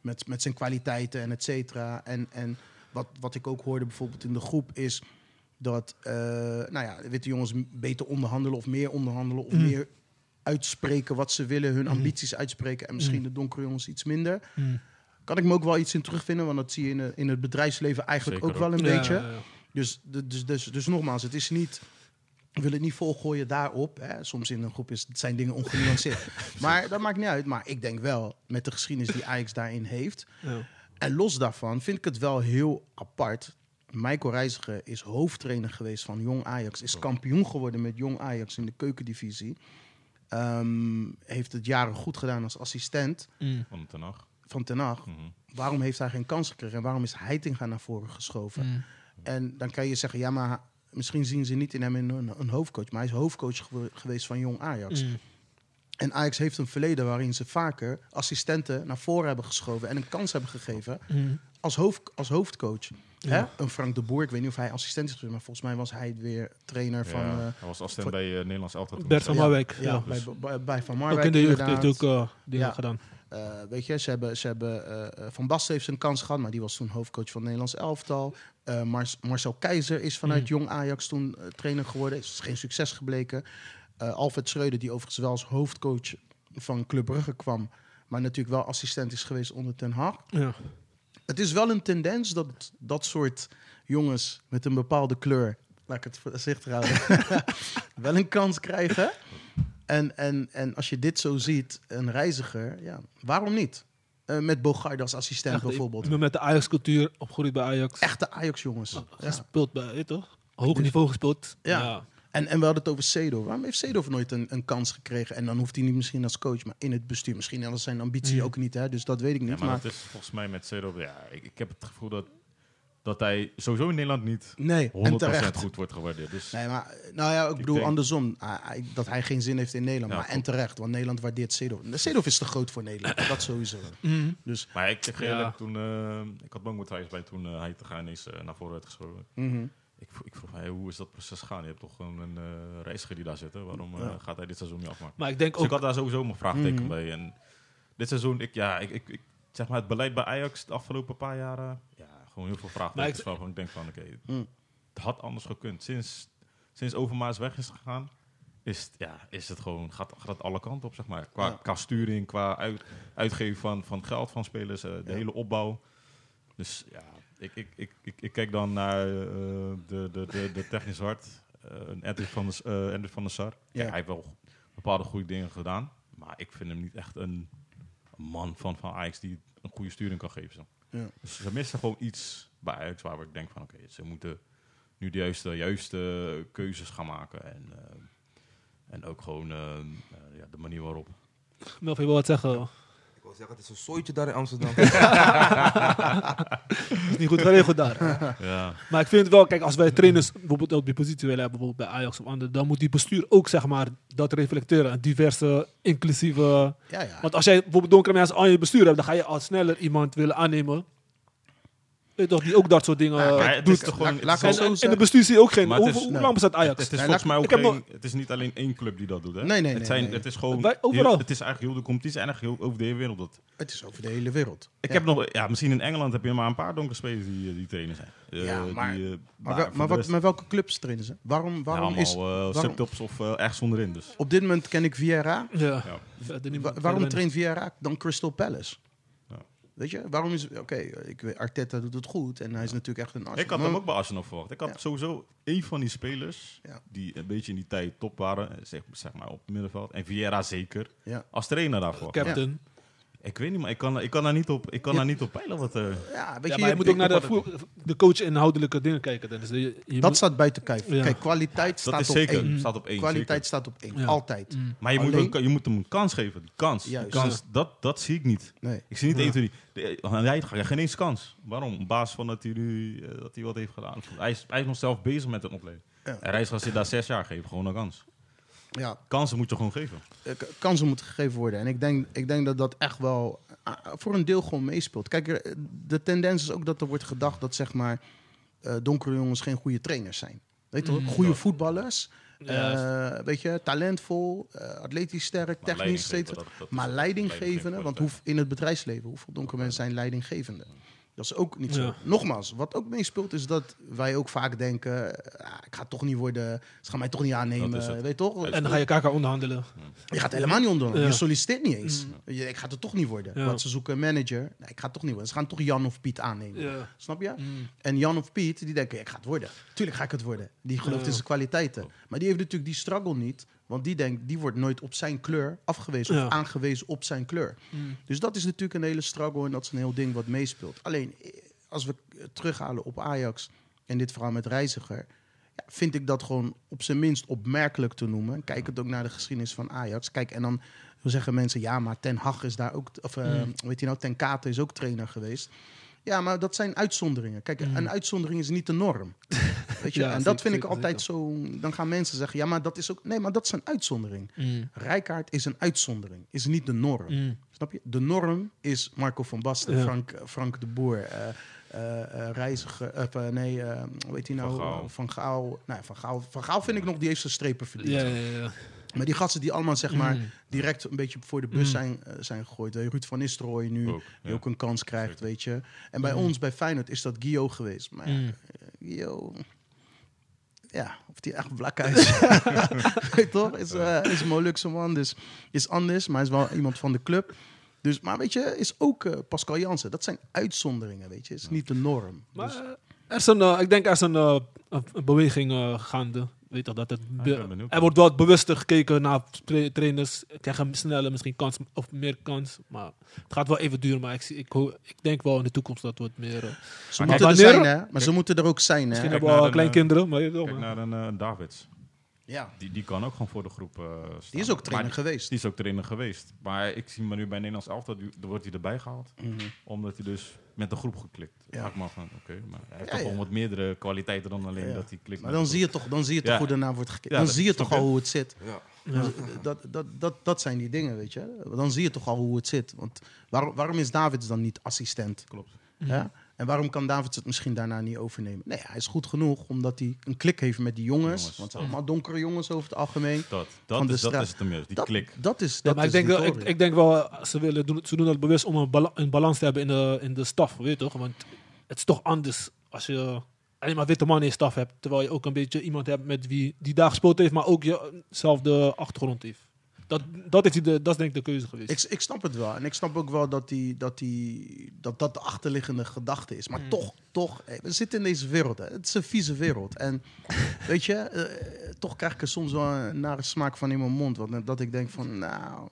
Speaker 4: met, met zijn kwaliteiten en et cetera. En, en wat, wat ik ook hoorde bijvoorbeeld in de groep is dat eh, nou ja, witte jongens m- beter onderhandelen of meer onderhandelen of meer uitspreken wat ze willen, hun ambities uitspreken en misschien de donkere jongens iets minder.
Speaker 2: Mm.
Speaker 4: Kan ik me ook wel iets in terugvinden, want dat zie je in, het- in het bedrijfsleven eigenlijk
Speaker 3: Zeker
Speaker 4: ook wel een
Speaker 2: Ja,
Speaker 4: beetje.
Speaker 2: ja, ja.
Speaker 4: Dus, de- dus, dus, dus nogmaals, het is niet. Ik wil het niet volgooien daarop. Hè. Soms in een groep is, zijn dingen ongenuanceerd. maar dat maakt niet uit. Maar ik denk wel, met de geschiedenis die Ajax daarin heeft.
Speaker 2: Ja.
Speaker 4: En los daarvan vind ik het wel heel apart. Michael Reiziger is hoofdtrainer geweest van Jong Ajax. Is kampioen geworden met Jong Ajax in de keukendivisie. Ehm, heeft het jaren goed gedaan als assistent
Speaker 2: Mm.
Speaker 3: Van ten acht.
Speaker 4: van Ten Hag
Speaker 3: Mhm.
Speaker 4: waarom heeft hij geen kans gekregen? En waarom is Heitinga naar voren geschoven?
Speaker 2: Mm.
Speaker 4: En dan kan je zeggen, ja, maar misschien zien ze niet in hem een, een- een hoofdcoach. Maar hij is hoofdcoach gewe- geweest van jong
Speaker 2: Mm.
Speaker 4: Ajax. En Ajax heeft een verleden waarin ze vaker
Speaker 2: Mm.
Speaker 4: assistenten naar voren hebben geschoven... en een kans hebben gegeven als, hoofd, als hoofdcoach. Hè? Een Frank de Boer, ik weet niet of hij assistent is geweest, maar volgens mij was hij weer trainer van...
Speaker 3: Ja,
Speaker 4: eh,
Speaker 3: hij was assistent
Speaker 4: voor-
Speaker 3: bij eh, Nederlands Elftal. toen.
Speaker 2: Bert van
Speaker 4: Ja.
Speaker 2: Marwijk.
Speaker 4: ja,
Speaker 2: Ja.
Speaker 4: bij, bij- bij Van
Speaker 2: Ook
Speaker 4: Marwijk
Speaker 2: in de jeugd
Speaker 4: inderdaad.
Speaker 2: natuurlijk eh, dingen
Speaker 4: Ja.
Speaker 2: gedaan.
Speaker 4: Eh, weet je, ze hebben, ze hebben eh, eh, Van Basten heeft zijn kans gehad, maar die was toen hoofdcoach van het Nederlands elftal. Eh, Mar- Marcel Keizer is vanuit
Speaker 2: Mm.
Speaker 4: jong Ajax toen eh, trainer geworden, is geen succes gebleken. Eh Alfred Schreuder, die overigens wel als hoofdcoach van Club Brugge kwam, maar natuurlijk wel assistent is geweest onder Ten Hag.
Speaker 2: Ja.
Speaker 4: Het is wel een tendens dat dat soort jongens met een bepaalde kleur, laat ik het voorzichtig houden, wel een kans krijgen. En, en, en als je dit zo ziet, een reiziger, ja, waarom niet? Eh, met Bogard als assistent
Speaker 2: Echt,
Speaker 4: bijvoorbeeld.
Speaker 2: Ik ben met de Ajax-cultuur opgegroeid bij Ajax.
Speaker 4: Echte Ajax-jongens. Ja.
Speaker 2: Gespeeld bij, weet je toch? Hoog niveau gespeeld.
Speaker 4: Dus- Ja. En, en we hadden het over Seedorf. Waarom heeft Seedorf nooit een, een kans gekregen? En dan hoeft hij niet misschien als coach, maar in het bestuur. Misschien dat is zijn ambitie
Speaker 2: Mm.
Speaker 4: ook niet, hè? dus dat weet ik niet.
Speaker 3: Hmm. Ja, maar
Speaker 4: maar
Speaker 3: dat is volgens mij met Seedorf... Ja, ik, ik heb het gevoel dat, dat hij sowieso in Nederland niet 100%
Speaker 4: nee, en terecht.
Speaker 3: goed wordt gewaardeerd. Dus
Speaker 4: Nee, maar nou ja, ik bedoel
Speaker 3: denk-
Speaker 4: andersom. Ah, hij- dat hij geen zin heeft in Nederland.
Speaker 3: Ja,
Speaker 4: maar en terecht, want Nederland waardeert Seedorf. Seedorf is te groot voor Nederland, dat sowieso.
Speaker 2: Mm.
Speaker 4: Dus,
Speaker 3: Maar ik zeg je
Speaker 6: Ja.
Speaker 3: eerlijk, toen, eh, ik had Bangmoedhuis bij toen eh, hij te gaan is eh, naar voren werd geschoven.
Speaker 4: mhm.
Speaker 3: Ik, vro- ik vroeg mij, hoe is dat proces gegaan? Je hebt toch gewoon een eh, reiziger die daar zit. hè? Waarom eh,
Speaker 4: Ja.
Speaker 3: gaat hij dit seizoen niet afmaken?
Speaker 2: Maar ik denk
Speaker 3: Dus ik
Speaker 2: ook...
Speaker 3: had daar sowieso mijn vraagteken
Speaker 4: Mhm.
Speaker 3: bij. En dit seizoen, ik, ja, ik, ik, ik- zeg maar, het beleid bij Ajax de afgelopen paar jaren, ja, gewoon heel veel vraagtekens
Speaker 2: ik-
Speaker 3: waarvan ik denk van, oké,
Speaker 4: Mhm.
Speaker 3: het had anders gekund. Sinds, sinds Overmaas weg is gegaan, is, het- ja, is het gewoon, gaat, gaat het alle kanten op, zeg maar. Qua,
Speaker 4: Ja.
Speaker 3: qua sturing, qua uit, uitgeven van, van geld van spelers, eh, de
Speaker 4: Ja.
Speaker 3: hele opbouw. Dus ja, ik, ik, ik, ik, ik kijk dan naar eh, de, de, de, de technisch hart, eh, een Edwin van de, eh Edwin van de Sar. Kijk,
Speaker 4: Ja.
Speaker 3: hij heeft wel bepaalde goede dingen gedaan, maar ik vind hem niet echt een man van, van Ajax die een goede sturing kan geven. Zo.
Speaker 4: Ja.
Speaker 3: Dus ze missen gewoon iets bij Ajax waar ik denk van oké, ze moeten nu de juiste, juiste keuzes gaan maken. En, eh, en ook gewoon eh, eh, ja, de manier waarop.
Speaker 2: Melvin, je wil wat zeggen? Het
Speaker 5: Ik wil zeggen, het is een zooitje daar in Amsterdam.
Speaker 2: is niet goed geregeld daar.
Speaker 3: ja.
Speaker 2: Maar ik vind wel, kijk, als wij trainers bijvoorbeeld ook die positie willen hebben, bijvoorbeeld bij Ajax of anderen, dan moet die bestuur ook, zeg maar, dat reflecteren. Een diverse, inclusieve...
Speaker 4: Ja, ja.
Speaker 2: Want als jij bijvoorbeeld donkere mensen aan je bestuur hebt, dan ga je al sneller iemand willen aannemen. Weet je toch, die ook dat soort dingen
Speaker 3: Maar
Speaker 2: eh,
Speaker 3: het
Speaker 2: doet.
Speaker 3: is toch gewoon...
Speaker 4: Laat- laat
Speaker 3: het is
Speaker 4: ik
Speaker 2: En,
Speaker 4: zo
Speaker 2: en,
Speaker 3: al-
Speaker 2: en de
Speaker 4: zeggen.
Speaker 2: bestuur zie je ook geen.
Speaker 3: Maar
Speaker 2: Hoe,
Speaker 3: het is-
Speaker 2: hoe
Speaker 3: nee.
Speaker 2: lang bestaat Ajax?
Speaker 3: Het is
Speaker 4: Nee,
Speaker 3: volgens mij
Speaker 4: laat-
Speaker 3: ook
Speaker 2: ik heb
Speaker 3: geen- het is niet alleen één club die dat doet. Hè?
Speaker 4: Nee, nee,
Speaker 3: het,
Speaker 4: nee,
Speaker 3: zijn,
Speaker 4: nee.
Speaker 3: het is gewoon...
Speaker 2: Wij- overal.
Speaker 3: heel- het is eigenlijk heel de competitie en eigenlijk heel over de hele wereld. Dat,
Speaker 4: Het is over de hele wereld.
Speaker 3: Ik
Speaker 4: Ja.
Speaker 3: heb nog, ja, misschien in Engeland heb je maar een paar donkere spelers die, eh, die trainen zijn. Eh,
Speaker 4: Ja, maar-
Speaker 3: die, eh,
Speaker 4: Maar,
Speaker 3: daar voor
Speaker 4: wel- maar,
Speaker 3: de
Speaker 4: wat,
Speaker 3: rest-
Speaker 4: maar welke clubs trainen ze? Waarom,
Speaker 3: ja,
Speaker 4: waarom
Speaker 3: allemaal
Speaker 4: is...
Speaker 3: eh, subtops of eh, ergens onderin. Dus.
Speaker 4: Op dit moment ken ik Vieira.
Speaker 2: Ja. Verder
Speaker 3: Ja.
Speaker 4: Wa-
Speaker 2: niet- verder
Speaker 4: waarom
Speaker 2: weinig.
Speaker 4: traint Vieira dan Crystal Palace?
Speaker 3: Ja.
Speaker 4: Weet je, waarom is... Oké, ik weet- Arteta doet het goed en hij is natuurlijk echt een
Speaker 3: Ik
Speaker 4: Arsenal.
Speaker 3: had hem
Speaker 4: Maar-
Speaker 3: ook bij Arsenal verwacht. Ik had
Speaker 4: Ja.
Speaker 3: sowieso één van die spelers
Speaker 4: Ja.
Speaker 3: die een beetje in die tijd top waren, eh, zeg, zeg maar op het middenveld. En Vieira zeker,
Speaker 4: Ja.
Speaker 3: als trainer daarvoor.
Speaker 2: Captain.
Speaker 3: Ik weet niet, maar ik kan, ik kan, daar, niet op, ik kan
Speaker 4: Ja.
Speaker 3: daar niet op peilen. Wat, eh,
Speaker 4: Ja, weet
Speaker 2: Ja,
Speaker 4: je,
Speaker 2: maar je
Speaker 4: je-
Speaker 2: moet ook naar de, voer- de coach inhoudelijke dingen kijken. Dennis. Je- je
Speaker 4: Dat
Speaker 2: moet-
Speaker 4: staat buiten kijf.
Speaker 2: Ja.
Speaker 4: Kijk, kwaliteit
Speaker 3: dat
Speaker 4: staat
Speaker 3: is
Speaker 4: op
Speaker 3: zeker,
Speaker 4: één.
Speaker 3: staat op één.
Speaker 4: Kwaliteit staat op één.
Speaker 2: Ja.
Speaker 4: Altijd.
Speaker 2: Mm.
Speaker 3: zeker. Maar je moet,
Speaker 4: Alleen-
Speaker 3: hem, je moet hem een kans geven. Die kans, die
Speaker 4: Juist.
Speaker 3: kans dat, dat zie ik niet.
Speaker 4: Nee.
Speaker 3: Ik zie niet één, twee, drie. De- eh, Hij krijgt geen eens kans. Waarom? Op basis van dat hij nu eh, dat hij wat heeft gedaan. Hij is, hij is nog zelf bezig met het opleiding.
Speaker 4: Ja.
Speaker 3: En Reisger zit daar zes jaar, geef gewoon een kans.
Speaker 4: Ja,
Speaker 3: Kansen moet je gewoon geven.
Speaker 4: eh, k- kansen moeten gegeven worden. En ik denk, ik denk dat dat echt wel ah, voor een deel gewoon meespeelt. Kijk, er- de tendens is ook dat er wordt gedacht dat zeg maar, eh, donkere jongens geen goede trainers zijn. Weet
Speaker 2: Mm.
Speaker 4: je, wel, goede voetballers,
Speaker 2: Ja.
Speaker 4: eh, weet je, talentvol, eh, atletisch sterk,
Speaker 3: Maar
Speaker 4: technisch,
Speaker 3: leidinggevende,
Speaker 4: steeds.
Speaker 3: dat- dat is-
Speaker 4: Maar leidinggevende,
Speaker 3: leidinggevende
Speaker 4: want
Speaker 3: wordt,
Speaker 4: hoe, in het bedrijfsleven, hoeveel donkere mensen zijn leidinggevende? Dat is ook niet zo.
Speaker 2: Ja.
Speaker 4: Nogmaals, wat ook meespeelt is dat wij ook vaak denken... ah, ik ga het toch niet worden, ze gaan mij toch niet
Speaker 3: Dat is
Speaker 4: aannemen.
Speaker 3: het.
Speaker 4: Weet je toch?
Speaker 2: En dan ga je elkaar onderhandelen.
Speaker 3: Mm.
Speaker 4: Je gaat helemaal niet onder.
Speaker 2: Ja.
Speaker 4: Je solliciteert niet eens.
Speaker 3: Mm-hmm.
Speaker 4: Je, ik ga het toch niet worden.
Speaker 2: Ja.
Speaker 4: Want ze zoeken een manager. Nee, ik ga het toch niet worden. Ze gaan toch Jan of Piet aannemen.
Speaker 2: Ja.
Speaker 4: Snap je?
Speaker 2: Mm.
Speaker 4: En Jan of Piet, die denken, ik ga het worden. Tuurlijk ga ik het worden. Die gelooft
Speaker 2: Ja.
Speaker 4: in zijn kwaliteiten. Maar die heeft natuurlijk die struggle niet. Want die denkt, die wordt nooit op zijn kleur afgewezen.
Speaker 2: Ja.
Speaker 4: Of aangewezen op zijn kleur.
Speaker 2: Mm.
Speaker 4: Dus dat is natuurlijk een hele struggle. En dat is een heel ding wat meespeelt. Alleen, eh, als we eh, terughalen op Ajax. En dit verhaal met Reiziger. Ja, vind ik dat gewoon op zijn minst opmerkelijk te noemen. Kijk het ook naar de geschiedenis van Ajax. Kijk, en dan
Speaker 2: Mm.
Speaker 4: zeggen mensen, ja, maar Ten Hag is daar ook... Of, eh, weet je nou, Ten Katen is ook trainer geweest. Ja, maar dat zijn uitzonderingen. Kijk,
Speaker 2: Mm.
Speaker 4: een uitzondering is niet de norm. Weet je?
Speaker 2: Ja,
Speaker 4: en
Speaker 2: zeker,
Speaker 4: dat vind ik
Speaker 2: zeker,
Speaker 4: altijd zo. Dan gaan mensen zeggen: ja, maar dat is ook. Nee, maar dat is een uitzondering.
Speaker 2: Mm.
Speaker 4: Rijkaard is een uitzondering, is niet de norm. Snap je? De norm is Marco van Basten,
Speaker 2: Ja.
Speaker 4: Frank, Frank de Boer, eh, eh, eh, Reiziger, eh, eh, nee, eh, hoe heet hij nou?
Speaker 3: Van Gaal.
Speaker 4: Van Gaal. Nou, van, Gaal van Gaal vind ik nog, die heeft zijn strepen verdiend.
Speaker 2: Ja, ja, ja.
Speaker 4: Maar die gasten die allemaal zeg maar
Speaker 2: Mm.
Speaker 4: direct een beetje voor de bus
Speaker 2: Mm.
Speaker 4: zijn, eh, zijn gegooid. Eh, Ruud van Nistelrooy nu,
Speaker 3: Ook,
Speaker 4: die
Speaker 3: ja.
Speaker 4: ook een kans krijgt,
Speaker 3: Zeker.
Speaker 4: weet je. En bij
Speaker 2: Mm.
Speaker 4: ons, bij Feyenoord, is dat Guillaume geweest. Maar ja, dus-
Speaker 2: Mm.
Speaker 4: Guillaume... Ja, of die echt blak is. Weet je toch? Is, eh is een Molukse man, dus is anders. Maar hij is wel iemand van de club. Dus, maar weet je, is ook eh, Pascal Jansen. Dat zijn uitzonderingen, weet je. Is niet de norm.
Speaker 2: Maar
Speaker 4: Dus-
Speaker 2: eh, er is een, eh, ik denk er is een, eh, een- een beweging eh, gaande. Weet toch, dat het be-
Speaker 3: Ah, ik ben benieuwd.
Speaker 2: er wordt wel bewuster gekeken naar tra- trainers. Krijgen sneller misschien kans of meer kans. Maar het gaat wel even duren. Maar ik, zie- ik, ho- ik denk wel in de toekomst dat wordt meer. eh,
Speaker 4: ze
Speaker 2: kijk,
Speaker 4: moeten er
Speaker 2: wanneer-
Speaker 4: zijn, hè. Maar ze moeten er ook zijn,
Speaker 2: misschien
Speaker 4: hè.
Speaker 2: hebben
Speaker 3: kijk
Speaker 2: we al
Speaker 3: naar een,
Speaker 2: kleinkinderen. Maar, je weet wel,
Speaker 3: Kijk
Speaker 2: maar-
Speaker 3: naar een eh, Davids.
Speaker 4: Ja,
Speaker 3: Die, die kan ook gewoon voor de groep eh, staan.
Speaker 4: die is ook
Speaker 3: Maar
Speaker 4: trainer geweest.
Speaker 3: Die is ook trainer geweest. Maar ik zie me nu bij Nederlands elftal, die- daar wordt hij erbij gehaald.
Speaker 4: Mhm.
Speaker 3: Omdat hij dus met de groep geklikt.
Speaker 4: Ja.
Speaker 3: Ja. Ik mag van, oké, maar hij heeft
Speaker 4: Ja,
Speaker 3: toch
Speaker 4: ja.
Speaker 3: wel wat meerdere kwaliteiten dan alleen
Speaker 4: Ja.
Speaker 3: dat hij klikt.
Speaker 4: Maar
Speaker 3: met
Speaker 4: dan
Speaker 3: de
Speaker 4: zie je toch, dan zie je toch
Speaker 3: Ja.
Speaker 4: hoe daarna wordt gekeken.
Speaker 3: Ja,
Speaker 4: dan
Speaker 3: dat-
Speaker 4: zie je
Speaker 3: snap
Speaker 4: toch al
Speaker 3: je?
Speaker 4: hoe het zit. Dus, eh,
Speaker 5: Ja.
Speaker 2: Ja.
Speaker 4: Dat, dat, dat, dat zijn die dingen, weet je. Dan zie je toch al hoe het zit. Want waarom, waarom is Davids dan niet assistent?
Speaker 3: groep. Klopt.
Speaker 4: Hè?
Speaker 2: Mhm.
Speaker 4: En waarom kan Davids het misschien daarna niet overnemen? Nee, hij is goed genoeg omdat hij een klik heeft met die jongens.
Speaker 3: Jongens.
Speaker 4: Want het zijn allemaal donkere jongens over het algemeen.
Speaker 3: Dat,
Speaker 4: Van
Speaker 3: dat,
Speaker 4: de
Speaker 3: is, dat
Speaker 4: straat.
Speaker 3: is het hem juist, die
Speaker 4: dat,
Speaker 3: klik.
Speaker 4: Dat is, dat
Speaker 2: Ja, maar ik
Speaker 4: is
Speaker 2: denk, wel,
Speaker 4: die
Speaker 2: ik,
Speaker 4: toren.
Speaker 2: ik denk wel, eh, ze, willen doen, ze doen dat bewust om een, bala- een balans te hebben in de, in de staf, weet je toch? Want het is toch anders als je alleen maar witte mannen in je staf hebt, terwijl je ook een beetje iemand hebt met wie die daar gespeeld heeft, maar ook jezelfde achtergrond heeft. Dat, dat, is die de, dat is denk ik de keuze geweest.
Speaker 4: Ik, ik snap het wel. En ik snap ook wel dat die, dat, die, dat, dat de achterliggende gedachte is. Maar
Speaker 2: Hmm.
Speaker 4: toch, toch, eh, we zitten in deze wereld. Hè. Het is een vieze wereld. En weet je, eh, toch krijg ik er soms wel een nare smaak van in mijn mond. Want dat ik denk van, nou,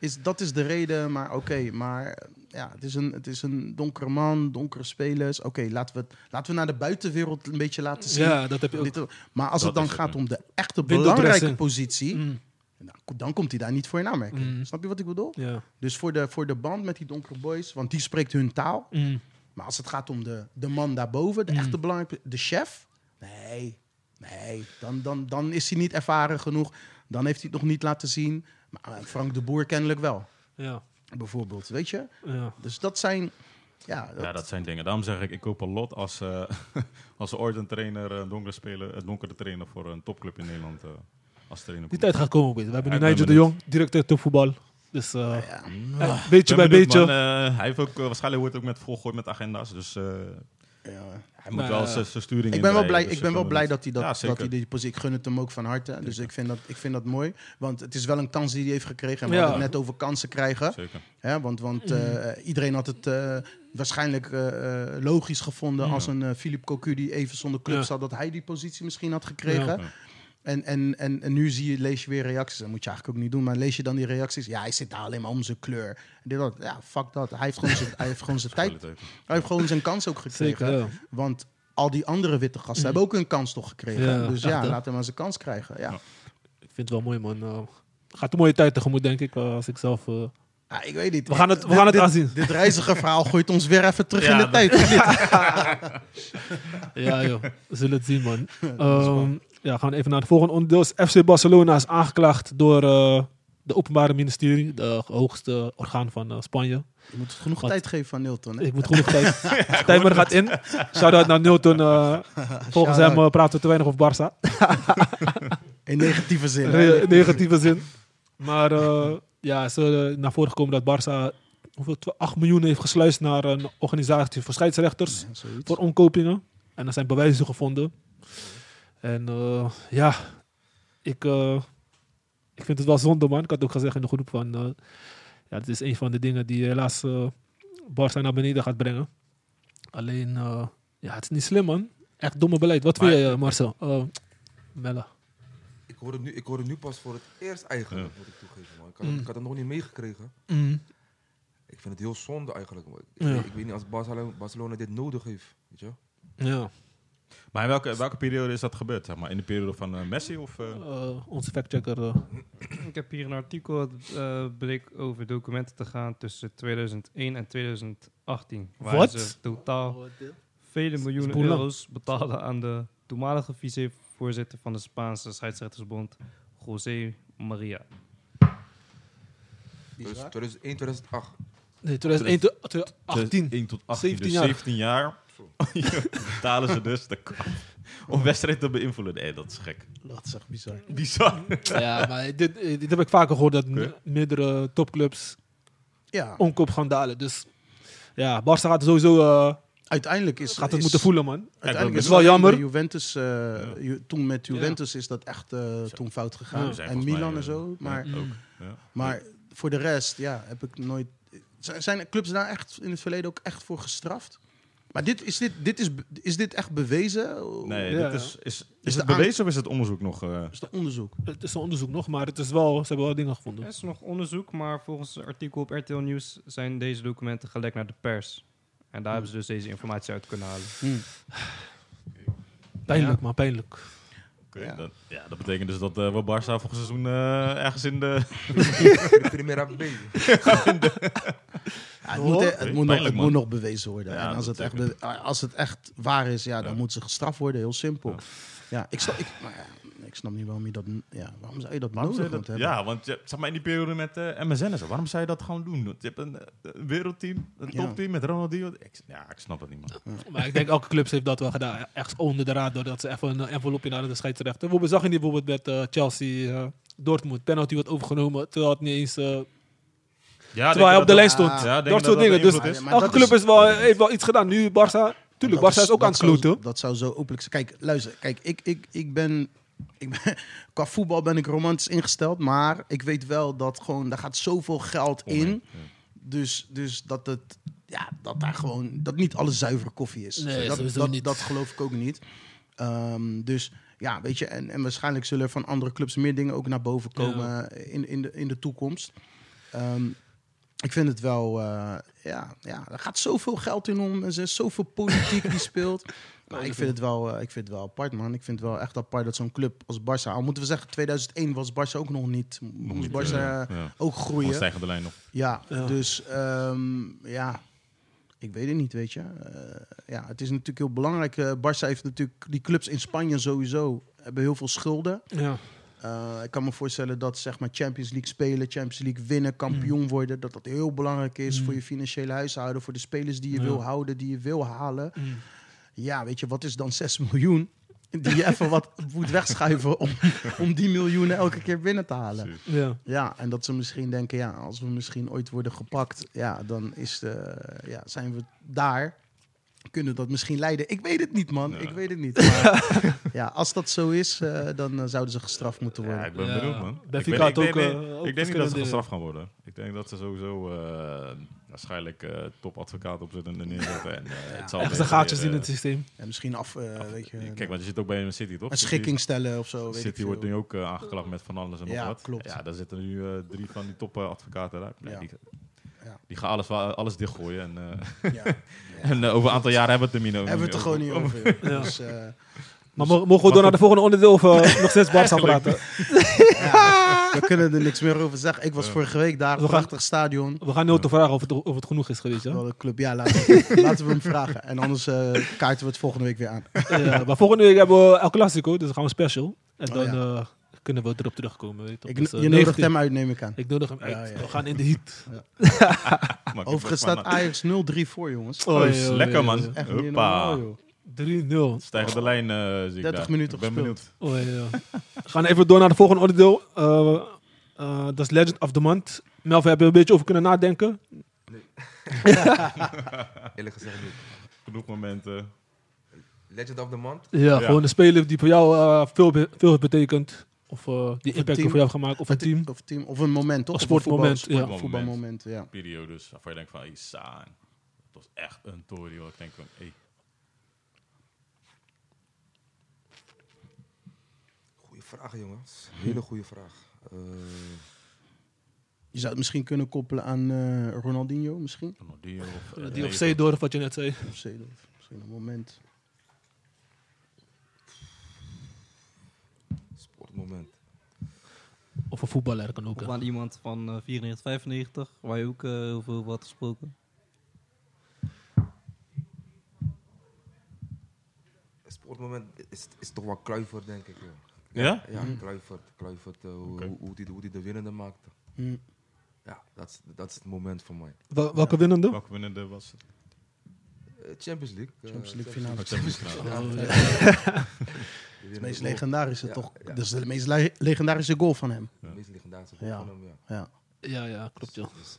Speaker 4: is, dat is de reden. Maar oké, maar eh, ja, het, is een, het is een donkere man, donkere spelers. Oké, laten, we, het- laten we naar de buitenwereld een beetje laten zien.
Speaker 2: ja, dat heb je ook.
Speaker 4: Dit- maar als
Speaker 3: Dat
Speaker 4: het dan
Speaker 3: is het,
Speaker 4: gaat
Speaker 3: hè.
Speaker 4: om de echte
Speaker 2: Window
Speaker 4: belangrijke
Speaker 2: dressing.
Speaker 4: positie...
Speaker 2: Mm,
Speaker 4: nou, Dan komt hij daar niet voor in aanmerking.
Speaker 2: Mm.
Speaker 4: Snap je wat ik bedoel?
Speaker 2: ja.
Speaker 4: Dus voor de, voor de band met die donkere boys, want die spreekt hun taal.
Speaker 2: Mm.
Speaker 4: Maar als het gaat om de, de man daarboven, de
Speaker 2: Mm.
Speaker 4: echte belangrijke, de chef. Nee, nee, dan, dan, dan is hij niet ervaren genoeg. Dan heeft hij het nog niet laten zien. Maar eh, Frank de Boer kennelijk wel,
Speaker 2: ja,
Speaker 4: bijvoorbeeld. Weet je?
Speaker 2: ja.
Speaker 4: Dus dat zijn. Ja, dat,
Speaker 3: Ja, dat zijn dingen. Daarom zeg ik, ik koop een lot als, eh, als er ooit een trainer, een donkere, speler, een donkere trainer voor een topclub in Nederland eh, als trainer
Speaker 2: Die
Speaker 3: komt.
Speaker 2: tijd gaat komen. weet je. We hebben nu
Speaker 3: Ja, ik
Speaker 2: Nigel
Speaker 3: ben
Speaker 2: de
Speaker 3: benieuwd.
Speaker 2: Jong, directeur topvoetbal. Dus eh,
Speaker 4: ja.
Speaker 2: eh, beetje
Speaker 3: Ik ben
Speaker 2: bij
Speaker 3: benieuwd,
Speaker 2: beetje.
Speaker 3: man. Eh, hij heeft ook, eh, waarschijnlijk wordt ook met volgooid met agenda's. Dus eh,
Speaker 4: ja.
Speaker 3: hij moet
Speaker 2: Maar,
Speaker 3: wel
Speaker 2: eh,
Speaker 3: zijn zijn sturing
Speaker 4: Ik ben wel
Speaker 3: indraaien,
Speaker 4: blij,
Speaker 3: dus
Speaker 4: ik ben wel
Speaker 3: ben
Speaker 4: blij
Speaker 3: benieuwd.
Speaker 4: dat hij, dat,
Speaker 3: Ja,
Speaker 4: dat
Speaker 3: zeker.
Speaker 4: hij die positie... Ik gun het hem ook van harte. Dus ik vind, dat, ik vind dat mooi. Want het is wel een kans die hij heeft gekregen. En we
Speaker 2: Ja.
Speaker 4: hadden het net over kansen krijgen.
Speaker 3: Zeker.
Speaker 4: Hè, want
Speaker 2: Mhm.
Speaker 4: want eh, iedereen had het eh, waarschijnlijk eh, eh, logisch gevonden als een eh, Philippe Cocu die even zonder club
Speaker 2: Ja.
Speaker 4: zat, dat hij die positie misschien had gekregen.
Speaker 3: Ja.
Speaker 4: En, en, en, en nu zie je, lees je weer reacties. Dat moet je eigenlijk ook niet doen, maar lees je dan die reacties. Ja, hij zit daar alleen maar om zijn kleur. En Dit, dat. Ja, fuck dat. Hij heeft gewoon zijn, hij heeft gewoon zijn tijd.
Speaker 3: Kwaliteit.
Speaker 4: Hij heeft gewoon zijn kans ook gekregen.
Speaker 2: Zeker, ja. Mhm.
Speaker 4: Want al die andere witte gasten hebben ook hun kans toch gekregen.
Speaker 2: Ja,
Speaker 4: dus
Speaker 2: echt,
Speaker 4: ja,
Speaker 2: hè?
Speaker 4: laat hem maar zijn kans krijgen. Ja.
Speaker 2: Ik vind het wel mooi, man. Eh, gaat een mooie tijd tegemoet, denk ik, eh, als ik zelf... eh,
Speaker 4: Ah, ik weet niet.
Speaker 2: We gaan het- we gaan het
Speaker 4: dit,
Speaker 2: aanzien.
Speaker 4: Dit reizigerverhaal gooit ons weer even terug
Speaker 3: Ja,
Speaker 4: in de
Speaker 3: dat-
Speaker 4: tijd. of niet?
Speaker 2: Ja, joh. We zullen het zien, man. Ehm, ja, gaan we even naar het volgende onderdeel. Dus FC Barcelona is aangeklaagd door eh, de Openbare Ministerie, de hoogste orgaan van eh, Spanje.
Speaker 4: Je moet genoeg
Speaker 2: Wat?
Speaker 4: tijd geven aan Nilton. Hè?
Speaker 2: Ik moet genoeg tijd. Timer gaat in. Shout-out naar Newton. eh, volgens hem
Speaker 4: Shout-out.
Speaker 2: eh, praten we te weinig over Barça.
Speaker 4: In negatieve zin. hè?
Speaker 2: Re- negatieve zin. Maar eh, ja, is er naar voren gekomen dat Barça hoeveel, Tw- 8 miljoen heeft gesluist naar een organisatie voor scheidsrechters.
Speaker 4: Ja, zoiets.
Speaker 2: voor omkopingen. En er zijn bewijzen gevonden. En eh, ja, ik, eh, ik vind het wel zonde, man. Ik had ook gezegd in de groep van... eh, ja, dit is een van de dingen die helaas eh Barca naar beneden gaat brengen. Alleen, eh, ja, het is niet slim, man. Echt domme beleid. Wat
Speaker 3: Maar-
Speaker 2: vind je, eh, Marcel? Eh Mella.
Speaker 5: Ik hoor, het nu, ik hoor het nu pas voor het eerst eigenlijk, moet ik toegeven. Man. Ik, had,
Speaker 2: Mm.
Speaker 5: ik had het nog niet meegekregen. Ik vind het heel zonde eigenlijk. man. Ik,
Speaker 2: Ja.
Speaker 5: ik weet niet als Barcelona, Barcelona dit nodig heeft. Weet je?
Speaker 2: Ja.
Speaker 3: Maar in welke, welke periode is dat gebeurd? Zeg maar? In de periode van eh, Messi? Of, eh,
Speaker 2: Eh, onze factchecker. eh,
Speaker 6: Ik heb hier een artikel, het eh, bleek over documenten te gaan tussen 2001 en 2018. Waar
Speaker 2: Wat?
Speaker 6: ze totaal vele miljoenen
Speaker 2: boelang.
Speaker 6: euro's betaalden aan de toenmalige vicevoorzitter van de Spaanse scheidsrechtersbond, José Maria.
Speaker 4: Bizar.
Speaker 5: 2001, 2008.
Speaker 2: nee, 2001, 2018.
Speaker 3: 1 tot 18,
Speaker 2: 17
Speaker 3: dus
Speaker 2: jaar.
Speaker 3: 17 jaar. Betalen ze dus de kap om wedstrijd te beïnvloeden. Nee, dat is gek.
Speaker 4: Dat is echt bizar.
Speaker 3: Bizar.
Speaker 2: Ja, maar dit, eh, dit heb ik vaker gehoord, dat
Speaker 3: Oké.
Speaker 2: meerdere topclubs
Speaker 4: Ja,
Speaker 2: omkoopschandalen. Dus ja, Barça gaat sowieso eh,
Speaker 4: uiteindelijk is...
Speaker 2: gaat het
Speaker 4: is-
Speaker 2: moeten voelen, man.
Speaker 4: Uiteindelijk is
Speaker 2: Het is wel
Speaker 4: alleen
Speaker 2: jammer.
Speaker 4: bij Juventus, eh, Ju- toen met Juventus is dat echt eh, toen fout
Speaker 2: Ja.
Speaker 4: gegaan.
Speaker 3: Zijn
Speaker 4: En
Speaker 3: volgens
Speaker 4: Milan
Speaker 3: mij,
Speaker 4: en
Speaker 3: eh,
Speaker 4: zo. Maar,
Speaker 3: Ook. Ja.
Speaker 4: maar voor de rest, ja, heb ik nooit... Zijn, zijn clubs daar echt in het verleden ook echt voor gestraft? Maar dit, is, dit, dit is, be- is dit echt bewezen?
Speaker 3: Nee,
Speaker 2: Ja.
Speaker 3: dit is, is, is, het
Speaker 4: de aan-
Speaker 3: bewezen of is het onderzoek nog? eh,
Speaker 4: Is dat onderzoek?
Speaker 2: Het is een onderzoek nog, maar het is wel, ze hebben wel dingen
Speaker 6: Er
Speaker 2: gevonden.
Speaker 6: is nog onderzoek, maar volgens een artikel op RTL Nieuws zijn deze documenten gelekt naar de pers. En daar hebben ze dus deze informatie uit kunnen halen.
Speaker 2: Pijnlijk, maar pijnlijk.
Speaker 3: oké,
Speaker 4: Ja.
Speaker 3: Dat, ja, dat betekent dus dat eh we Barca volgend seizoen eh, ergens in
Speaker 2: Oh,
Speaker 3: de...
Speaker 5: De Primera B.
Speaker 4: Ja, het moet, het, moet nog,
Speaker 3: Pijnlijk,
Speaker 4: het
Speaker 3: man.
Speaker 4: moet nog bewezen worden.
Speaker 3: Ja,
Speaker 4: en als
Speaker 3: dat
Speaker 4: het, echt be- als het echt waar is, ja, dan
Speaker 3: Ja.
Speaker 4: moet ze gestraft worden. Heel simpel. Ja, ik, snap, ik, maar ja, ik snap niet waarom je dat... Ja, waarom zou je dat
Speaker 3: Waarom zou
Speaker 4: nodig
Speaker 3: je dat-
Speaker 4: moeten hebben?
Speaker 3: ja, want je, zeg maar in die periode met eh, MSN en zo, waarom zou je dat gewoon doen? Want Je hebt een, eh, een wereldteam, een
Speaker 4: Ja.
Speaker 3: topteam met Ronaldinho. Ik, ja, ik snap dat niet, man.
Speaker 2: Maar ik denk, elke club heeft dat wel gedaan. Echt onder de radar, dat ze even een envelopje naar de scheidsrechter. Bijvoorbeeld zag je niet bijvoorbeeld met eh, Chelsea, eh, Dortmund. Penalty wordt overgenomen, terwijl het niet eens... eh,
Speaker 3: Ja,
Speaker 2: terwijl hij op de lijn stond.
Speaker 4: ah,
Speaker 3: Ja,
Speaker 2: dat
Speaker 3: denk je
Speaker 2: soort
Speaker 3: dat
Speaker 2: dingen.
Speaker 3: dat
Speaker 2: Dus
Speaker 3: invloed
Speaker 4: is?
Speaker 2: elke
Speaker 4: Maar dat
Speaker 2: club
Speaker 4: is-
Speaker 2: is wel, heeft wel iets gedaan. Nu Barça, tuurlijk,
Speaker 4: Dat
Speaker 2: Barça is ook aan het
Speaker 4: dat zou-
Speaker 2: kloten.
Speaker 4: Dat zou zo openlijk zijn. Kijk, luister. Kijk, ik, ik, ik, ben, ik ben... Qua voetbal ben ik romantisch ingesteld. Maar ik weet wel dat gewoon... Daar gaat zoveel geld in. Dus, dus dat het... Ja, dat daar gewoon... Dat niet alles zuivere koffie is.
Speaker 2: Nee,
Speaker 4: dat,
Speaker 2: sowieso
Speaker 4: dat,
Speaker 2: niet.
Speaker 4: dat geloof ik ook niet. Ehm, dus ja, weet je... En, en waarschijnlijk zullen er van andere clubs meer dingen ook naar boven komen... In, in, de, in de toekomst. Ehm, ik vind het wel, eh, ja, ja, er gaat zoveel geld in om. en Er is zoveel politiek die speelt. Maar ik vind, het wel, eh, ik vind het wel apart, man. Ik vind het wel echt apart dat zo'n club als Barça... Al moeten we zeggen, 2001 was Barça ook nog niet. Moest Barça eh, ook
Speaker 3: Gewoon
Speaker 4: groeien.
Speaker 3: stijgende lijn nog.
Speaker 4: Ja,
Speaker 2: Ja.
Speaker 4: dus ehm, ja, ik weet het niet, weet je. Eh, ja, het is natuurlijk heel belangrijk. eh Barça heeft natuurlijk... Die clubs in Spanje sowieso hebben heel veel schulden.
Speaker 2: Ja.
Speaker 4: Eh, ik kan me voorstellen dat zeg maar, Champions League spelen, Champions League winnen, kampioen worden, dat dat heel belangrijk is voor je financiële huishouden, voor de spelers die je
Speaker 2: Ja.
Speaker 4: wil houden, die je wil halen. Ja, weet je, wat is dan 6 miljoen? Die je even wat moet wegschuiven om, om die miljoenen elke keer binnen te halen.
Speaker 2: ja.
Speaker 4: Ja, en dat ze misschien denken, ja, als we misschien ooit worden gepakt, ja, dan is de, ja, zijn we daar. Kunnen dat misschien leiden? Ik weet het niet, man.
Speaker 3: Ja.
Speaker 4: Ik weet het niet. Maar, ja, als dat zo is, eh, dan eh, zouden ze gestraft moeten worden.
Speaker 3: Ja, ik ben
Speaker 2: Ja.
Speaker 3: benieuwd, man.
Speaker 2: Benfica
Speaker 3: ik, ben-
Speaker 2: had
Speaker 3: ik denk,
Speaker 2: ook,
Speaker 3: niet-
Speaker 2: eh, ook
Speaker 3: ik denk niet dat ze
Speaker 2: verschillende-
Speaker 3: gestraft gaan worden. Ik denk dat ze sowieso eh, waarschijnlijk eh, topadvocaat opzetten en neerzetten. En, eh, het zal
Speaker 2: Ergens de
Speaker 3: weer-
Speaker 2: gaatjes
Speaker 3: weer,
Speaker 2: in
Speaker 3: eh,
Speaker 2: het systeem.
Speaker 4: En misschien af, eh, weet je,
Speaker 3: Kijk, want je zit ook bij Man City, toch?
Speaker 4: een
Speaker 3: City-
Speaker 4: schikking stellen of zo. Weet ik
Speaker 3: City
Speaker 4: veel.
Speaker 3: wordt nu ook eh, aangeklaagd met van alles en nog
Speaker 4: Ja,
Speaker 3: wat.
Speaker 4: klopt.
Speaker 3: Ja, daar zitten nu eh, drie van die topadvocaten uit. Nee,
Speaker 4: Ja.
Speaker 3: die,
Speaker 4: Ja.
Speaker 3: die gaan alles, wa- alles dichtgooien. En, eh,
Speaker 4: Ja.
Speaker 3: en eh, over een aantal jaar hebben we het er niet over.
Speaker 4: Hebben we het er gewoon niet over. joh.
Speaker 2: Ja.
Speaker 4: Dus, eh,
Speaker 2: Maar mo- mogen we door naar de volgende onderdeel of eh, nog steeds Barça praten?
Speaker 4: ja, we kunnen er niks meer over zeggen. Ik was vorige week daar,
Speaker 2: We gaan-
Speaker 4: prachtig stadion.
Speaker 2: We gaan Noto vragen of het, of het genoeg is geweest. Ja?
Speaker 4: Wel een club, ja, laten we, laten we hem vragen. En anders eh, kaarten we het volgende week weer aan.
Speaker 2: Ja, Eh, maar volgende week hebben we El Clasico, dus dan gaan we special. En
Speaker 4: Oh,
Speaker 2: dan
Speaker 4: ja.
Speaker 2: eh, kunnen we erop terugkomen. Weet je, toch?
Speaker 4: Ik,
Speaker 2: Dus, eh,
Speaker 4: je nodigt
Speaker 2: 19.
Speaker 4: hem uit, neem ik aan.
Speaker 2: Ik nodig hem uit.
Speaker 4: Ja, ja.
Speaker 2: We gaan in de heat.
Speaker 4: Overigens staat Ajax 0-3 voor, jongens.
Speaker 2: Oh,
Speaker 3: Oh,
Speaker 2: ja,
Speaker 3: is
Speaker 2: ja,
Speaker 3: lekker,
Speaker 2: ja,
Speaker 3: man.
Speaker 2: ja.
Speaker 4: Echt niet normaal,
Speaker 3: Hoppa.
Speaker 4: joh.
Speaker 2: 3-0.
Speaker 3: Stijgende lijn eh zie ik
Speaker 4: 30
Speaker 3: daar.
Speaker 4: minuten
Speaker 3: Ik ben
Speaker 4: gespeeld.
Speaker 3: benieuwd.
Speaker 2: Oh, ja, ja. We gaan even door naar de volgende onderdeel. Eh, eh, Dat is Legend of the Month. Melvin, heb je een beetje over kunnen nadenken?
Speaker 5: Eerlijk gezegd niet.
Speaker 3: Genoeg momenten.
Speaker 5: Legend of the Month.
Speaker 2: Ja,
Speaker 3: Ja.
Speaker 2: gewoon een speler die voor jou eh, veel, be- veel heeft betekend. Of eh, die impact
Speaker 4: team.
Speaker 2: voor jou heeft gemaakt. Of een team.
Speaker 4: Of, team, of een moment, toch?
Speaker 2: Of
Speaker 4: een
Speaker 2: sportmoment,
Speaker 4: voetbal-
Speaker 2: ja.
Speaker 4: sport- Voetbalmoment, ja.
Speaker 3: Periodes waarvan je denkt van, hey, Saan. Dat was echt een tory, hoor. Ik denk van, hey.
Speaker 5: Goeie vraag, jongens. Hele goede vraag. Eh,
Speaker 4: Je zou het misschien kunnen koppelen aan eh, Ronaldinho, misschien. Oh.
Speaker 3: Ronaldinho of... eh,
Speaker 2: Die
Speaker 3: nee,
Speaker 2: of C door, wat je net zei.
Speaker 4: Of Zeedorf. Misschien een moment.
Speaker 5: moment.
Speaker 2: Of een voetballer kan ook.
Speaker 6: Of
Speaker 2: hè.
Speaker 6: aan iemand van eh, 94, 95, waar je ook eh, heel veel over had gesproken.
Speaker 5: Het sportmoment is, is toch wel Kluivert, denk ik. joh.
Speaker 3: Ja?
Speaker 5: Ja,
Speaker 4: Mm.
Speaker 5: Kluivert. Kluivert, eh, hoe-
Speaker 3: Oké.
Speaker 5: hoe, hoe, die, hoe die de winnende maakte.
Speaker 4: Hm.
Speaker 5: Ja, dat is, dat is het moment voor mij.
Speaker 2: Wel- welke winnende?
Speaker 3: Welke winnende was het?
Speaker 5: Eh, Champions League. eh,
Speaker 4: Champions League finale.
Speaker 3: Oh, Champions League
Speaker 5: finale.
Speaker 4: Oh, ja.
Speaker 5: De
Speaker 4: Het
Speaker 5: winnende
Speaker 4: meest
Speaker 5: goal.
Speaker 4: legendarische
Speaker 5: Ja,
Speaker 4: toch?
Speaker 5: ja.
Speaker 4: Dat is de meest le- legendarische goal van hem.
Speaker 5: De meest legendarische
Speaker 4: Ja.
Speaker 5: goal van hem, ja.
Speaker 4: Ja.
Speaker 2: Ja, ja, klopt joh.
Speaker 5: Dus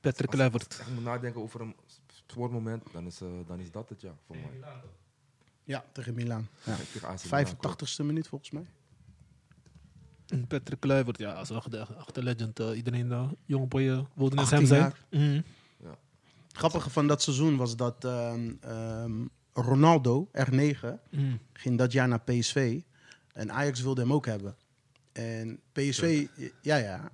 Speaker 2: Patrick Kluivert.
Speaker 5: als ik moet nadenken over een sportmoment, dan is, eh, dan is dat het, ja, voor mij.
Speaker 4: Ja, tegen Milaan. Ja.
Speaker 5: Tegen AC Milan, klopt.
Speaker 4: 85ste minuut volgens mij.
Speaker 2: Mm, Patrick Kluivert, ja, als echt de echte legend. eh, iedereen, eh, jonge boy, eh, wilde net
Speaker 4: 18
Speaker 2: hem zijn.
Speaker 4: jaar.
Speaker 2: Mhm.
Speaker 4: Het grappige van dat seizoen was dat ehm, ehm, Ronaldo, R9,
Speaker 2: Mhm.
Speaker 4: ging dat jaar naar PSV. En Ajax wilde hem ook hebben. En PSV, ja, ja.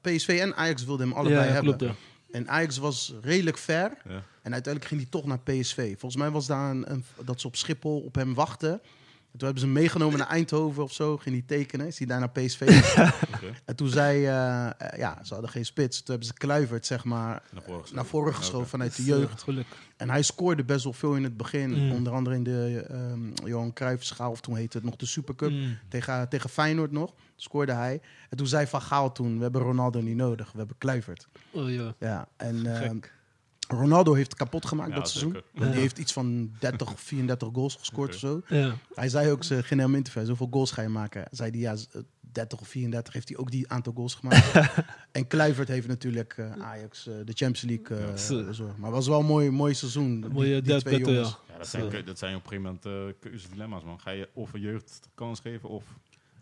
Speaker 4: PSV en Ajax wilden hem allebei
Speaker 2: Ja, ja,
Speaker 4: hebben.
Speaker 2: klopt ja.
Speaker 4: En Ajax was redelijk ver.
Speaker 3: Ja.
Speaker 4: En uiteindelijk ging hij toch naar PSV. Volgens mij was daar een, een- dat ze op Schiphol op hem wachten. En toen hebben ze hem meegenomen naar Eindhoven of zo. Ging hij tekenen. Is hij daar naar PSV. gegaan.
Speaker 3: Oké.
Speaker 4: En toen zei... eh, eh, ja, ze hadden geen spits. Toen hebben ze Kluivert, zeg maar...
Speaker 3: Naar voren geschoven.
Speaker 4: Naar voren geschoven vanuit de jeugd.
Speaker 2: Dus, eh, geluk.
Speaker 4: En hij scoorde best wel veel in het begin.
Speaker 2: Mm.
Speaker 4: Onder andere in de ehm Johan Cruijffschaal, of toen heette het nog de Supercup.
Speaker 2: Mhm.
Speaker 4: Tegen, tegen Feyenoord nog, scoorde hij. En toen zei Van Gaal toen, we hebben Ronaldo niet nodig, we hebben Kluivert.
Speaker 2: Oh ja.
Speaker 4: Ja, en
Speaker 2: Gek.
Speaker 4: ehm, Ronaldo heeft kapot gemaakt
Speaker 3: Ja,
Speaker 4: dat seizoen.
Speaker 3: zeker.
Speaker 4: Want
Speaker 2: Ja.
Speaker 4: Die heeft iets van 30 of 34 goals gescoord of zo.
Speaker 2: Ja.
Speaker 4: Hij zei ook, ze gingen hem interviewen, hoeveel goals ga je maken? Zei hij, ja, z- eh, 30 of 34 heeft hij ook die aantal goals gemaakt. en Kluivert heeft natuurlijk eh, Ajax eh, de Champions League eh,
Speaker 2: Ja, zo.
Speaker 4: bezorgd. Maar het was wel een mooi, mooi seizoen. Die-
Speaker 2: Mooie
Speaker 4: die
Speaker 2: dead
Speaker 4: twee
Speaker 2: battle,
Speaker 4: jongens.
Speaker 2: ja.
Speaker 3: Ja, dat, zijn, keu- dat zijn op een gegeven moment eh, keuze dilemma's, man. Ga je of een jeugd kans geven, of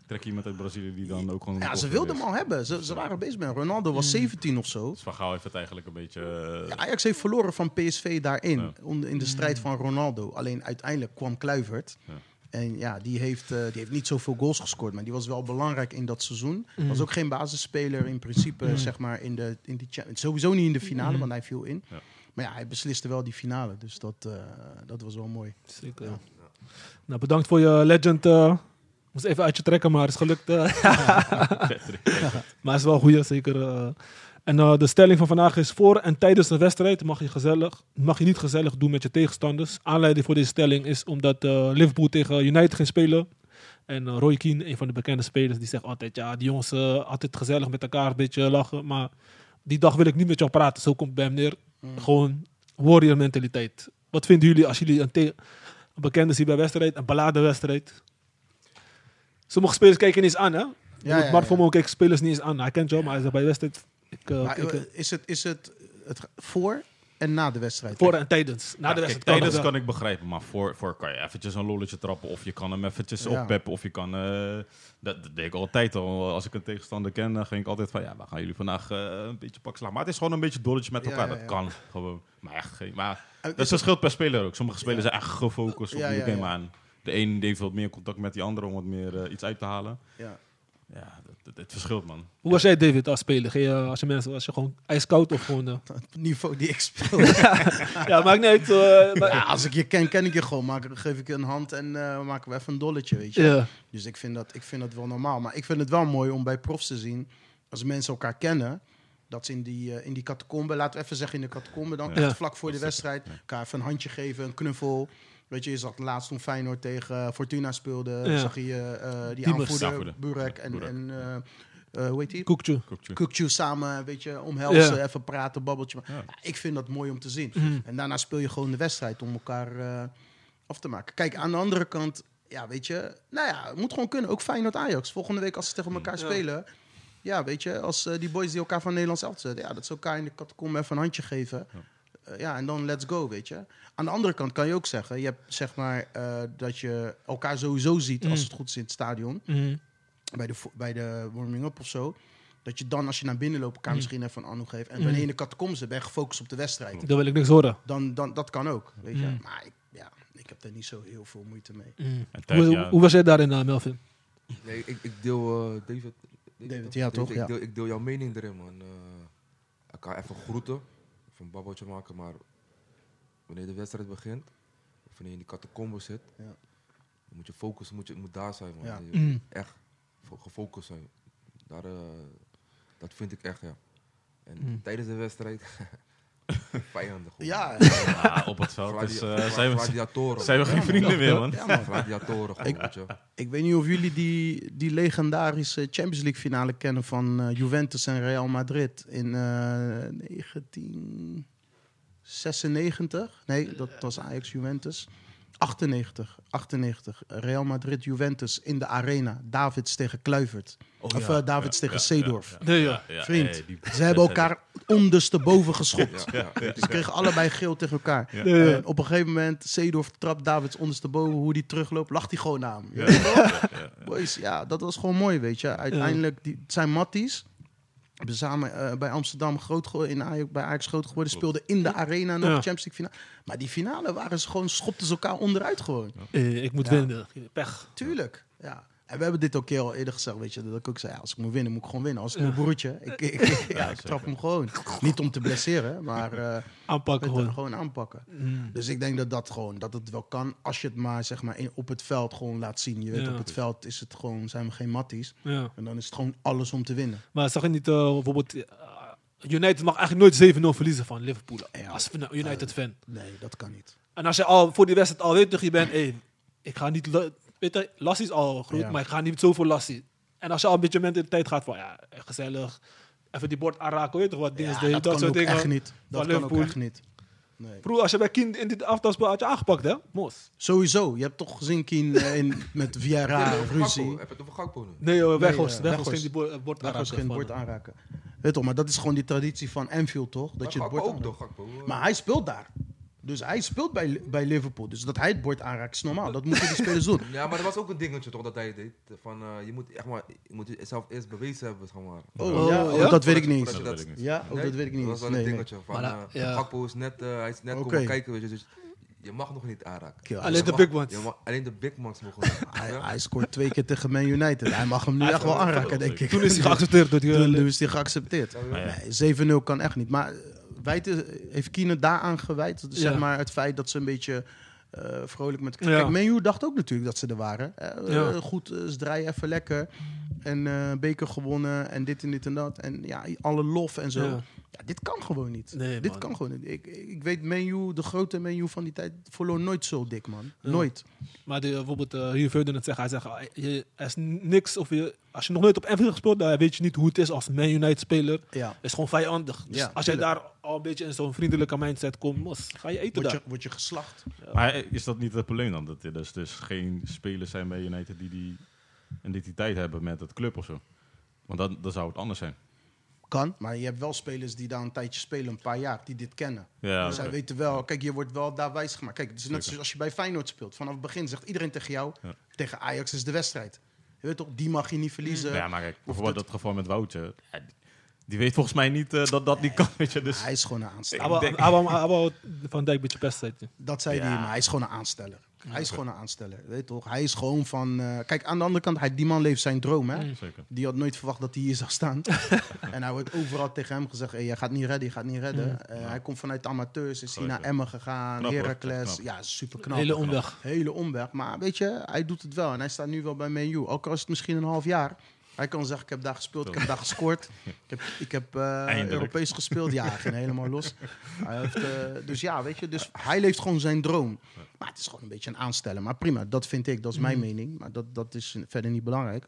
Speaker 3: trek je iemand uit Brazilië die dan ook gewoon...
Speaker 4: Ja, ze
Speaker 3: topper
Speaker 4: wilden
Speaker 3: is?
Speaker 4: hem al hebben. Ze, ze waren bezig met Ronaldo, was
Speaker 2: Mm.
Speaker 4: 17 of zo.
Speaker 3: Dus Van Gaal heeft het eigenlijk een beetje... eh,
Speaker 4: Ja, Ajax heeft verloren van PSV daarin,
Speaker 3: Ja.
Speaker 4: onder- in de strijd van Ronaldo. Alleen uiteindelijk kwam Kluivert.
Speaker 3: Ja.
Speaker 4: En ja, die heeft, eh, die heeft niet zoveel goals gescoord, maar die was wel belangrijk in dat seizoen.
Speaker 2: Mhm.
Speaker 4: Was ook geen basisspeler in principe, zeg maar, in de, in die Champions Sowieso niet in de
Speaker 2: Mhm.
Speaker 4: finale, want hij viel in.
Speaker 3: Ja.
Speaker 4: Maar ja, hij besliste wel die finale, dus dat, eh, dat was wel mooi.
Speaker 2: Zeker. ja. Nou, bedankt voor je legend. eh. moest even uit je trekken, maar het is gelukt. eh. maar het is wel goed, zeker. eh. En eh, de stelling van vandaag is: voor en tijdens de wedstrijd mag je, gezellig, mag je niet gezellig doen met je tegenstanders. Aanleiding voor deze stelling is omdat eh, Liverpool tegen United ging spelen. En eh, Roy Keane, een van de bekende spelers, die zegt altijd: ja, die jongens eh, altijd gezellig met elkaar, een beetje lachen. Maar die dag wil ik niet met jou praten. Zo komt het bij hem neer.
Speaker 4: Hmm.
Speaker 2: Gewoon warrior mentaliteit. Wat vinden jullie als jullie een, te- een bekende zien bij wedstrijd, een beladen wedstrijd? Sommige spelers kijken niet eens aan, hè? Ja, Bart
Speaker 4: ja, ja.
Speaker 2: van Moon kijkt spelers niet eens aan. Hij kent jou, maar hij zegt bij wedstrijd. Ik, eh,
Speaker 4: Maar,
Speaker 2: kijk,
Speaker 4: eh, is het, is het, het ga- voor en na de wedstrijd?
Speaker 2: voor en tijdens. Na
Speaker 3: Ja,
Speaker 2: Nou, de
Speaker 3: kijk,
Speaker 2: wedstrijd.
Speaker 3: tijdens
Speaker 2: kan
Speaker 3: kan ik begrijpen, maar voor, voor kan je eventjes een lolletje trappen. Of je kan hem eventjes
Speaker 4: Ja.
Speaker 3: oppeppen. Of je kan... eh, dat, dat deed ik altijd al. Als ik een tegenstander ken, dan ging ik altijd van... Ja, we gaan jullie vandaag eh, een beetje pak slaan. Maar het is gewoon een beetje dolletje met
Speaker 4: Ja,
Speaker 3: elkaar.
Speaker 4: ja, ja.
Speaker 3: Dat kan gewoon. Maar echt geen... Maar
Speaker 4: Eh,
Speaker 3: dat verschilt per speler ook. Sommige spelers zijn echt gefocust op
Speaker 4: Ja,
Speaker 3: de
Speaker 4: ja,
Speaker 3: game
Speaker 4: ja.
Speaker 3: aan. De een die heeft wat meer contact met die andere om wat meer eh, iets uit te halen.
Speaker 4: Ja.
Speaker 3: Ja, dat- dat- het verschilt, man.
Speaker 2: Hoe was jij, David, als speler? Ging je, eh, als je mensen, was je gewoon ijskoud of gewoon. eh,
Speaker 4: Het niveau die ik speel.
Speaker 2: ja, maakt niet uit. eh, maar-
Speaker 4: Ja, als ik je ken, ken ik je gewoon. Maar dan geef ik je een hand en eh, maken we even een dolletje, weet je.
Speaker 2: Ja.
Speaker 4: Dus ik vind, dat, ik vind dat wel normaal. Maar ik vind het wel mooi om bij profs te zien, als mensen elkaar kennen, dat ze in die, eh, in die catacombe, laten we even zeggen in de catacombe, dan
Speaker 2: Ja.
Speaker 4: echt vlak voor de wedstrijd, elkaar even een handje geven, een knuffel. Weet je, je zag laatst toen Feyenoord tegen eh, Fortuna speelde,
Speaker 2: Ja.
Speaker 4: zag je eh, die
Speaker 2: Diemers.
Speaker 4: aanvoerder,
Speaker 3: Aanvoerder.
Speaker 4: Burek
Speaker 3: Ja,
Speaker 4: en,
Speaker 3: Burek.
Speaker 4: en eh, eh, hoe heet die?
Speaker 2: Koekje.
Speaker 3: Kukcu.
Speaker 4: Kukju samen, weet je, omhelzen,
Speaker 2: Ja.
Speaker 4: even praten, babbeltje. Maar,
Speaker 3: Ja.
Speaker 4: ja, ik vind dat mooi om te zien.
Speaker 2: Mm.
Speaker 4: En daarna speel je gewoon de wedstrijd om elkaar eh, af te maken. Kijk, aan de andere kant, ja, weet je, nou ja, het moet gewoon kunnen. Ook Feyenoord-Ajax. Volgende week als ze tegen elkaar
Speaker 2: Ja.
Speaker 4: spelen. Ja, weet je, als eh, die boys die elkaar van Nederlands elftal zetten. Ja, dat ze elkaar in de catacombe even een handje geven.
Speaker 3: Ja.
Speaker 4: Eh, ja, en dan let's go, weet je. Aan de andere kant kan je ook zeggen, je hebt zeg maar eh, dat je elkaar sowieso ziet als
Speaker 2: Mm.
Speaker 4: het goed is in het stadion
Speaker 2: Mhm.
Speaker 4: bij de, vo- bij de warming-up of zo. Dat je dan, als je naar binnen loopt, elkaar misschien even een anno geeft. En wanneer je in de catacombes bent, ben je gefocust op de wedstrijd.
Speaker 2: Daar wil ik niks horen.
Speaker 4: Dan, dan, dat kan ook, weet je.
Speaker 2: Mm.
Speaker 4: Maar ik, ja, ik heb daar niet zo heel veel moeite mee.
Speaker 2: Mhm.
Speaker 3: En tijd,
Speaker 2: Hoe,
Speaker 3: ja.
Speaker 2: hoe was jij daarin, eh, Melvin?
Speaker 5: Nee, ik, ik deel eh, David.
Speaker 4: David, ja, toch?
Speaker 5: Ik,
Speaker 4: Ja.
Speaker 5: Deel, ik deel jouw mening erin, man. Eh, elkaar even groeten, even een babbeltje maken, maar wanneer de wedstrijd begint, of wanneer je in die catacombe zit,
Speaker 4: Ja.
Speaker 5: dan moet je focussen, moet je moet daar zijn, man.
Speaker 4: Ja.
Speaker 5: Je-
Speaker 2: Mm.
Speaker 5: Echt gefo- gefocust zijn. Daar, eh, dat vind ik echt, ja. En
Speaker 2: Mm.
Speaker 5: tijdens de wedstrijd, vijanden. gewoon.
Speaker 4: Ja,
Speaker 3: Ja, op het veld
Speaker 5: Gladia-
Speaker 3: is, eh, zijn, we,
Speaker 5: gladiatoren.
Speaker 3: zijn we geen vrienden meer, man.
Speaker 4: ja, man.
Speaker 5: Gladiatoren, gewoon, weet je.
Speaker 4: Ik weet niet of jullie die, die legendarische Champions League finale kennen van eh, Juventus en Real Madrid in eh, 1996. Nee, dat was Ajax Juventus. 98, 98. Real Madrid Juventus in de arena. Davids tegen Kluivert.
Speaker 3: Oh
Speaker 4: of eh, Davids tegen Seedorf.
Speaker 2: Nee, ja.
Speaker 3: Ja,
Speaker 4: Vriend,
Speaker 3: eh, die-
Speaker 4: Ze hebben elkaar ondersteboven geschopt.
Speaker 5: Ja, ja.
Speaker 4: Ze kregen allebei geel tegen elkaar.
Speaker 3: Ja.
Speaker 2: Ja.
Speaker 4: En op een gegeven moment, Seedorf trapt Davids ondersteboven. Hoe die terugloopt, lacht hij gewoon naar hem.
Speaker 3: Ja, ja, ja.
Speaker 4: Boys, ja, dat was gewoon mooi, weet je. Uiteindelijk, die, het zijn matties. Hebben samen eh, bij Amsterdam groot gewo- in Ajax, bij Ajax groot geworden.
Speaker 3: Klopt.
Speaker 4: Speelden in de arena nog
Speaker 2: Ja.
Speaker 4: de Champions League finale. Maar die finale waren ze gewoon, schopten ze elkaar onderuit gewoon.
Speaker 2: Eh, ik moet
Speaker 4: Ja.
Speaker 2: winnen. Pech.
Speaker 4: Tuurlijk, ja. En we hebben dit ook heel eerder gezegd, weet je. Dat ik ook zei, ja, als ik moet winnen, moet ik gewoon winnen. Als ik
Speaker 2: Ja.
Speaker 4: mijn broertje, ik, ik, ja, ik
Speaker 3: zeker.
Speaker 4: trap hem gewoon. Niet om te blesseren, maar eh,
Speaker 2: Aanpakken
Speaker 4: weet je,
Speaker 2: gewoon.
Speaker 4: gewoon aanpakken.
Speaker 2: Mm.
Speaker 4: Dus ik denk dat dat gewoon, dat het wel kan. Als je het maar, zeg maar, in, op het veld gewoon laat zien. Je weet,
Speaker 2: Ja.
Speaker 4: op het veld is het gewoon, zijn we geen matties.
Speaker 2: Ja.
Speaker 4: En dan is het gewoon alles om te winnen.
Speaker 2: Maar zag je niet eh, bijvoorbeeld... eh, United mag eigenlijk nooit 7-0 verliezen van Liverpool.
Speaker 4: Ja.
Speaker 2: Als nou fan- United-fan.
Speaker 4: Nee, dat kan niet.
Speaker 2: En als je al voor die wedstrijd al weet dat je bent... Hey, ik ga niet... la- Weet je, Lassie is al groot,
Speaker 4: Ja.
Speaker 2: maar ik ga niet zoveel Lassie. En als je al een beetje met de tijd gaat van... Ja, gezellig. Even die bord aanraken, weet je toch wat dingen.
Speaker 4: Ja,
Speaker 2: deed,
Speaker 4: dat,
Speaker 2: dat
Speaker 4: kan
Speaker 2: soort
Speaker 4: ook
Speaker 2: dingen.
Speaker 4: echt niet. Dat kan ook
Speaker 2: Liverpool.
Speaker 4: echt niet. Nee.
Speaker 2: Broer, als je bij Kind in dit aftal speelt, had je aangepakt, hè? Mos.
Speaker 4: Sowieso, je hebt toch gezien Kien eh, in, met Vieira of ruzie.
Speaker 5: Gakpo, Heb je het over Gakpo nu?
Speaker 2: Nee, joh,
Speaker 4: eh,
Speaker 2: Weghorst. Weghorst
Speaker 4: Weghorst.
Speaker 2: ging die bo- eh, bord
Speaker 4: Daar gaan ze
Speaker 2: aanraken
Speaker 4: geen
Speaker 2: van,
Speaker 4: bord
Speaker 2: eh,
Speaker 4: aanraken. Weet toch, maar dat is gewoon die traditie van Anfield, toch? Dat
Speaker 5: Maar
Speaker 4: je het
Speaker 5: Gakpo
Speaker 4: bord
Speaker 5: ook,
Speaker 4: aanraakt.
Speaker 5: toch? Gakpo. eh,
Speaker 4: Maar hij speelt daar. Dus hij speelt bij, bij Liverpool. Dus dat hij het bord aanraakt is normaal. Dat moeten die spelers doen.
Speaker 5: Ja, maar dat was ook een dingetje toch dat hij deed. Van, eh, je, moet echt maar, je moet jezelf eerst bewezen hebben. Zeg maar.
Speaker 4: Oh,
Speaker 2: Oh,
Speaker 4: ja,
Speaker 2: ja?
Speaker 4: oh, dat weet ik niet.
Speaker 5: Dat
Speaker 4: eens.
Speaker 3: Dat weet ik niet.
Speaker 4: Ja, oh,
Speaker 5: Nee,
Speaker 4: dat weet ik niet.
Speaker 5: Dat
Speaker 4: eens.
Speaker 5: was wel
Speaker 4: Nee,
Speaker 5: een
Speaker 4: nee.
Speaker 5: dingetje. Van,
Speaker 2: Maar,
Speaker 5: eh,
Speaker 2: ja.
Speaker 5: Gakpo is net, eh, hij is net
Speaker 4: Oké.
Speaker 5: komen kijken. Weet je, dus je mag nog niet aanraken.
Speaker 4: Kill.
Speaker 5: Je
Speaker 2: Alleen de
Speaker 5: mag-
Speaker 2: big ones.
Speaker 5: je mag- Alleen de big ones mogen. aanraken.
Speaker 4: Hij,
Speaker 5: Ja.
Speaker 4: hij scoort twee keer tegen Man United. Hij mag hem nu
Speaker 2: Hij
Speaker 4: echt wel
Speaker 2: heeft-
Speaker 4: aanraken, denk ik.
Speaker 2: Toen is hij geaccepteerd door die... eh,
Speaker 4: Toen is hij geaccepteerd.
Speaker 5: Ja, ja.
Speaker 4: Nee, 7-0 kan echt niet. Maar eh, wijten, heeft Kine daaraan gewijd? Dus
Speaker 2: Ja.
Speaker 4: Zeg maar het feit dat ze een beetje eh, vrolijk met...
Speaker 2: Ja.
Speaker 4: Kijk, Menu dacht ook natuurlijk dat ze er waren. Eh, eh,
Speaker 2: Ja.
Speaker 4: goed, eh, ze draaien even lekker. En eh, beker gewonnen en dit en dit en dat. En ja, alle lof en zo.
Speaker 2: Ja.
Speaker 4: Ja. dit kan gewoon niet.
Speaker 2: Nee,
Speaker 4: dit
Speaker 2: man.
Speaker 4: kan gewoon niet. Ik, ik weet Menu, de grote Menu van die tijd, verloor nooit zo dik, man.
Speaker 2: Ja.
Speaker 4: Nooit.
Speaker 2: Maar die, eh, bijvoorbeeld eh, hier verder het zeggen, hij zegt, ah, je, er is niks of je, als je nog nooit op Anfield hebt gespeeld, dan weet je niet hoe het is als Man United speler.
Speaker 4: Ja.
Speaker 2: Het is gewoon vijandig. Dus
Speaker 4: Ja,
Speaker 2: als je
Speaker 4: tuurlijk.
Speaker 2: daar al een beetje in zo'n vriendelijke mindset komt, mos, ga je eten daar.
Speaker 4: Word je, word je geslacht.
Speaker 3: Maar is dat niet het probleem dan? Dat er dus, dus geen spelers zijn bij United die die identiteit hebben met het club of zo? Want dan, dan zou het anders zijn.
Speaker 4: Kan, maar je hebt wel spelers die daar een tijdje spelen, een paar jaar, die dit kennen.
Speaker 3: Ja,
Speaker 4: Dus Zij
Speaker 3: oké.
Speaker 4: weten wel, kijk, je wordt wel daar wijs gemaakt. Kijk, het is net zoals als je bij Feyenoord speelt. Vanaf het begin zegt iedereen tegen jou,
Speaker 3: Ja.
Speaker 4: tegen Ajax is de wedstrijd. Je weet toch, die mag je niet verliezen.
Speaker 3: ja maar kijk, bijvoorbeeld dat geval met Woutje. Ja, die- die weet volgens mij niet eh, dat dat niet kan, weet je. Dus
Speaker 4: Hij is gewoon een aansteller.
Speaker 2: Hij wou-
Speaker 3: denk-
Speaker 2: hij wou- hij wou Van Dijk een beetje best zijn.
Speaker 4: Dat zei hij, maar hij is gewoon een aansteller. Hij is gewoon een aansteller, weet toch? Hij is gewoon van... eh, kijk, aan de andere kant, hij, die man leeft zijn droom, hè?
Speaker 3: zeker.
Speaker 4: Die had nooit verwacht dat hij hier zou staan. en hij wordt overal tegen hem gezegd: hey, jij gaat niet redden, je gaat niet redden. Eh, Hij komt vanuit de amateurs, is hij
Speaker 3: Gelijk,
Speaker 4: naar
Speaker 3: ja.
Speaker 4: Emmen gegaan,
Speaker 3: Mm. Knap, hoor.
Speaker 4: Heracles.
Speaker 3: Knap.
Speaker 4: Ja, super knap.
Speaker 2: Hele omweg.
Speaker 4: Hele omweg. Maar weet je, hij doet het wel. En hij staat nu wel bij Man U. Ook al is het misschien een half jaar. Hij kan zeggen, ik heb daar gespeeld, ik heb daar gescoord. Ik heb, ik heb eh,
Speaker 3: Eindelijk.
Speaker 4: Europees gespeeld. Ja, hij ging helemaal los. Hij heeft, eh, dus ja, weet je. Dus hij leeft gewoon zijn droom. Maar het is gewoon een beetje een aanstellen. Maar prima, dat vind ik. Dat is mijn mening. Maar dat, dat is verder niet belangrijk.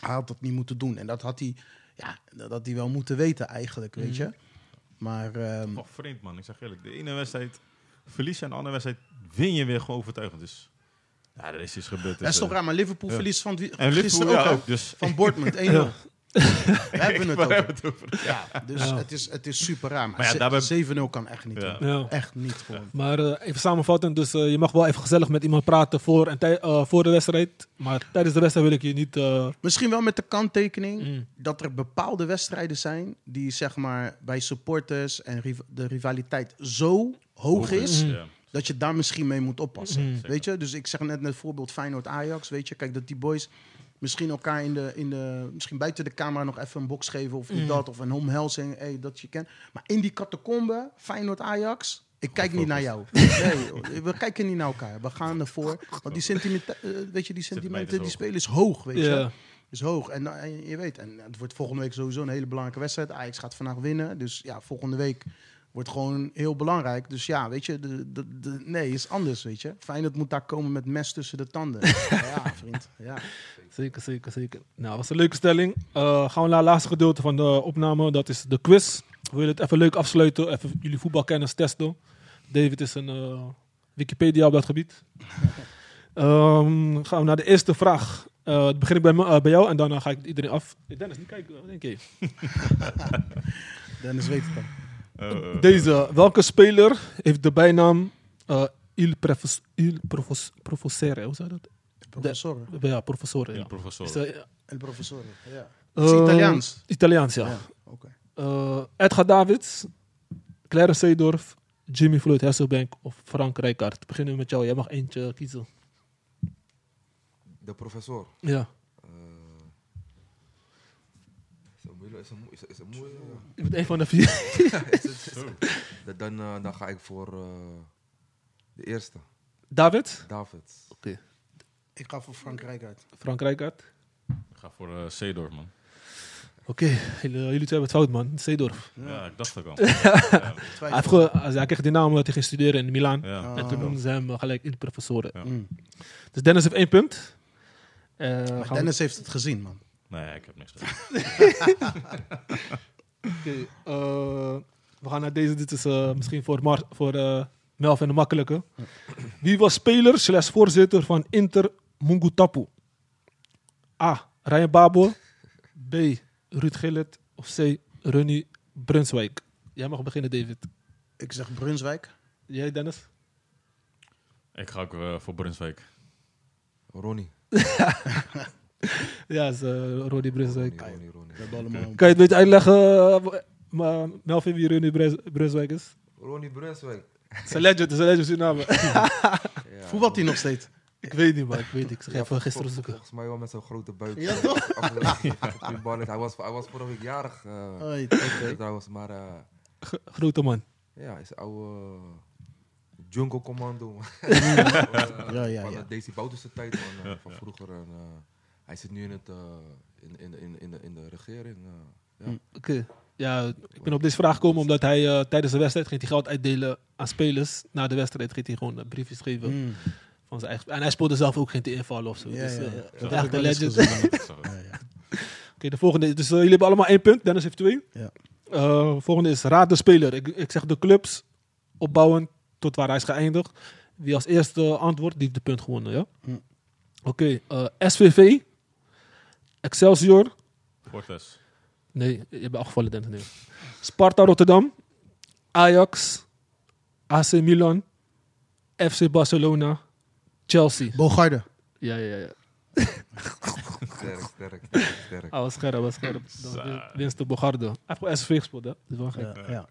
Speaker 4: Hij had dat niet moeten doen. En dat had hij, ja, dat had hij wel moeten weten eigenlijk, weet je. Maar ehm,
Speaker 3: Oh, vreemd man, ik zeg eerlijk. De ene wedstrijd verlies je en de andere wedstrijd win je weer gewoon overtuigend. Dus ja, er is iets gebeurd.
Speaker 4: dat is toch raar. Maar Liverpool
Speaker 3: Ja.
Speaker 4: verliest van, het wie-
Speaker 3: En
Speaker 4: gisteren
Speaker 3: Liverpool ook,
Speaker 4: hè?
Speaker 3: ook dus.
Speaker 4: Van Bournemouth, 1-0. We hebben het
Speaker 3: Waar
Speaker 4: over.
Speaker 3: hebben we het over?
Speaker 4: Ja, dus
Speaker 2: Ja.
Speaker 4: Het, is, het is super raar. Maar,
Speaker 3: Maar ja,
Speaker 4: ze-
Speaker 3: daarbij-
Speaker 4: 7-0 kan echt niet.
Speaker 3: Ja.
Speaker 4: hoor.
Speaker 2: Ja.
Speaker 4: Echt niet gewoon.
Speaker 2: Maar eh, even samenvatten, dus eh, je mag wel even gezellig met iemand praten voor, en tij- eh, voor de wedstrijd, maar tijdens de wedstrijd wil ik je niet... eh,
Speaker 4: Misschien wel met de kanttekening
Speaker 2: Mm.
Speaker 4: dat er bepaalde wedstrijden zijn die zeg maar bij supporters en riv- de rivaliteit zo hoog is
Speaker 3: Ja.
Speaker 4: dat je daar misschien mee moet oppassen.
Speaker 2: Mm.
Speaker 4: Weet je? Dus ik zeg net het voorbeeld Feyenoord Ajax, weet je? Kijk dat die boys misschien elkaar in de, in de misschien buiten de camera nog even een box geven of dit dat of een omhelzing, hey, dat je kent. Maar in die catacombe Feyenoord Ajax ik kijk niet naar jou. Nee, we kijken niet naar elkaar. We gaan ervoor. Want die sentimenten, eh, weet je, die sentimenten,
Speaker 3: is
Speaker 4: die
Speaker 3: hoog.
Speaker 4: spelen is hoog, weet je.
Speaker 2: ja.
Speaker 4: is hoog. En, nou, en je weet, en het wordt volgende week sowieso een hele belangrijke wedstrijd. Ajax gaat vandaag winnen. Dus ja, volgende week wordt gewoon heel belangrijk. Dus ja, weet je, de, de, de- nee, is anders, weet je. Feyenoord moet daar komen met mes tussen de tanden. ja, vriend. Ja.
Speaker 2: Zeker, zeker, zeker. Nou, was een leuke stelling. Eh, gaan we naar het laatste gedeelte van de opname. Dat is de quiz. We willen het even leuk afsluiten. Even jullie voetbalkennis testen. David is een eh, Wikipedia op dat gebied. Ehm, gaan we naar de eerste vraag. Eh, dan begin ik bij, me- eh, bij jou en daarna ga ik iedereen af. Eh, Dennis, niet kijken. wat denk je?
Speaker 4: Dennis weet het dan.
Speaker 3: Eh, eh,
Speaker 2: Deze. Welke speler heeft de bijnaam eh, Il, Prefos, Il Profos, Professore? Hoe zei dat?
Speaker 4: Professor.
Speaker 2: Ja, Professore.
Speaker 3: die
Speaker 2: Ja.
Speaker 3: professor.
Speaker 2: Is dat, eh,
Speaker 4: El professor. Ja.
Speaker 2: eh,
Speaker 4: Is het Italiaans?
Speaker 2: Italiaans, ja.
Speaker 4: Oké.
Speaker 2: Eh, Edgar Davids, Clarence Seedorf, Jimmy Floyd Hasselbank of Frank Rijkaard. Beginnen we met jou. Jij mag eentje kiezen.
Speaker 5: De professor.
Speaker 2: Ja.
Speaker 5: eh, is het moeilijk? Is het moe- is het- is het moeilijk?
Speaker 2: Ik ben een van de vier.
Speaker 5: Is het- is het- Dan- Dan eh, dan ga ik voor eh, de eerste.
Speaker 2: David?
Speaker 5: David.
Speaker 2: Oké.
Speaker 4: Ik ga voor Frankrijk uit.
Speaker 2: Frank Rijkaard?
Speaker 3: Ik ga voor eh Seedorf, man.
Speaker 2: Oké, jullie, jullie twee hebben het fout, man. Seedorf.
Speaker 3: Ja, ik dacht ook al.
Speaker 2: Hij, heeft ge- hij kreeg die naam omdat hij ging studeren in Milaan.
Speaker 3: Ja.
Speaker 2: En toen noemden ze hem eh, gelijk in professoren.
Speaker 3: Ja.
Speaker 4: Mm.
Speaker 2: Dus Dennis heeft één punt. Eh, gaan we-
Speaker 4: Dennis heeft het gezien, man.
Speaker 3: Nee, ik heb niks gedaan.
Speaker 2: Oké, eh, we gaan naar deze. Dit is eh, misschien voor, Mar voor eh, Melvin de makkelijke. Wie was speler slash voorzitter van Inter Mungutapu? A. Ryan Babel. B. Ruud Gillet. Of C. Ronnie Brunswijk. Jij mag beginnen, David.
Speaker 4: Ik zeg Brunswijk.
Speaker 2: Jij, Dennis?
Speaker 3: Ik ga ook eh, voor Brunswijk.
Speaker 5: Ronnie.
Speaker 2: Ja, is, eh, Ronnie Brunswijk.
Speaker 5: Ronnie, Ronnie,
Speaker 4: We
Speaker 5: Ronnie.
Speaker 4: hebben allemaal...
Speaker 2: Kan je het beetje uitleggen, eh, w- maar Melvin, wie Ronnie Bruns- Brunswijk is?
Speaker 5: Ronnie Brunswijk.
Speaker 2: Het is een legend, het is een legend Suriname.
Speaker 5: Ja,
Speaker 4: Voetbalt hij nog steeds?
Speaker 2: ik weet niet, maar ik weet niet. Ik zeg even
Speaker 5: vol-
Speaker 2: gisteren
Speaker 5: vol-
Speaker 2: zoeken.
Speaker 5: Volgens mij wel met zo'n grote buik.
Speaker 4: Ja, toch?
Speaker 5: Af- op die bal is. Hij was, hij was vorige week jarig eh,
Speaker 4: Oei,
Speaker 5: trouwens, maar eh,
Speaker 2: G- grote man.
Speaker 5: ja, hij is een oude jungle commando. man.
Speaker 4: Ja, ja,
Speaker 5: van
Speaker 4: ja.
Speaker 5: de Daisy Boutense tijd man, eh, van vroeger. En, eh, hij zit nu in, het, eh, in, in, in, in, de, in de regering. eh.
Speaker 2: Oké. Ja, ik ben op deze vraag gekomen omdat hij eh, tijdens de wedstrijd ging hij geld uitdelen aan spelers. Na de wedstrijd ging hij gewoon eh, briefjes geven
Speaker 4: Mm.
Speaker 2: van zijn eigen. En hij speelde zelf ook geen invallen of zo.
Speaker 4: Ja,
Speaker 2: dus,
Speaker 4: ja,
Speaker 2: eh,
Speaker 4: ja.
Speaker 2: dat is
Speaker 4: Dat heb ik
Speaker 2: echt een
Speaker 4: wel eens
Speaker 2: legend. Oké,
Speaker 4: gezien,
Speaker 3: Ik
Speaker 4: man.
Speaker 3: zag het.
Speaker 4: Ja, ja.
Speaker 2: de volgende. is- Dus eh, jullie hebben allemaal één punt. Dennis heeft twee.
Speaker 4: Ja.
Speaker 2: Eh, volgende is raad de speler. Ik, ik zeg de clubs opbouwen tot waar hij is geëindigd. Wie als eerste antwoordt, die heeft de punt gewonnen. Ja?
Speaker 4: Hm.
Speaker 2: Oké, eh, SVV, Excelsior,
Speaker 3: Fortes.
Speaker 2: Nee, je bent afgevallen, Dennis. Nee. Sparta Rotterdam, Ajax, AC Milan, FC Barcelona, Chelsea.
Speaker 4: Bogarde.
Speaker 2: Ja, ja, ja.
Speaker 5: Sterk, sterk, sterk, sterk.
Speaker 2: Ah, was scherp, was scherp. Dan win- Winst de Bogarde. Hij heeft gewoon SV gespeeld, hè? Dat is wel gek.
Speaker 4: Ja, ja.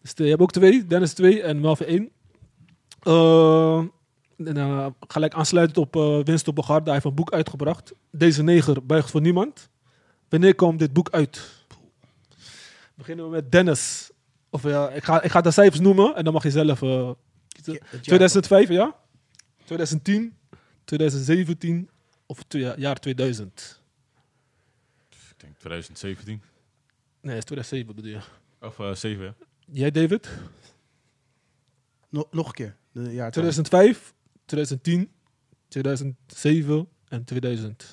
Speaker 2: Dus eh, je hebt ook twee, Dennis twee en Melvin één. Eh, en, eh, gelijk aansluitend op eh Winst de Bogarde. Hij heeft een boek uitgebracht. Deze neger buigt voor niemand. Wanneer komt dit boek uit? Beginnen we met Dennis. Of ja, ik ga, ik ga de cijfers noemen en dan mag je zelf... eh, kiezen.
Speaker 4: Het jaar-
Speaker 2: 2005, ja? 2010, 2017 of twee- jaar 2000?
Speaker 3: Ik denk 2017.
Speaker 2: Nee, het is 2007 bedoel je.
Speaker 3: Of eh 7, hè?
Speaker 2: Jij, David?
Speaker 4: No- nog een keer. De jaar
Speaker 2: 2005, 2010, 2007 en 2000. Dat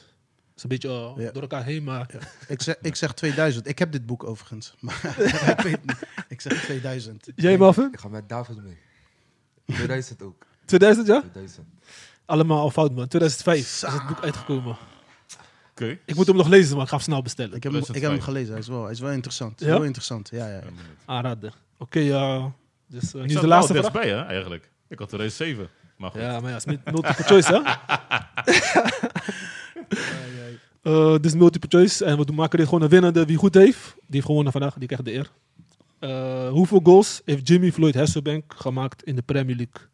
Speaker 2: is een beetje eh,
Speaker 4: Ja.
Speaker 2: door elkaar heen, maar
Speaker 4: Ik zeg, ik zeg 2000. Ik heb dit boek overigens. Maar ik weet niet. Ik zeg 2000.
Speaker 2: jij Marvin?
Speaker 5: Ik ga met David mee. 2000 ook.
Speaker 2: 2000 ja?
Speaker 5: 2000.
Speaker 2: Allemaal al fout man. 2005 is het boek uitgekomen.
Speaker 3: Oké.
Speaker 2: Ik moet hem nog lezen, maar ik ga hem snel bestellen.
Speaker 4: Ik heb, hem, ik heb hem
Speaker 3: 2005.
Speaker 4: gelezen. Hij is wel, hij is wel interessant.
Speaker 2: Ja?
Speaker 4: Heel interessant. Ja, ja.
Speaker 2: Aanraden. Oké, ja. Dus eh, nu
Speaker 3: Ik
Speaker 2: is
Speaker 3: zat
Speaker 2: de
Speaker 3: er
Speaker 2: laatste
Speaker 3: wel
Speaker 2: vraag.
Speaker 3: dichtbij, hè, eigenlijk. Ik had 2007. Maar goed.
Speaker 2: Ja, maar ja, het is met multiple choice, hè? Eh, Dit is multiple choice. En we doen- maken dit gewoon een winnende. Wie goed heeft, die heeft gewonnen vandaag. Die krijgt de eer. Eh, hoeveel goals heeft Jimmy Floyd Hasselbank gemaakt in de Premier League?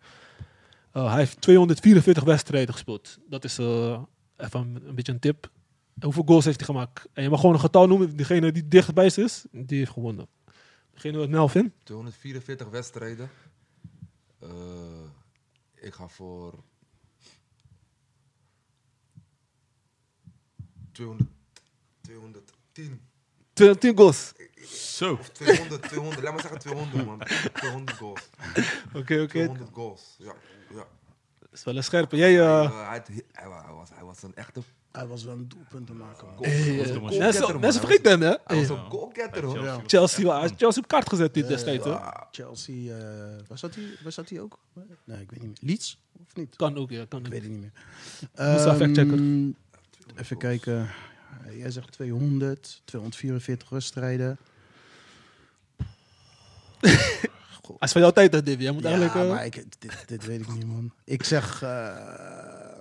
Speaker 2: Eh, hij heeft 244 wedstrijden gespeeld. Dat is eh, even een, een beetje een tip. En hoeveel goals heeft hij gemaakt? En je mag gewoon een getal noemen. Degene die dichtbij is, die heeft gewonnen. Degene wat Melvin?
Speaker 5: 244 wedstrijden. Eh, ik ga voor. 200, 210
Speaker 2: 10 goals.
Speaker 3: Zo.
Speaker 5: of 200, 200, laat maar zeggen 200 man. 200 goals.
Speaker 2: Oké, oké.
Speaker 5: 200 goals, ja. ja.
Speaker 2: Dat is wel een scherpe. Jij, eh,
Speaker 5: Eh, hij, had- hij wa- hij was, hij was een echte
Speaker 4: Hij was wel een doelpunt te maken. man.
Speaker 5: goal. Hij
Speaker 2: eh,
Speaker 5: was een
Speaker 3: man.
Speaker 5: goalgetter,
Speaker 2: mensen
Speaker 5: man.
Speaker 2: mensen
Speaker 5: Hij was-
Speaker 2: vergeten hem, hè?
Speaker 5: Hij was
Speaker 2: Hey,
Speaker 5: een goalgetter, hoor. Ah,
Speaker 3: Chelsea
Speaker 5: Ja.
Speaker 3: was-
Speaker 2: Chelsea, wel- hij heeft Chelsea op kaart gezet dit destijds, hoor.
Speaker 5: Ja.
Speaker 4: Chelsea, eh was, dat die, was dat die ook? Nee, ik weet niet meer. Leeds? Of niet?
Speaker 2: Kan ook, ja. Kan
Speaker 4: Ik
Speaker 2: ook.
Speaker 4: weet het niet meer.
Speaker 2: Moest even checken.
Speaker 4: Ehm, even kijken. Jij zegt 200, 244 wedstrijden.
Speaker 2: Hij is van jouw tijd, hè, Dave? Jij moet eigenlijk...
Speaker 4: ja,
Speaker 2: eh,
Speaker 4: maar ik, dit, dit weet ik niet, man. Ik zeg eh,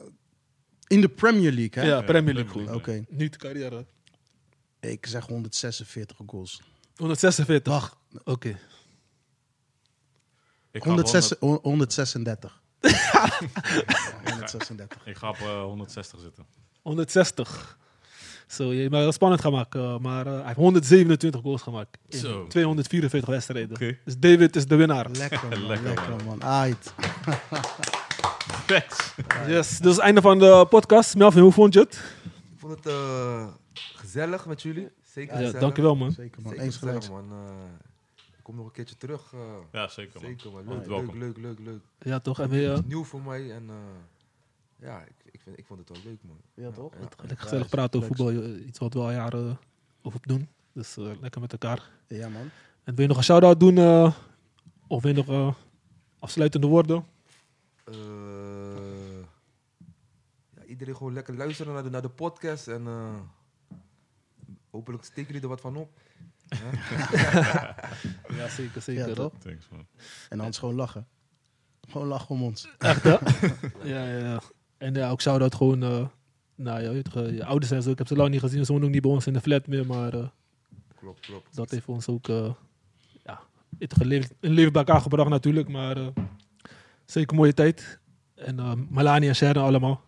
Speaker 4: in de Premier League, hè?
Speaker 2: ja, Premier League.
Speaker 3: Premier
Speaker 2: goed.
Speaker 4: Oké,
Speaker 2: Niet carrière.
Speaker 4: ik zeg 146 goals.
Speaker 2: 146. Wacht. Oké.
Speaker 3: Ik ga op
Speaker 4: 136. 136. 136.
Speaker 3: honderd- Ik ga op eh, 160 zitten.
Speaker 2: 160. Zo, je hebt wel spannend gemaakt. eh, maar eh, hij heeft 127 goals gemaakt. In
Speaker 3: Zo.
Speaker 2: 244 wedstrijden.
Speaker 3: Oké.
Speaker 2: Dus David is de winnaar.
Speaker 4: Lekker, man.
Speaker 3: Lekker,
Speaker 4: lekker,
Speaker 3: man.
Speaker 4: man. Aight.
Speaker 3: Thanks.
Speaker 2: Yes, dus einde van de podcast. Melvin, hoe vond je het?
Speaker 5: Ik vond het eh, gezellig met jullie. Zeker
Speaker 2: Ja,
Speaker 5: gezellig.
Speaker 2: dankjewel man.
Speaker 4: Zeker, man.
Speaker 5: Zeker
Speaker 4: Eens
Speaker 5: gezellig,
Speaker 4: gelijk.
Speaker 5: man. Eh, ik kom nog een keertje terug. eh,
Speaker 3: Ja, zeker man.
Speaker 5: zeker, man.
Speaker 3: Altijd
Speaker 5: Leuk, leuk,
Speaker 3: welkom.
Speaker 5: leuk, leuk, leuk.
Speaker 2: Ja, toch? En weer eh,
Speaker 5: Nieuw voor mij en eh, ja, ik, ik, vind, ik vond het wel leuk, man.
Speaker 4: Ja, toch?
Speaker 5: Ja.
Speaker 2: lekker gezellig praten over voetbal. eh, Iets wat we al jaren over doen. Dus eh, lekker met elkaar.
Speaker 4: Ja, man.
Speaker 2: En wil je nog een shout-out doen? eh, of wil je nog eh, afsluitende woorden?
Speaker 5: Eh, ja, iedereen gewoon lekker luisteren naar de, naar de podcast en eh, hopelijk steken jullie er wat van op.
Speaker 2: Ja, zeker,
Speaker 4: Ja,
Speaker 2: zeker.
Speaker 4: toch?
Speaker 3: Thanks man.
Speaker 4: En anders gewoon lachen. Gewoon lachen om ons.
Speaker 2: Ja, ja, ja. En ja, ook shout-out gewoon eh naar je, weet je, je ouders en zo. Ik heb ze lang niet gezien. Ze wonen ook niet bij ons in de flat meer. Maar eh,
Speaker 5: Klopt, klopt.
Speaker 2: dat heeft ons ook eh, ja, het geleefd, een leven bij elkaar gebracht natuurlijk. Maar eh, zeker een mooie tijd. En eh Melanie en Sharon allemaal.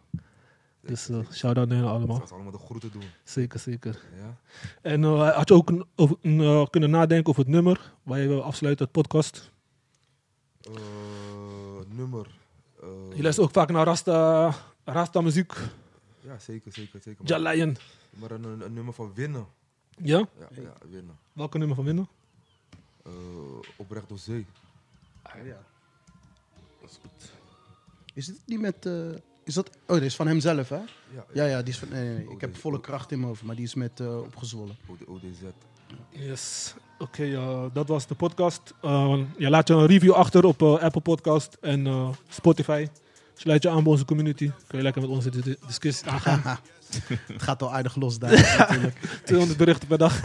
Speaker 2: Dus eh, shout-out naar hen
Speaker 5: Dat
Speaker 2: allemaal.
Speaker 5: was allemaal de groeten doen.
Speaker 2: Zeker, zeker.
Speaker 5: Ja?
Speaker 2: En eh, had je ook een- over- een, eh, kunnen nadenken over het nummer waar je wil afsluiten, het podcast?
Speaker 5: Eh, nummer. eh,
Speaker 2: Je luistert ook vaak naar Rasta, Rasta muziek.
Speaker 5: Ja, zeker, zeker, zeker. Maar,
Speaker 2: Jalion.
Speaker 5: maar een, een, een nummer van winnen.
Speaker 2: Ja?
Speaker 5: Ja, ja winnen.
Speaker 2: Welke nummer van winnen?
Speaker 5: Eh, oprecht door zee.
Speaker 4: Is dit niet met... eh, is dat... Oh, dit is van hemzelf, hè?
Speaker 5: Ja,
Speaker 4: Ja, ja, die is van... Nee, nee, nee.
Speaker 5: Oh,
Speaker 4: Ik heb
Speaker 5: deze-
Speaker 4: volle kracht in mijn hoofd, maar die is met eh, opgezwollen.
Speaker 5: O- ODZ.
Speaker 2: Yes. Oké, eh, dat was de podcast. Eh, ja, laat je een review achter op eh, Apple Podcast en eh, Spotify. Sluit je aan bij onze community. Kun je lekker met ons de de- discussie aangaan.
Speaker 4: Het gaat al aardig los daar, natuurlijk.
Speaker 2: 200 berichten per dag.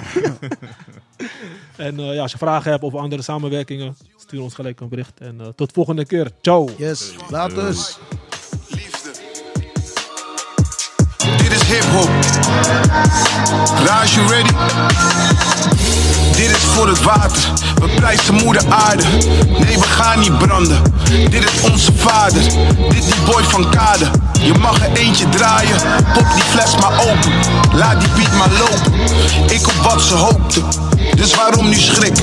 Speaker 2: en eh, ja, als je vragen hebt over andere samenwerkingen, stuur ons gelijk een bericht. En eh, tot volgende keer. Ciao.
Speaker 4: Yes, laat dus.
Speaker 7: Liefde. Dit is hip hop. Raj, you ready? Dit is voor het water. We prijzen moeder aarde. Nee, we gaan niet branden. Dit is onze vader. Dit die boy van kade. Je mag er eentje draaien. Pop die fles maar open. Laat die beat maar lopen. Ik op wat ze hoopte. Dus waarom nu schrik?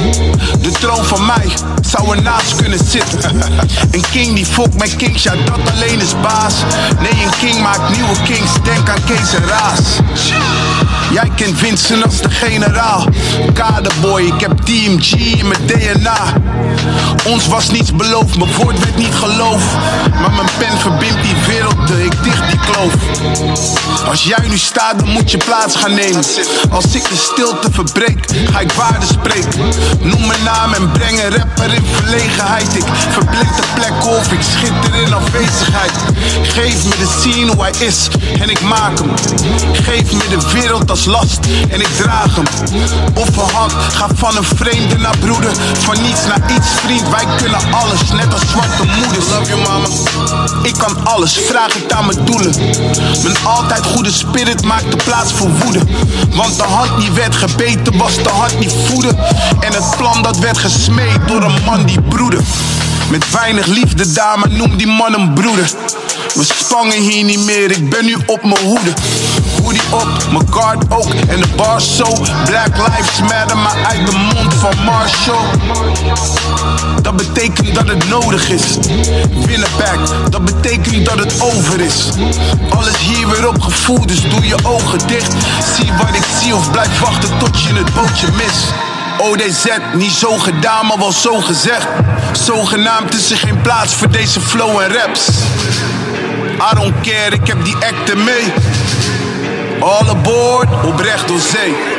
Speaker 7: De troon van mij zou ernaast kunnen zitten. Een king die volgt mijn kings, ja dat alleen is baas. Nee, een king maakt nieuwe kings, denk aan Kees en Raas. Jij kent Vincent als de generaal. Kaderboy, ik heb Team G in mijn DNA. Ons was niets beloofd, mijn woord werd niet geloofd. Maar mijn pen verbindt die werelden, ik dicht die kloof. Als jij nu staat, dan moet je plaats gaan nemen. Als ik de stilte verbreek, ga ik waarde spreken. Noem mijn naam en breng een rapper in verlegenheid. Ik verblind de plek of ik schitter in afwezigheid. Geef me de scene hoe hij is en ik maak hem. Geef me de wereld als last en ik draag hem. Offerhand gaat van een vreemde naar broeder. Van niets naar iets, vriend, wij kunnen alles. Net als zwarte moeders. Love you, mama. Ik kan alles, vraag ik aan mijn doelen. Mijn altijd goede spirit maakt de plaats voor woede. Want de hand die werd gebeten was de hand niet voeden. En het plan dat werd gesmeed door een man die broeder. Met weinig liefde daar, maar noem die man een broeder. We spangen hier niet meer, ik ben nu op mijn hoede. Hoe hoodie op, mijn guard ook en de bar zo. Black Lives Matter, maar uit de mond van Marshall. Dat betekent dat het nodig is. Winnenback, dat betekent dat het over is. Alles hier weer opgevoed, dus doe je ogen dicht. Zie wat ik zie of blijf wachten tot je het bootje mist. ODZ, niet zo gedaan, maar wel zo gezegd. Zogenaamd is er geen plaats voor deze flow en raps. I don't care, ik heb die acten mee. All aboard, oprecht door zee.